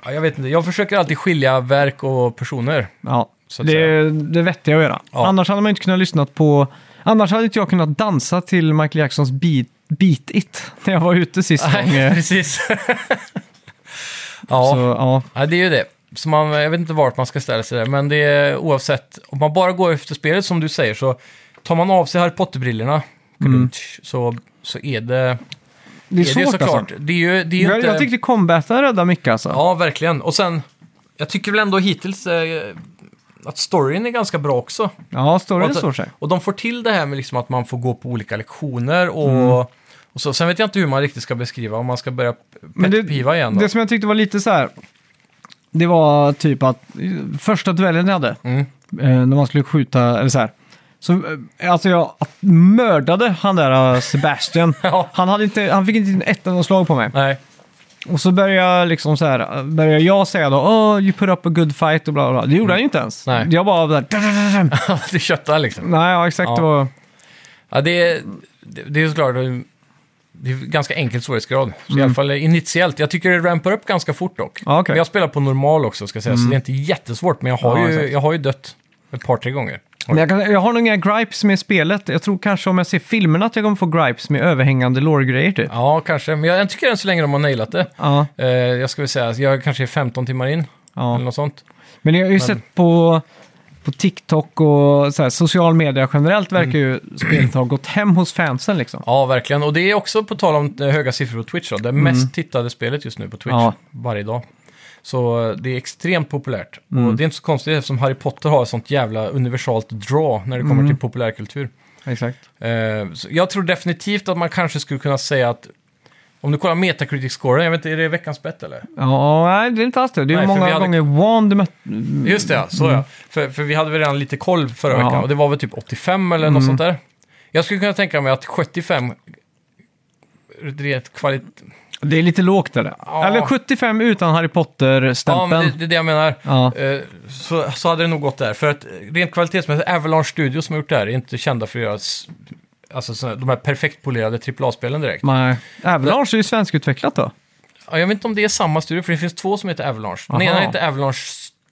[SPEAKER 4] Ja, jag vet inte. Jag försöker alltid skilja verk och personer.
[SPEAKER 3] Ja.
[SPEAKER 4] Så att
[SPEAKER 3] Det är det vettiga att göra.
[SPEAKER 4] Ja.
[SPEAKER 3] Annars hade man inte kunnat lyssna på... Annars hade inte jag kunnat dansa till Michael Jacksons Beat, beat It när jag var ute sist gång.
[SPEAKER 4] Nej, [LAUGHS]
[SPEAKER 3] [LAUGHS] eh,
[SPEAKER 4] precis. ja.
[SPEAKER 3] Så, ja.
[SPEAKER 4] ja, det är ju det. Så man, jag vet inte vart man ska ställa sig där, men det är oavsett. Om man bara går efter spelet som du säger så tar man av sig Harry Potter-brillorna så, så är det...
[SPEAKER 3] Mm. Det
[SPEAKER 4] det
[SPEAKER 3] är, svårt alltså.
[SPEAKER 4] såklart. Det är ju det är ju
[SPEAKER 3] Jag,
[SPEAKER 4] inte...
[SPEAKER 3] jag tyckte combaten räddade mycket alltså.
[SPEAKER 4] Ja, verkligen. Och sen, jag tycker väl ändå hittills eh, att storyn är ganska bra också.
[SPEAKER 3] Ja, storyn
[SPEAKER 4] Och att-
[SPEAKER 3] står sig.
[SPEAKER 4] Och de får till det här med liksom att man får gå på olika lektioner och,
[SPEAKER 3] Mm.
[SPEAKER 4] och så. Sen vet jag inte hur man riktigt ska beskriva, om man ska börja
[SPEAKER 3] Men det-
[SPEAKER 4] petpiva igen. Då.
[SPEAKER 3] Det som jag tyckte var lite så här, det var typ att eh, första duellen jag hade,
[SPEAKER 4] Mm.
[SPEAKER 3] eh, när man skulle skjuta, eller så här, så, eh, alltså jag mördade han där eh, Sebastian.
[SPEAKER 4] [LAUGHS] Ja.
[SPEAKER 3] han, hade inte, han fick inte in ett enda slag på mig.
[SPEAKER 4] Nej, [LAUGHS]
[SPEAKER 3] Och så började jag, liksom så här, eh, började jag säga då, oh, you put up a good fight och bla bla. bla. Det gjorde han ju inte ens.
[SPEAKER 4] Mm. Nej.
[SPEAKER 3] Jag bara, där,
[SPEAKER 4] [LAUGHS] det köttar liksom.
[SPEAKER 3] nej ja, exakt,
[SPEAKER 4] Ja.
[SPEAKER 3] det var,
[SPEAKER 4] Ja, det, är- det, det är såklart eh, det är ganska enkel svårighetsgrad. Så I alla fall initiellt. Jag tycker det rampar upp ganska fort dock.
[SPEAKER 3] Mm. Ja, okej. Mm.
[SPEAKER 4] Men jag spelar på normal också, ska jag säga, så det är inte jättesvårt. Men jag har,
[SPEAKER 3] Ja,
[SPEAKER 4] ju,
[SPEAKER 3] exakt.
[SPEAKER 4] jag har ju dött ett par, tre gånger.
[SPEAKER 3] Men jag, kan, jag har nog inga gripes med spelet. Jag tror kanske om jag ser filmerna att jag kommer få gripes med överhängande lore-grejer typ.
[SPEAKER 4] Ja, kanske. Men jag, jag tycker än så länge de har nailat det.
[SPEAKER 3] Ja.
[SPEAKER 4] Eh, jag ska väl säga, jag kanske är 15 timmar in.
[SPEAKER 3] Ja.
[SPEAKER 4] Eller något sånt.
[SPEAKER 3] Men jag har ju sett på, på TikTok och så här, social media generellt verkar
[SPEAKER 4] Mm.
[SPEAKER 3] ju spelet ha gått hem hos fansen liksom.
[SPEAKER 4] Ja, verkligen. Och det är också på tal om eh, höga siffror på Twitch. Då, det mest tittade spelet just nu på Twitch
[SPEAKER 3] Mm. Ja.
[SPEAKER 4] varje dag. Så eh, det är extremt populärt.
[SPEAKER 3] Mm.
[SPEAKER 4] Och det är inte så konstigt eftersom Harry Potter har ett sånt jävla universalt draw när det
[SPEAKER 3] Mm.
[SPEAKER 4] kommer till populärkultur.
[SPEAKER 3] Exakt.
[SPEAKER 4] Eh, så jag tror definitivt att man kanske skulle kunna säga att om du kollar Metacritic-scoren, jag vet inte, är det veckans bett eller?
[SPEAKER 3] Ja, nej, det är inte alls det. Det är
[SPEAKER 4] Nej, för vi
[SPEAKER 3] många
[SPEAKER 4] hade-
[SPEAKER 3] gånger Wand mö-
[SPEAKER 4] Just det, ja. Så ja. För, för vi hade väl redan lite koll förra
[SPEAKER 3] Mm. Ja. Mm.
[SPEAKER 4] veckan och det var väl typ 85 eller något sånt där. Jag skulle kunna tänka mig att 75 rent kvalit...
[SPEAKER 3] Det är lite lågt där.
[SPEAKER 4] Ja.
[SPEAKER 3] Eller 75 utan Harry
[SPEAKER 4] Ja, men det,
[SPEAKER 3] Potter-stämpeln.
[SPEAKER 4] det är det jag menar.
[SPEAKER 3] Ja.
[SPEAKER 4] Eh, Så, så hade det nog gått där. För att eh, rent kvalitetsmässigt, Avalanche Studios som har gjort det här är inte kända för att göra s- alltså, såna- de här perfekt polerade AAA-spelen direkt.
[SPEAKER 3] Nej. Avalanche är ju svenskutvecklat då.
[SPEAKER 4] Ja, jag vet inte om det är samma studio, för det finns två som heter Avalanche. Den
[SPEAKER 3] Aha.
[SPEAKER 4] ena heter Avalanche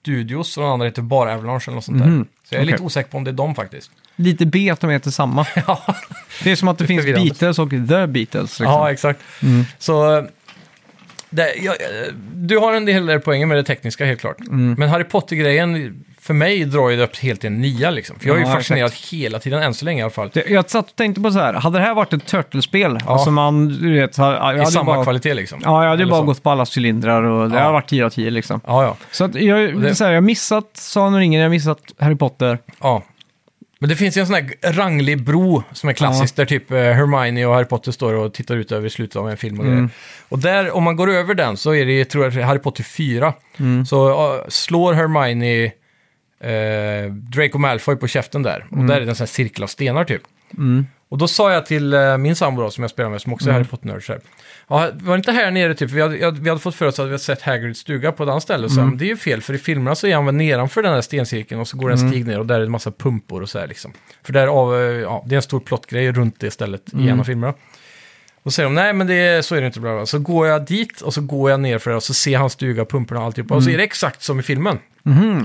[SPEAKER 4] Studios och den andra heter bara Avalanche eller något sånt där.
[SPEAKER 3] Mhm.
[SPEAKER 4] Så jag är lite
[SPEAKER 3] Okej.
[SPEAKER 4] osäker på om det är de
[SPEAKER 3] [LAUGHS]
[SPEAKER 4] faktiskt.
[SPEAKER 3] Lite B att de
[SPEAKER 4] [LAUGHS]
[SPEAKER 3] heter samma.
[SPEAKER 4] Ja.
[SPEAKER 3] Det är som att det finns
[SPEAKER 4] förvirrande.
[SPEAKER 3] Beatles och The Beatles. Liksom.
[SPEAKER 4] Ja, exakt. Så eh, det, jag, eh, du har en del där poänger med det tekniska helt klart.
[SPEAKER 3] Mm.
[SPEAKER 4] Men Harry Potter-grejen, för mig drar ju det upp helt till en nia liksom. För jag är ju
[SPEAKER 3] Ja,
[SPEAKER 4] fascinerad hela tiden, än så länge i alla fall.
[SPEAKER 3] Det- Jag satt och tänkte på så här, hade det här varit ett Turtlespel, alltså man, du vet, så här, jag
[SPEAKER 4] I
[SPEAKER 3] hade ju
[SPEAKER 4] samma
[SPEAKER 3] bara,
[SPEAKER 4] kvalitet liksom.
[SPEAKER 3] Ja, jag hade ju
[SPEAKER 4] Eller
[SPEAKER 3] bara
[SPEAKER 4] så.
[SPEAKER 3] gått på alla cylindrar och det
[SPEAKER 4] Ja.
[SPEAKER 3] hade varit 10 av 10 liksom.
[SPEAKER 4] Ja, ja.
[SPEAKER 3] Så att jag,
[SPEAKER 4] det-
[SPEAKER 3] så här, jag har missat Sagan om ringen, jag har missat Harry Potter.
[SPEAKER 4] ja. Men det finns ju en sån här ranglig bro som är klassisk, där typ eh, Hermione och Harry Potter står och tittar ut över slutet av en film och grejer. Och där, om man går över den, så är det, jag tror jag, Harry Potter 4. Så ja, slår Hermione eh, Draco Malfoy på käften där. Och där är det en sån här cirkel av stenar typ. Och då sa jag till eh, min sambo då, som jag spelar med, som också är Harry Potter-nörd, så här, ja, var det inte här nere typ, vi hade, jag- vi hade fått för oss att vi hade sett Hagrids stuga på ett annat ställe, och så här, men det är ju fel, för i filmerna så är han väl nedanför den här stencirkeln och så går det en stig ner och där är det en massa pumpor och så här liksom. För där av, eh, ja, det är en stor plottgrej runt det stället i en av filmerna. Och säger de, nej men det, är- så är det inte, bla, bla. bla." så går jag dit och så går jag ner för det och så ser han stuga, pumporna och alltihopa, och så är det exakt som i filmen.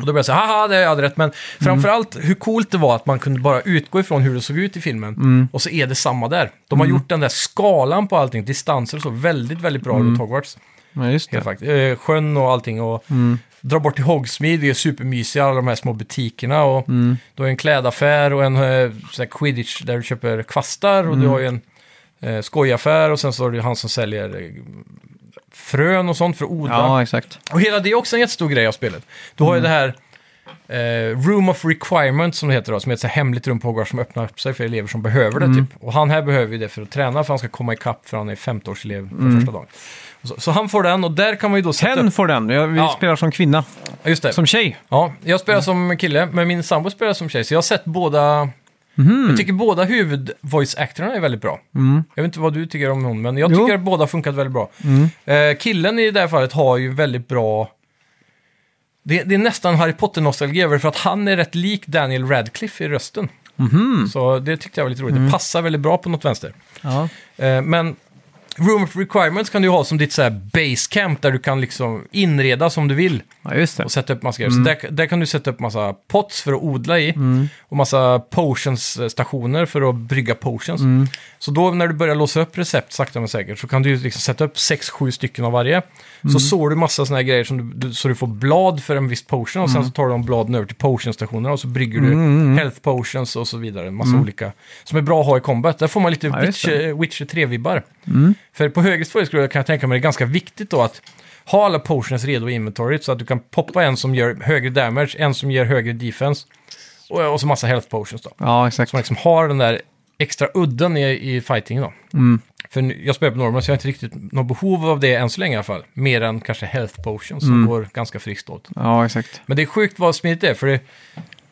[SPEAKER 4] Och då blir jag så här, haha, det hade jag rätt.
[SPEAKER 3] Mm.
[SPEAKER 4] Men framförallt hur coolt det var att man kunde bara utgå ifrån hur det såg ut i filmen.
[SPEAKER 3] Mm.
[SPEAKER 4] Och så är det samma där. De har gjort den där skalan på allting, distanser och så, väldigt, väldigt bra runt Hogwarts.
[SPEAKER 3] Mm. Ja, Mm. just
[SPEAKER 4] Helt
[SPEAKER 3] det.
[SPEAKER 4] faktiskt. Eh, sjön och allting. Och Dra bort till Hogsmeade, det är supermysiga, alla de här små butikerna. Och
[SPEAKER 3] Mm.
[SPEAKER 4] Du har ju en klädaffär och en eh, sån här quidditch där du köper kvastar. Och
[SPEAKER 3] Mm.
[SPEAKER 4] du har ju en eh, skojaffär och sen så har du ju han som säljer eh, frön och sånt för att odla.
[SPEAKER 3] Ja, exakt.
[SPEAKER 4] Och hela det är också en jättestor grej av spelet. Du
[SPEAKER 3] Mm.
[SPEAKER 4] har ju det här eh, Room of Requirement som det heter då, som är ett så här hemligt rum på Hogwarts som öppnar upp sig för elever som behöver det
[SPEAKER 3] Mm.
[SPEAKER 4] typ. Och han här behöver ju det för att träna, för han ska komma ikapp för han är 15-årselev för första dagen. Och Så, så han får den och där kan man ju då sätta
[SPEAKER 3] Mm. Hen
[SPEAKER 4] upp...
[SPEAKER 3] får den, jag, vi
[SPEAKER 4] Ja.
[SPEAKER 3] spelar som kvinna.
[SPEAKER 4] Ja, Just det.
[SPEAKER 3] Som tjej.
[SPEAKER 4] Ja, jag spelar som kille, men min sambo spelar som tjej, så jag har sett båda...
[SPEAKER 3] Mhm.
[SPEAKER 4] Jag tycker båda huvud-voice-actorna är väldigt bra. Jag vet inte vad du tycker om hon, men jag
[SPEAKER 3] Mm. Jo. Mm.
[SPEAKER 4] tycker att båda funkat väldigt bra. Eh, killen i det här fallet har ju väldigt bra... Det, det är nästan Harry Potter-nostalgi över det, för att han är rätt lik Daniel Radcliffe i rösten. Så det tyckte jag var lite roligt. Det passar väldigt bra på något vänster.
[SPEAKER 3] Mhm. Mm. Ja.
[SPEAKER 4] Eh, men Room of Requirements kan du ha som ditt så här base camp där du kan liksom inreda som du vill
[SPEAKER 3] just det.
[SPEAKER 4] och sätta upp massa grejer. Så där, där kan du sätta upp massa pots för att odla i och massa potions-stationer för att brygga potions. Så då när du börjar låsa upp recept sakta men säkert så kan du ju liksom sätta upp 6-7 stycken av varje.
[SPEAKER 3] Mm.
[SPEAKER 4] Så sår du massa såna här grejer som du, du, så du får blad för en viss potion och
[SPEAKER 3] Mm.
[SPEAKER 4] sen så tar du de bladen över till potionstationerna och så brygger du health potions och så vidare. Massa olika som är bra att ha i combat. Där får man lite
[SPEAKER 3] Mm. Ja, just Mm.
[SPEAKER 4] Witcher, Witcher 3-vibbar. För på högre svårighetsgrad kan jag tänka mig det är ganska viktigt då att ha alla potions redo i inventoriet så att du kan poppa en som gör högre damage, en som ger högre defense och, och så massa health potions då.
[SPEAKER 3] Ja, exakt.
[SPEAKER 4] Så man liksom har den där extra udden i, i fighting då. För nu- jag spelar på normal så jag har inte riktigt något behov av det än så länge i alla fall. Mer än kanske health potions som går ganska friskt åt.
[SPEAKER 3] Ja, exakt.
[SPEAKER 4] Men det är sjukt vad smidigt det är, för det,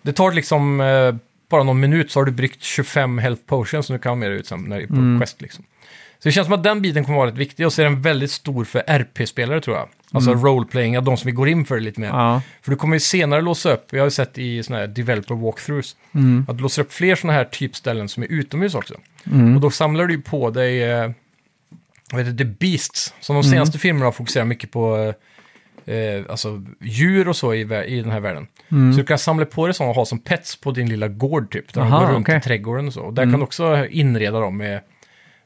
[SPEAKER 4] det tar liksom eh, bara någon minut så har du bryggt 25 health potions som du kan ha med dig ut sen när, på quest. Liksom. Så det känns som att den biten kommer vara rätt viktig och så är den väldigt stor för RP-spelare tror jag. Alltså roleplaying, de som vi går in för lite mer.
[SPEAKER 3] Ja.
[SPEAKER 4] För du kommer ju senare låsa upp, jag har ju sett i sådana här developer walkthroughs,
[SPEAKER 3] Mm.
[SPEAKER 4] att du låser upp fler sådana här typställen som är utomhus också.
[SPEAKER 3] Mm.
[SPEAKER 4] Och då samlar du ju på dig, eh, vad heter det, The Beasts, som
[SPEAKER 3] Mm.
[SPEAKER 4] de senaste filmerna har fokuserat mycket på, eh, eh, alltså djur och så i, vä- i den här världen.
[SPEAKER 3] Mm.
[SPEAKER 4] Så du kan samla på dig sådana och ha som pets på din lilla gård typ, där
[SPEAKER 3] Aha,
[SPEAKER 4] de går runt i
[SPEAKER 3] okej. Mm.
[SPEAKER 4] trädgården och så. Och där kan du också inreda dem med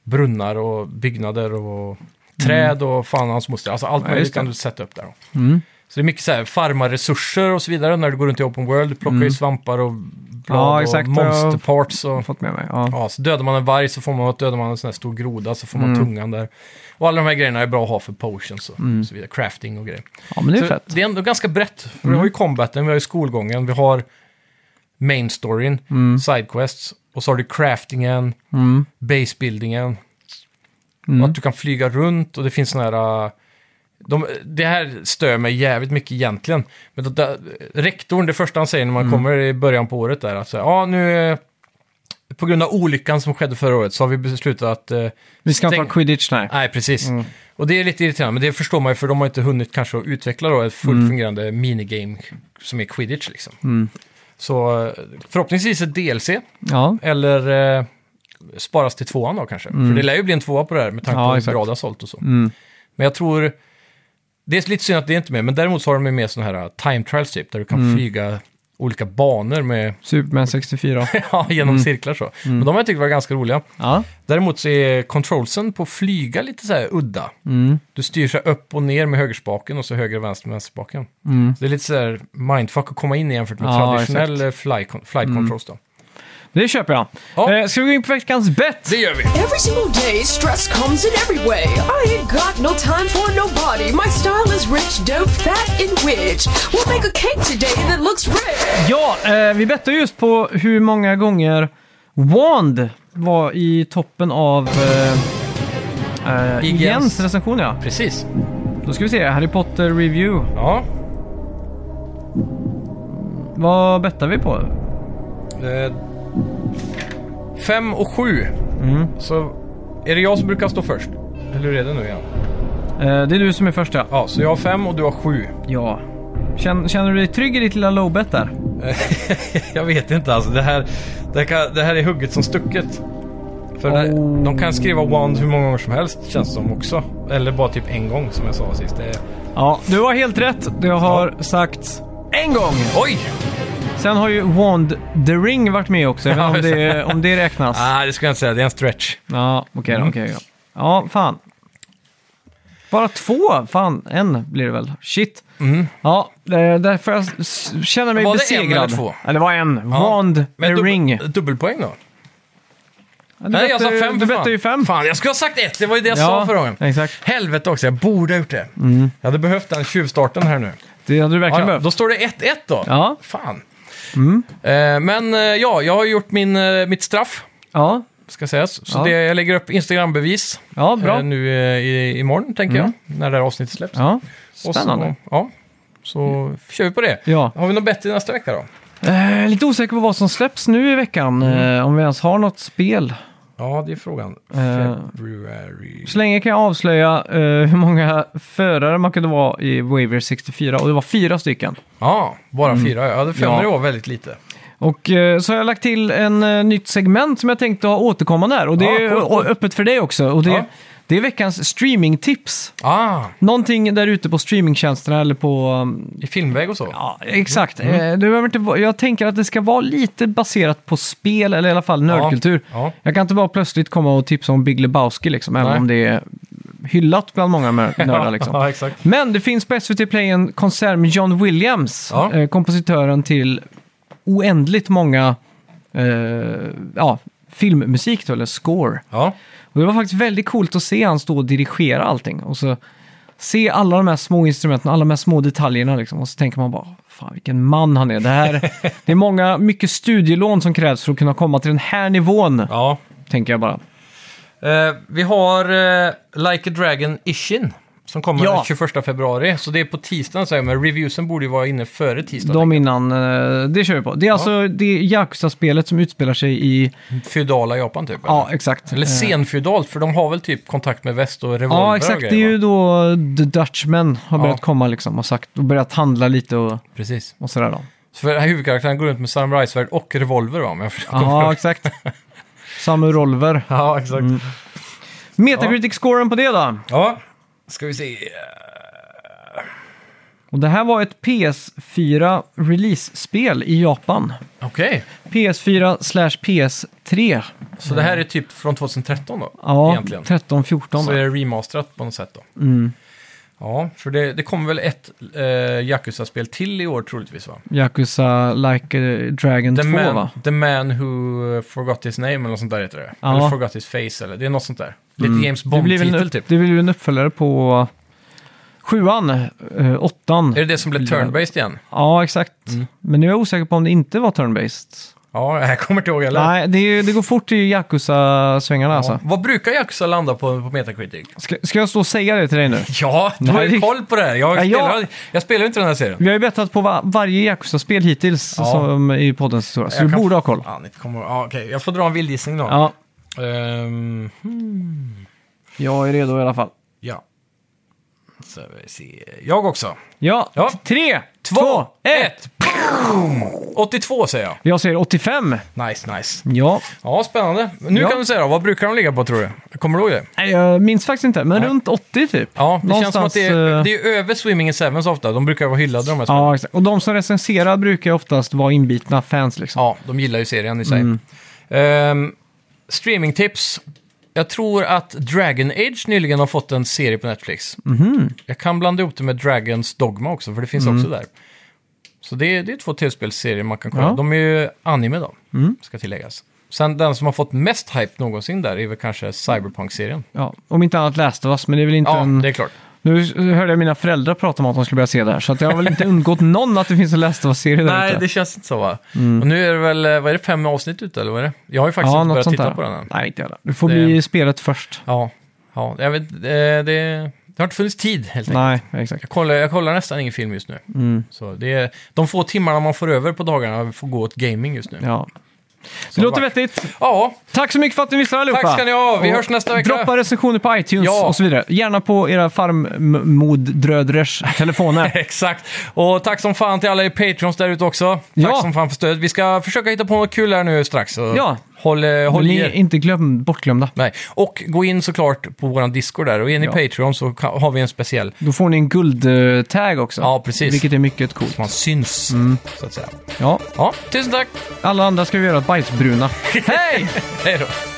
[SPEAKER 4] brunnar och byggnader och träd och fan hans moster. Alltså allt
[SPEAKER 3] Mm. Ja,
[SPEAKER 4] möjligt
[SPEAKER 3] just det.
[SPEAKER 4] kan du sätta upp där. då. Så det är mycket så här, farma resurser och så vidare när du går runt i open world. Du plockar ju svampar och blad
[SPEAKER 3] Mm. Ja, exakt,
[SPEAKER 4] och
[SPEAKER 3] vad jag-
[SPEAKER 4] monster parts.
[SPEAKER 3] Jag har
[SPEAKER 4] Och,
[SPEAKER 3] fått med mig. Ja.
[SPEAKER 4] ja, så dödar man en varg så får man, dödar man en sån här stor groda så får man
[SPEAKER 3] Mm.
[SPEAKER 4] tungan där. Och alla de här grejerna är bra att ha för potions och så vidare. Crafting och grejer.
[SPEAKER 3] ja, men Mm. det är
[SPEAKER 4] Så
[SPEAKER 3] fett. Mm.
[SPEAKER 4] det är ändå ganska brett. För Vi har ju combaten, vi har ju skolgången, vi har main storyn,
[SPEAKER 3] Mm.
[SPEAKER 4] sidequests och så har du craftingen, basebuildingen. Och att du kan flyga runt och det finns såna här... äh, De, det här stör mig jävligt mycket egentligen. Men det, där- rektorn, det första han säger när man kommer i början på året är att säga, ja nu... eh, På grund av olyckan som skedde förra året så har vi beslutat att... eh,
[SPEAKER 3] Vi ska inte
[SPEAKER 4] stäng-
[SPEAKER 3] ha quidditch, nej.
[SPEAKER 4] Nej, precis. Och det är lite irriterande, men det förstår man ju för de har inte hunnit kanske att utveckla då ett fullt fungerande minigame som är Quidditch liksom. Så eh, förhoppningsvis ett DLC
[SPEAKER 3] Ja,
[SPEAKER 4] eller eh, sparas till tvåan då kanske. För det lär ju bli en tvåa på det här med tanke
[SPEAKER 3] Mm. Ja,
[SPEAKER 4] på hur bra
[SPEAKER 3] exakt. Mm.
[SPEAKER 4] det har sålt och så. Men jag tror, det är lite synd att det inte är med, men däremot så har de ju med sådana här time trials typ, där du kan
[SPEAKER 3] Mm.
[SPEAKER 4] flyga olika banor med, [LAUGHS]
[SPEAKER 3] Superman 64.
[SPEAKER 4] ja, genom cirklar så. Men de har jag tyckt var ganska roliga.
[SPEAKER 3] Mm. Ja,
[SPEAKER 4] Däremot så är controlsen på flyga lite så här udda.
[SPEAKER 3] Mm.
[SPEAKER 4] Du styr så här upp och ner med högerspaken och så höger och vänster med vänsterspaken. Så det är lite så här mindfuck att komma in i jämfört med
[SPEAKER 3] Mm. Ja, Mm.
[SPEAKER 4] traditionell fly, flight controls då.
[SPEAKER 3] det köper jag.
[SPEAKER 4] Ja.
[SPEAKER 3] Eh, ska vi gå in på veckans bett?
[SPEAKER 4] Det gör vi!
[SPEAKER 5] Every single day, stress comes in every way. I ain't got no time for nobody. My style is rich, dope, fat, and rich. We'll make a cake today that looks rich.
[SPEAKER 3] Ja, eh, vi bettade just på hur många gånger Wand var i toppen av eh, eh,
[SPEAKER 4] IGNs.
[SPEAKER 3] IGNs recension. Ja.
[SPEAKER 4] Precis.
[SPEAKER 3] Då ska vi se, Harry Potter Review.
[SPEAKER 4] Ja.
[SPEAKER 3] Vad bettar vi på?
[SPEAKER 4] Eh, Fem och sju. Så är det jag som brukar stå först? Mm. Eller hur är det nu igen?
[SPEAKER 3] Eh, det är du som är första.
[SPEAKER 4] Ja, så jag har fem och du har sju.
[SPEAKER 3] Ja. Känner, känner du dig trygg i ditt lilla lowbet där?
[SPEAKER 4] [LAUGHS] Jag vet inte alltså. Det här, det här, kan, det här är hugget som stucket. För det,
[SPEAKER 3] Oh.
[SPEAKER 4] de kan skriva Wand hur många gånger som helst känns det som också. Eller bara typ en gång som jag sa sist. Det är...
[SPEAKER 3] Ja, du har helt rätt. Det har sagts en gång.
[SPEAKER 4] Oj!
[SPEAKER 3] Sen har ju Wand the Ring varit med också. Jag vet inte om, det, om det räknas.
[SPEAKER 4] Nej, det ska jag inte säga. Det är en stretch.
[SPEAKER 3] Ja, okej
[SPEAKER 4] Mm.
[SPEAKER 3] då. okej då. Ja, fan. Bara två? Fan, en blir det väl? Shit. Ja, eh, därför jag s- känner mig
[SPEAKER 4] Mm. Var det en
[SPEAKER 3] besegrad.
[SPEAKER 4] eller två?
[SPEAKER 3] Ja, det var en.
[SPEAKER 4] Ja.
[SPEAKER 3] Wand the
[SPEAKER 4] dubbel-
[SPEAKER 3] Ring.
[SPEAKER 4] Dubbelpoäng då?
[SPEAKER 3] Ja, du
[SPEAKER 4] Nej, jag sa
[SPEAKER 3] bette-
[SPEAKER 4] fem
[SPEAKER 3] Du
[SPEAKER 4] för fan.
[SPEAKER 3] bette ju fem.
[SPEAKER 4] Fan, jag skulle ha sagt ett. Det var ju det jag sa förra gången.
[SPEAKER 3] exakt. Mm.
[SPEAKER 4] Helvete också, jag borde ha gjort det. Jag hade behövt den tjuvstarten här nu.
[SPEAKER 3] Det hade du
[SPEAKER 4] Ja,
[SPEAKER 3] verkligen
[SPEAKER 4] ja.
[SPEAKER 3] behövt.
[SPEAKER 4] Då står det 1-1 då.
[SPEAKER 3] Ja. Mm.
[SPEAKER 4] Fan. Eh, men eh, ja, jag har gjort min, eh, mitt straff.
[SPEAKER 3] Ja,
[SPEAKER 4] ska sägas. Så
[SPEAKER 3] Ja.
[SPEAKER 4] det, jag lägger upp Instagram-bevis
[SPEAKER 3] ja bra. Mm.
[SPEAKER 4] eh, nu eh, i, imorgon, tänker jag, när det här avsnittet släpps.
[SPEAKER 3] Ja,
[SPEAKER 4] Och så-
[SPEAKER 3] spännande.
[SPEAKER 4] ja, så kör vi på det.
[SPEAKER 3] Ja.
[SPEAKER 4] Har vi något bättre nästa vecka då?
[SPEAKER 3] Eh, lite osäker på vad som släpps nu i veckan.
[SPEAKER 4] Mm.
[SPEAKER 3] Eh, om vi ens har något spel.
[SPEAKER 4] Ja, det är frågan.
[SPEAKER 3] Eh.
[SPEAKER 4] February.
[SPEAKER 3] Så länge kan jag avslöja eh, hur många förare man kunde vara i Waver 64. Och det var fyra stycken.
[SPEAKER 4] Ja, bara fyra. Ja, det femte
[SPEAKER 3] Mm. Ja.
[SPEAKER 4] var väldigt lite.
[SPEAKER 3] Och eh, så har jag lagt till en eh, nytt segment som jag tänkte ha återkommande här. Och det
[SPEAKER 4] Ja,
[SPEAKER 3] är
[SPEAKER 4] coolt,
[SPEAKER 3] o- öppet för dig också. Och det,
[SPEAKER 4] Ja.
[SPEAKER 3] det är veckans streamingtips.
[SPEAKER 4] Ah,
[SPEAKER 3] Någonting där ute på streamingtjänsterna eller på... um,
[SPEAKER 4] i filmväg och så.
[SPEAKER 3] Ja, exakt.
[SPEAKER 4] Mm.
[SPEAKER 3] Eh, Det behöver inte, vara- jag tänker att det ska vara lite baserat på spel eller i alla fall nördkultur.
[SPEAKER 4] Ja.
[SPEAKER 3] Jag kan inte bara plötsligt komma och tipsa om Big Lebowski, liksom, även
[SPEAKER 4] Nej.
[SPEAKER 3] om det är hyllat bland många mör-
[SPEAKER 4] [LAUGHS]
[SPEAKER 3] nördar. Liksom.
[SPEAKER 4] ja, exakt.
[SPEAKER 3] Men det finns på SVT Play en konsert med John Williams,
[SPEAKER 4] Ja.
[SPEAKER 3] eh, kompositören till oändligt många eh, ja, filmmusik, då, eller score.
[SPEAKER 4] Ja.
[SPEAKER 3] Och det var faktiskt väldigt coolt att se han stå och dirigera allting. Och så se alla de här små instrumenten, alla de här små detaljerna liksom. Och så tänker man bara, fan vilken man han är.
[SPEAKER 4] [LAUGHS]
[SPEAKER 3] Det, här, det är många, mycket studielån som krävs för att kunna komma till den här nivån,
[SPEAKER 4] ja.
[SPEAKER 3] tänker jag bara.
[SPEAKER 4] Eh, vi har eh, Like a Dragon Ishin. Som kommer
[SPEAKER 3] Ja.
[SPEAKER 4] den 21 februari, så det är på tisdagen säger jag, men reviewsen borde ju vara inne före tisdagen.
[SPEAKER 3] De innan, eh, det kör vi på. Det är alltså det Yakuza-spelet som utspelar sig i,
[SPEAKER 4] Feudala Japan typ?
[SPEAKER 3] ja
[SPEAKER 4] eller?
[SPEAKER 3] exakt.
[SPEAKER 4] Eller
[SPEAKER 3] Eh,
[SPEAKER 4] senfeudalt, för de har väl typ kontakt med väst och revolver
[SPEAKER 3] Ja,
[SPEAKER 4] och
[SPEAKER 3] exakt. Det är
[SPEAKER 4] grejer,
[SPEAKER 3] ju
[SPEAKER 4] va?
[SPEAKER 3] då The Dutchman har
[SPEAKER 4] Ja.
[SPEAKER 3] börjat komma liksom och, sagt, och börjat handla lite och,
[SPEAKER 4] Precis.
[SPEAKER 3] och sådär då.
[SPEAKER 4] Så för den här huvudkaraktären går runt med samurajsvärd och revolver va? Om jag förstår [LAUGHS]
[SPEAKER 3] Ja, Mm.
[SPEAKER 4] rätt.
[SPEAKER 3] exakt. Samu Rolver.
[SPEAKER 4] ja, exakt.
[SPEAKER 3] Metacritic-scoren på det då?
[SPEAKER 4] Ja, ska vi se.
[SPEAKER 3] Och det här var ett PS4 release-spel i Japan.
[SPEAKER 4] Okej,
[SPEAKER 3] PS4 slash PS3.
[SPEAKER 4] så det här är typ från 2013 då?
[SPEAKER 3] Ja,
[SPEAKER 4] egentligen.
[SPEAKER 3] 13-14.
[SPEAKER 4] Så
[SPEAKER 3] då. Mm.
[SPEAKER 4] är det remasterat på något sätt då? Ja, för det, det kommer väl ett eh, Yakuza-spel till i år troligtvis va?
[SPEAKER 3] Yakuza Like a Dragon
[SPEAKER 4] The
[SPEAKER 3] 2
[SPEAKER 4] man,
[SPEAKER 3] va?
[SPEAKER 4] the man who forgot his name eller något sånt där heter det.
[SPEAKER 3] Ja. Mm.
[SPEAKER 4] Eller forgot his face eller det är något sånt där. Lite James
[SPEAKER 3] Det blir väl
[SPEAKER 4] Bond-titel
[SPEAKER 3] en,
[SPEAKER 4] typ.
[SPEAKER 3] det blir väl en uppföljare på eh, sjuan, eh, åttan.
[SPEAKER 4] Är Mm. det det som blev turn-based igen?
[SPEAKER 3] Ja, exakt. Men nu är jag osäker på om det inte var turn-based.
[SPEAKER 4] Ja, jag kommer inte ihåg heller.
[SPEAKER 3] Nej, det, är ju- det går fort i Yakuza-svängarna alltså.
[SPEAKER 4] Ja. Vad brukar Yakuza landa på på Metacritic?
[SPEAKER 3] Ska, ska jag stå och säga det till dig nu?
[SPEAKER 4] Ja, du har
[SPEAKER 3] Nej,
[SPEAKER 4] ju
[SPEAKER 3] det-
[SPEAKER 4] koll på det här. Jag,
[SPEAKER 3] Ja, jag-
[SPEAKER 4] spelar, jag... spelar ju inte den här serien.
[SPEAKER 3] Vi har ju bettat på va- varje Yakuza-spel hittills
[SPEAKER 4] Ja.
[SPEAKER 3] som i poddens historia, så
[SPEAKER 4] Jag
[SPEAKER 3] du
[SPEAKER 4] kan-
[SPEAKER 3] borde ha koll.
[SPEAKER 4] Fan, inte kommer... ja, okej. Jag får dra en vildgissning då.
[SPEAKER 3] Ja,
[SPEAKER 4] Ehm,
[SPEAKER 3] jag är redo i alla fall.
[SPEAKER 4] ja. Så vi ser. Jag också.
[SPEAKER 3] Ja,
[SPEAKER 4] Ja.
[SPEAKER 3] tre, två, ett!
[SPEAKER 4] ett! Boom! 82 säger jag.
[SPEAKER 3] Jag säger 85.
[SPEAKER 4] Nice, nice.
[SPEAKER 3] Ja,
[SPEAKER 4] Ja, spännande. Nu
[SPEAKER 3] Ja.
[SPEAKER 4] kan du säga då, vad brukar de ligga på tror du? Kommer du ihåg det?
[SPEAKER 3] nej, jag minns faktiskt inte, men
[SPEAKER 4] Nej.
[SPEAKER 3] runt 80 typ.
[SPEAKER 4] Ja, det känns som att det är,
[SPEAKER 3] eh,
[SPEAKER 4] det är över Swimming in Sevens ofta. De brukar vara hyllade de här spelen.
[SPEAKER 3] Ja, exakt. Och de som recenserar brukar ju oftast vara inbitna fans liksom.
[SPEAKER 4] Ja, de gillar ju serien i sig.
[SPEAKER 3] Mm.
[SPEAKER 4] Ehm, streamingtips. Jag tror att Dragon Age nyligen har fått en serie på Netflix.
[SPEAKER 3] Mhm.
[SPEAKER 4] Jag kan blanda ihop det med Dragons Dogma också, för det finns
[SPEAKER 3] Mm.
[SPEAKER 4] också där. Så det, det är två tv-spelsserier man kan kolla.
[SPEAKER 3] Ja. Mm.
[SPEAKER 4] De är ju anime då, ska tilläggas. Sen den som har fått mest hype någonsin där är väl kanske Cyberpunk-serien.
[SPEAKER 3] Ja, om inte annat läste oss, men det är väl inte
[SPEAKER 4] Ja,
[SPEAKER 3] en...
[SPEAKER 4] det är klart.
[SPEAKER 3] Nu hörde jag mina föräldrar prata om att de skulle börja se det här, så att jag har
[SPEAKER 4] [LAUGHS]
[SPEAKER 3] väl inte undgått någon att det finns en Last of Us-serie där
[SPEAKER 4] Nej,
[SPEAKER 3] ute.
[SPEAKER 4] det känns inte så va? Och nu är det väl, eh, vad är det, fem avsnitt ute eller vad är det? Jag har ju faktiskt
[SPEAKER 3] Mm. ja,
[SPEAKER 4] inte
[SPEAKER 3] något
[SPEAKER 4] börjat
[SPEAKER 3] sånt
[SPEAKER 4] titta
[SPEAKER 3] där.
[SPEAKER 4] på den än.
[SPEAKER 3] Nej, inte jag. Du får
[SPEAKER 4] Det-
[SPEAKER 3] bli i spelet först.
[SPEAKER 4] Ja, ja jag vet, eh, det, det har inte funnits tid helt enkelt.
[SPEAKER 3] Nej, Mm. exakt.
[SPEAKER 4] Jag kollar, jag kollar nästan ingen film just nu. Så det är, de få timmarna man får över på dagarna får gå åt gaming just nu.
[SPEAKER 3] Ja.
[SPEAKER 4] Så
[SPEAKER 3] Det låter
[SPEAKER 4] bara-
[SPEAKER 3] vettigt.
[SPEAKER 4] Ja, [LAUGHS]
[SPEAKER 3] Tack så mycket för att ni lyssnade allihopa.
[SPEAKER 4] Tack ska ni ha. Vi
[SPEAKER 3] Och
[SPEAKER 4] hörs nästa vecka.
[SPEAKER 3] Droppa recensioner på iTunes
[SPEAKER 4] Ja.
[SPEAKER 3] och så vidare. Gärna på
[SPEAKER 4] [LAUGHS]
[SPEAKER 3] era farmmoddrödrers telefoner.
[SPEAKER 4] exakt. Och tack som fan till alla er patrons där ute också. Tack
[SPEAKER 3] Ja.
[SPEAKER 4] som fan för stödet. Vi ska försöka hitta på något kul här nu strax. Så
[SPEAKER 3] Ja.
[SPEAKER 4] Håll, eh, håll
[SPEAKER 3] ni
[SPEAKER 4] i
[SPEAKER 3] är
[SPEAKER 4] er.
[SPEAKER 3] inte glöm, bortglömda.
[SPEAKER 4] Nej. Och gå in såklart på våran Discord där. Och är ni
[SPEAKER 3] Ja.
[SPEAKER 4] Patreon så ka- har vi en speciell.
[SPEAKER 3] Då får ni en guldtag också.
[SPEAKER 4] Ja, precis.
[SPEAKER 3] Vilket är mycket coolt.
[SPEAKER 4] Man syns,
[SPEAKER 3] Mm.
[SPEAKER 4] så att säga.
[SPEAKER 3] Ja,
[SPEAKER 4] Ja, tusen tack.
[SPEAKER 3] alla andra ska vi göra bajsbruna. Hej!
[SPEAKER 4] [LAUGHS] Hej då.